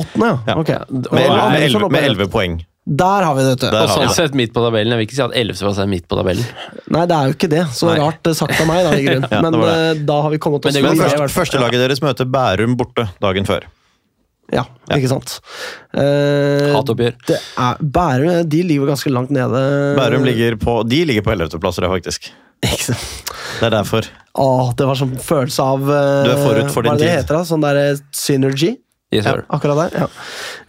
Speaker 1: Åttende, ja.
Speaker 2: Ja.
Speaker 1: Ok.
Speaker 2: Med
Speaker 1: Ja,
Speaker 2: elleve-
Speaker 1: Andersson
Speaker 2: med elleve-
Speaker 1: opererer.
Speaker 2: med elleve poeng.
Speaker 1: sånn Der har vi det, vet du.
Speaker 2: Der
Speaker 3: Og
Speaker 2: har vi
Speaker 3: sånn
Speaker 2: det.
Speaker 3: sett midt på tabellen. Jeg vil ikke si at Ellefsås er midt på tabellen.
Speaker 1: Nei, det er jo ikke det. Så
Speaker 3: Nei.
Speaker 1: rart eh, sagt av meg, da, i grunnen.
Speaker 2: *laughs* Ja, det
Speaker 1: Men
Speaker 2: var det.
Speaker 1: eh, da har vi kommet oss
Speaker 3: Men det
Speaker 2: Men
Speaker 3: går
Speaker 1: videre, i
Speaker 2: først,
Speaker 1: hvert fall.
Speaker 2: første laget deres møter Bærum borte dagen før.
Speaker 1: Ja, ikke sant. Eh,
Speaker 3: Hatoppgjør.
Speaker 1: det er, Bærum eh, de ligger jo ganske langt nede. Eh.
Speaker 2: Bærum ligger på, de ligligger på 11. plass, tror jeg faktisk.
Speaker 1: *laughs* Ikke sant?
Speaker 2: Det er derfor.
Speaker 1: Åh, det var sånn følelse av eh,
Speaker 2: Du er forut for
Speaker 1: Hva er det
Speaker 2: din
Speaker 1: det
Speaker 2: tid.
Speaker 1: heter, da? Sånn der eh, synergy?
Speaker 3: Yes, sir.
Speaker 1: Akkurat der. Ja.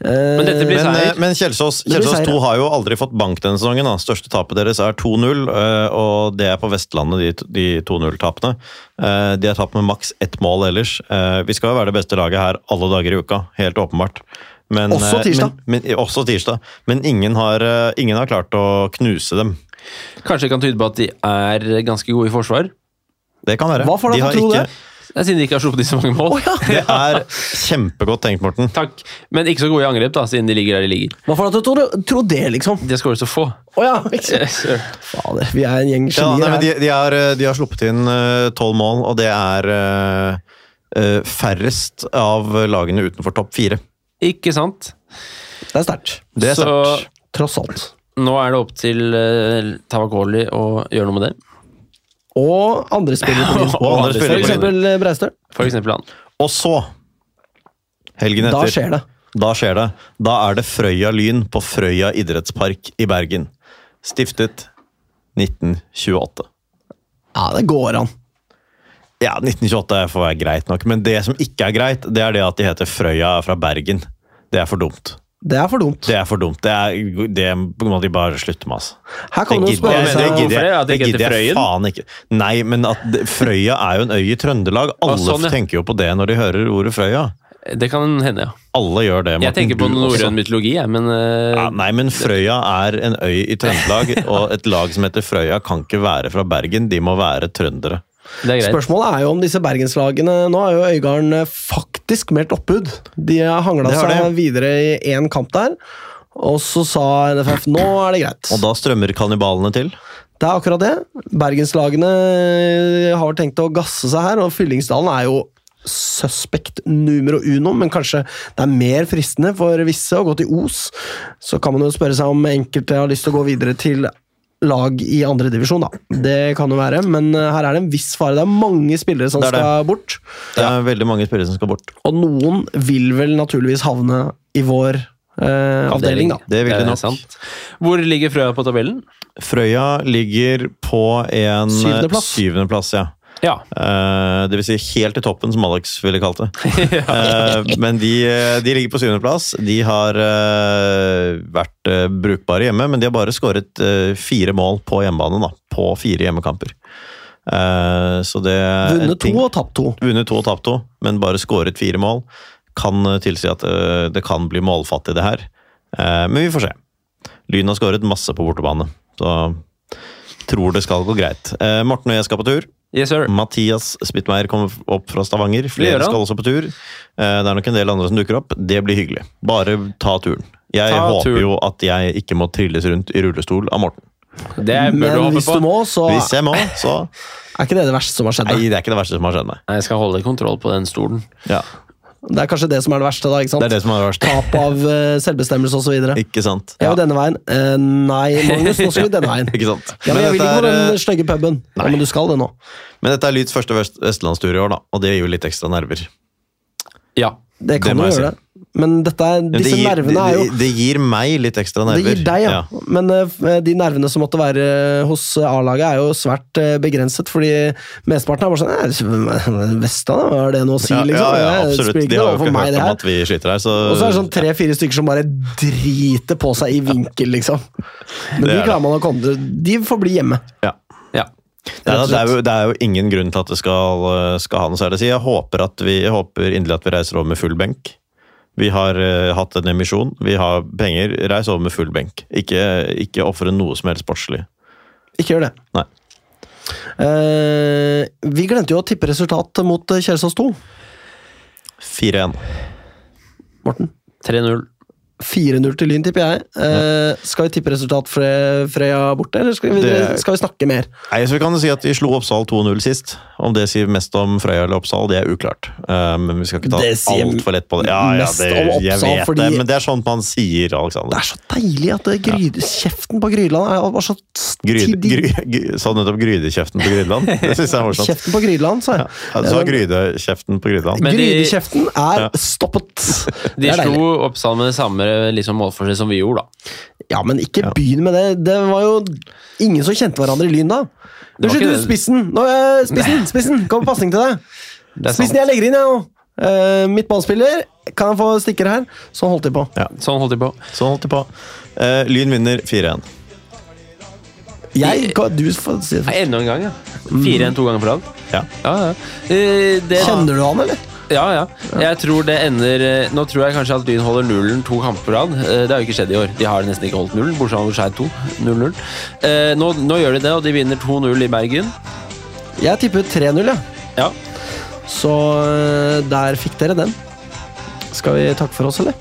Speaker 1: Eh,
Speaker 3: Men dette blir
Speaker 2: Men,
Speaker 3: seier.
Speaker 2: eh, men Kjelsås,
Speaker 1: blir
Speaker 2: Kjelsås
Speaker 1: seier,
Speaker 2: 2
Speaker 1: ja.
Speaker 2: har jo aldri fått bank denne sesongen. Da. Største tapet deres er 2-0, eh, og det er på Vestlandet, de, t- de 2-0-tapene. Eh, De har tapt med maks ett mål ellers. Eh, Vi skal jo være det beste laget her alle dager i uka, helt åpenbart. Men,
Speaker 1: Også
Speaker 2: eh,
Speaker 1: tirsdag.
Speaker 2: Men, men, også tirsdag. Men ingen har, eh, ingen har klart å knuse dem.
Speaker 3: Kanskje det kan tyde på at de er ganske gode i forsvar?
Speaker 2: Det kan være.
Speaker 1: Hva får deg
Speaker 2: De
Speaker 1: til å
Speaker 2: har
Speaker 1: tro
Speaker 2: ikke-
Speaker 1: det?
Speaker 3: Det er Siden de ikke har sluppet inn så mange mål.
Speaker 2: *laughs* Det er kjempegodt tenkt, Morten.
Speaker 3: Takk. Men ikke så gode i angrep, da, siden de ligger der de ligger.
Speaker 1: Eh, Hva får deg til å tro- tro det, liksom?
Speaker 3: De har skåret så få.
Speaker 1: Å ja!
Speaker 3: *laughs*
Speaker 1: Ikke sant?
Speaker 3: Yes, sir.
Speaker 1: Fader, vi er en gjeng
Speaker 2: Ja, nei,
Speaker 1: genier
Speaker 2: men
Speaker 1: her.
Speaker 2: de, de, har, eh, de har sluppet inn eh, tolv mål, og det er eh, eh, færrest av lagene utenfor topp fire.
Speaker 3: Ikke sant?
Speaker 1: Det er sterkt.
Speaker 2: Det er
Speaker 3: så
Speaker 2: sterkt.
Speaker 1: Tross alt.
Speaker 3: nå er det opp til uh, Tavakoli å gjøre noe med det.
Speaker 1: Og andre spillere på Lynsborg.
Speaker 2: *laughs* Og andre
Speaker 1: For
Speaker 2: spillere på
Speaker 1: eksempel eh, Breistøl.
Speaker 3: For eksempel han.
Speaker 2: Og så, helgen
Speaker 1: Da
Speaker 2: etter,
Speaker 1: skjer det.
Speaker 2: da skjer det. Da er det Frøya Lyn på Frøya idrettspark i Bergen. Stiftet 1928.
Speaker 1: Ja, det går an.
Speaker 2: Ja, 1928 får være greit nok, men det som ikke er greit, det er det at de heter Frøya fra Bergen. Det er for dumt.
Speaker 1: Det er for dumt.
Speaker 2: Det er for dumt. Det, er, det må de bare slutte med, altså.
Speaker 1: Her kan du
Speaker 2: Det
Speaker 1: spørre
Speaker 2: gidder jeg-
Speaker 1: seg
Speaker 2: det
Speaker 1: om
Speaker 2: gidder jeg-
Speaker 3: Hvorfor er det at det
Speaker 2: det
Speaker 3: ikke
Speaker 2: gidder
Speaker 3: heter
Speaker 2: jeg faen ikke. Nei, men at det- Frøya er jo en øy i Trøndelag. Alle
Speaker 3: sånn, ja.
Speaker 2: tenker jo på det når de hører ordet Frøya.
Speaker 3: Det kan hende, ja.
Speaker 2: Alle gjør det. Morten,
Speaker 3: Jeg tenker på
Speaker 2: du også.
Speaker 3: norrøn mytologi, jeg, men eh,
Speaker 2: Ja, nei, men Frøya er en øy i Trøndelag, og et lag som heter Frøya kan ikke være fra Bergen. De må være trøndere.
Speaker 3: det er greit.
Speaker 1: Spørsmålet er jo om disse bergenslagene Nå er jo Øygarden eh, faktisk meldt oppbud. De har hangla
Speaker 2: Det har
Speaker 1: seg
Speaker 2: de.
Speaker 1: videre i én kamp der. Og så sa NFF nå er det
Speaker 2: Og
Speaker 1: greit.
Speaker 2: da strømmer kannibalene til.
Speaker 1: Det er akkurat det. Bergenslagene eh, har tenkt å gasse seg her, og Fyllingsdalen er jo suspekt numero uno, men kanskje det er mer fristende for visse å gå til Os. Så kan man jo spørre seg om enkelte har lyst til å gå videre til lag i andre divisjon, da. Det kan jo være, men eh, her er det en viss fare. Det er mange spillere som
Speaker 2: Det er det.
Speaker 1: skal bort.
Speaker 2: Det er veldig mange spillere som skal bort.
Speaker 1: Og noen vil vel naturligvis havne i vår eh, avdeling, da.
Speaker 2: Det vil de nok.
Speaker 3: sant. Hvor ligger Frøya på tabellen?
Speaker 2: Frøya ligger på en eh,
Speaker 1: Syvendeplass.
Speaker 2: syvendeplass ja.
Speaker 3: Ja.
Speaker 2: Eh, det vil si helt i toppen, som Alex ville
Speaker 1: *laughs*
Speaker 2: kalt det. Eh, men de, eh, de ligger på syvendeplass. De har eh, vært eh, brukbare hjemme, men de har bare skåret eh, fire mål på hjemmebane. Da, på fire hjemmekamper. Eh, så det
Speaker 1: Vunnet to og tapt to.
Speaker 2: Vunnet to og tapt to, men bare skåret fire mål. Kan eh, tilsi at eh, det kan bli målfattig, det her. Eh, men vi får se. Lyn har skåret masse på bortebane, så tror det skal gå greit. Eh, Morten og jeg skal på tur.
Speaker 3: Yes, sir.
Speaker 2: Mathias Spittmeier kommer opp fra Stavanger.
Speaker 3: gjør
Speaker 2: Flere
Speaker 3: han.
Speaker 2: skal også på tur. Eh, Det er nok en del andre som dukker opp. Det blir hyggelig. Bare ta turen. Jeg
Speaker 3: Ta
Speaker 2: håper
Speaker 3: turen.
Speaker 2: jo at jeg ikke må trilles rundt i rullestol av Morten.
Speaker 3: Det bør du
Speaker 1: Men
Speaker 3: håpe
Speaker 1: hvis
Speaker 3: på.
Speaker 1: du må, så
Speaker 2: Hvis jeg må, så
Speaker 1: *laughs* er ikke det det verste som har skjedd.
Speaker 2: Nei,
Speaker 1: da.
Speaker 2: det er ikke det verste som har skjedd meg.
Speaker 3: Nei, jeg skal holde kontroll på den stolen.
Speaker 2: Ja,
Speaker 1: Det er kanskje det som er det verste, da. ikke sant?
Speaker 2: det er det som er verst.
Speaker 1: Tap av eh, selvbestemmelse osv. Jeg
Speaker 2: Ikke sant?
Speaker 1: vil denne veien. Eh, nei, Magnus, nå skal vi denne veien.
Speaker 2: *laughs* Ikke sant?
Speaker 1: Ja, men jeg vil
Speaker 2: dette
Speaker 1: ikke på
Speaker 2: er, eh,
Speaker 1: den stygge puben. Ja, men du skal det nå.
Speaker 2: men dette er Lyds første vest- vestlandstur i år, da, og det gir jo litt ekstra nerver.
Speaker 3: Ja.
Speaker 1: Det kan
Speaker 2: Det må
Speaker 1: du
Speaker 2: jeg
Speaker 1: gjøre. Men dette er,
Speaker 2: Men
Speaker 1: disse
Speaker 2: det, gir,
Speaker 1: nervene er jo
Speaker 2: det, det gir meg litt ekstra
Speaker 1: Det
Speaker 2: nerver.
Speaker 1: gir deg, ja. Men eh, de nervene som måtte være eh, hos A-laget, er jo svært eh, begregnet. Fordi mesteparten er bare sånn *laughs* «Nei, Vestlandet, hva har det noe å si,
Speaker 2: Ja, ja,
Speaker 1: liksom?
Speaker 2: ja,
Speaker 1: Det
Speaker 2: absolutt.
Speaker 1: spiller ikke
Speaker 2: De har
Speaker 1: noe
Speaker 2: jo
Speaker 1: for
Speaker 2: ikke
Speaker 1: meg,
Speaker 2: hørt
Speaker 1: det
Speaker 2: om
Speaker 1: her.
Speaker 2: at vi sliter her, så
Speaker 1: Og så er det sånn tre-fire stykker som bare driter på seg i vinkel, liksom. Men
Speaker 2: Det
Speaker 1: de
Speaker 2: er
Speaker 1: klarer man å komme til. De får bli hjemme.
Speaker 2: ja.
Speaker 3: ja.
Speaker 2: Nei,
Speaker 1: Rett
Speaker 2: da,
Speaker 1: og
Speaker 2: det, er jo, det er jo ingen grunn til at det skal, eh, skal ha noe særlig å si. Jeg håper, at vi, jeg håper inderlig at vi reiser over med full benk. Vi har eh, hatt en emisjon, vi har penger. Reis over med full benk. Ikke, ikke ofre noe som helst sportslig.
Speaker 1: Ikke gjør det.
Speaker 2: Nei.
Speaker 1: Eh, vi glemte jo å tippe resultat mot eh, Kjelsås 2.
Speaker 2: 4-1.
Speaker 1: Morten.
Speaker 3: 3-0.
Speaker 1: 4-0 til Lyn, tipper jeg. Eh, skal vi tippe resultat Fre Freya borte, eller skal vi,
Speaker 2: Det-
Speaker 1: skal vi snakke mer?
Speaker 2: Nei, så vi kan jo si at De slo Oppsal 2-0 sist. Om det sier mest om Frøya eller Oppsal, det er uklart. Eh, men vi skal ikke ta
Speaker 1: Det sier
Speaker 2: altfor lett på det. Ja, ja,
Speaker 1: mest
Speaker 2: det,
Speaker 1: om
Speaker 2: jeg
Speaker 1: Oppsal,
Speaker 2: vet det,
Speaker 1: fordi-
Speaker 2: men det er sånt man sier, Alexander.
Speaker 1: Det er så deilig at det gry kjeften på Gryland er var så
Speaker 2: Gryde,
Speaker 1: tidlig-
Speaker 2: gry, gry, sa du nettopp grydekjeften på *laughs* Grydeland? Det syns jeg er morsomt.
Speaker 1: Kjeften på Gryland, sa jeg.
Speaker 2: Ja, du sa grydekjeften på Grydeland.
Speaker 3: Men de-
Speaker 1: Grydekjeften er stoppet!
Speaker 3: De
Speaker 1: Det er deilig.
Speaker 3: slo Oppsal med det samme liksom, målforskjell som vi gjorde, da.
Speaker 1: Ja, men ikke begynn med det. Det var jo ingen som kjente hverandre i Lyn da.
Speaker 3: Det
Speaker 1: Unnskyld,
Speaker 3: var ikke
Speaker 1: du,
Speaker 3: det.
Speaker 1: spissen! Nå, eh, spissen! Spissen! Kom på pasning til deg!
Speaker 3: *laughs* Det er
Speaker 1: Spissen,
Speaker 3: sant.
Speaker 1: jeg legger inn, jeg nå! Eh, Midtbanespiller, kan jeg få stikker her? Sånn holdt de på.
Speaker 3: Sånn holdt de på.
Speaker 2: Sånn holdt de på. Eh, lyn vinner 4-1.
Speaker 1: Jeg, kan- du får si det.
Speaker 3: Nei, Enda en gang, ja. Fire enn to ganger på rad.
Speaker 2: Ja.
Speaker 3: Ja, ja. Eh, det,
Speaker 1: Kjenner du han, eller?
Speaker 3: ja, ja. Jeg tror det ender eh, Nå tror jeg kanskje at Lyn holder nullen to kamper på rad. Eh, Det har jo ikke skjedd i år. De har nesten ikke holdt nullen, bortsett fra Skeid 2. 0-0. Eh, Nå, nå gjør de det, og de vinner 2-0 i Bergen.
Speaker 1: Jeg tipper 3-0, ja.
Speaker 3: Ja.
Speaker 1: Så eh, der fikk dere den. Skal vi takke for oss, eller?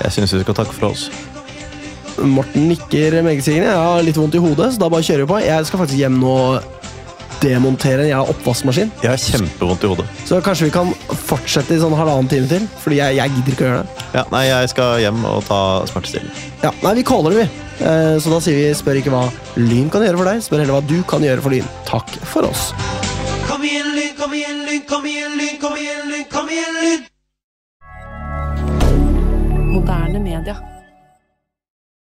Speaker 2: Jeg syns vi skal takke for oss.
Speaker 1: Morten nikker megesigende. Jeg har litt vondt i hodet, så da bare kjører vi på. Jeg skal faktisk hjem nå og demontere en jeg har oppvaskmaskin.
Speaker 2: Jeg har kjempevondt i hodet.
Speaker 1: Så kanskje vi kan fortsette i sånn halvannen time til, fordi jeg, jeg gidder ikke å gjøre det.
Speaker 2: Ja, nei, jeg skal hjem og ta smertestillende.
Speaker 1: Ja, Nei, vi caller det, vi. Eh, Så da sier vi spør ikke hva Lyn kan gjøre for deg, spør heller hva du kan gjøre for Lyn. Takk for oss.
Speaker 6: Kom igjen, Lyn, kom igjen, Lyn, kom igjen, Lyn, kom igjen, Lyn, kom igjen, Lyn!
Speaker 7: Moderne media.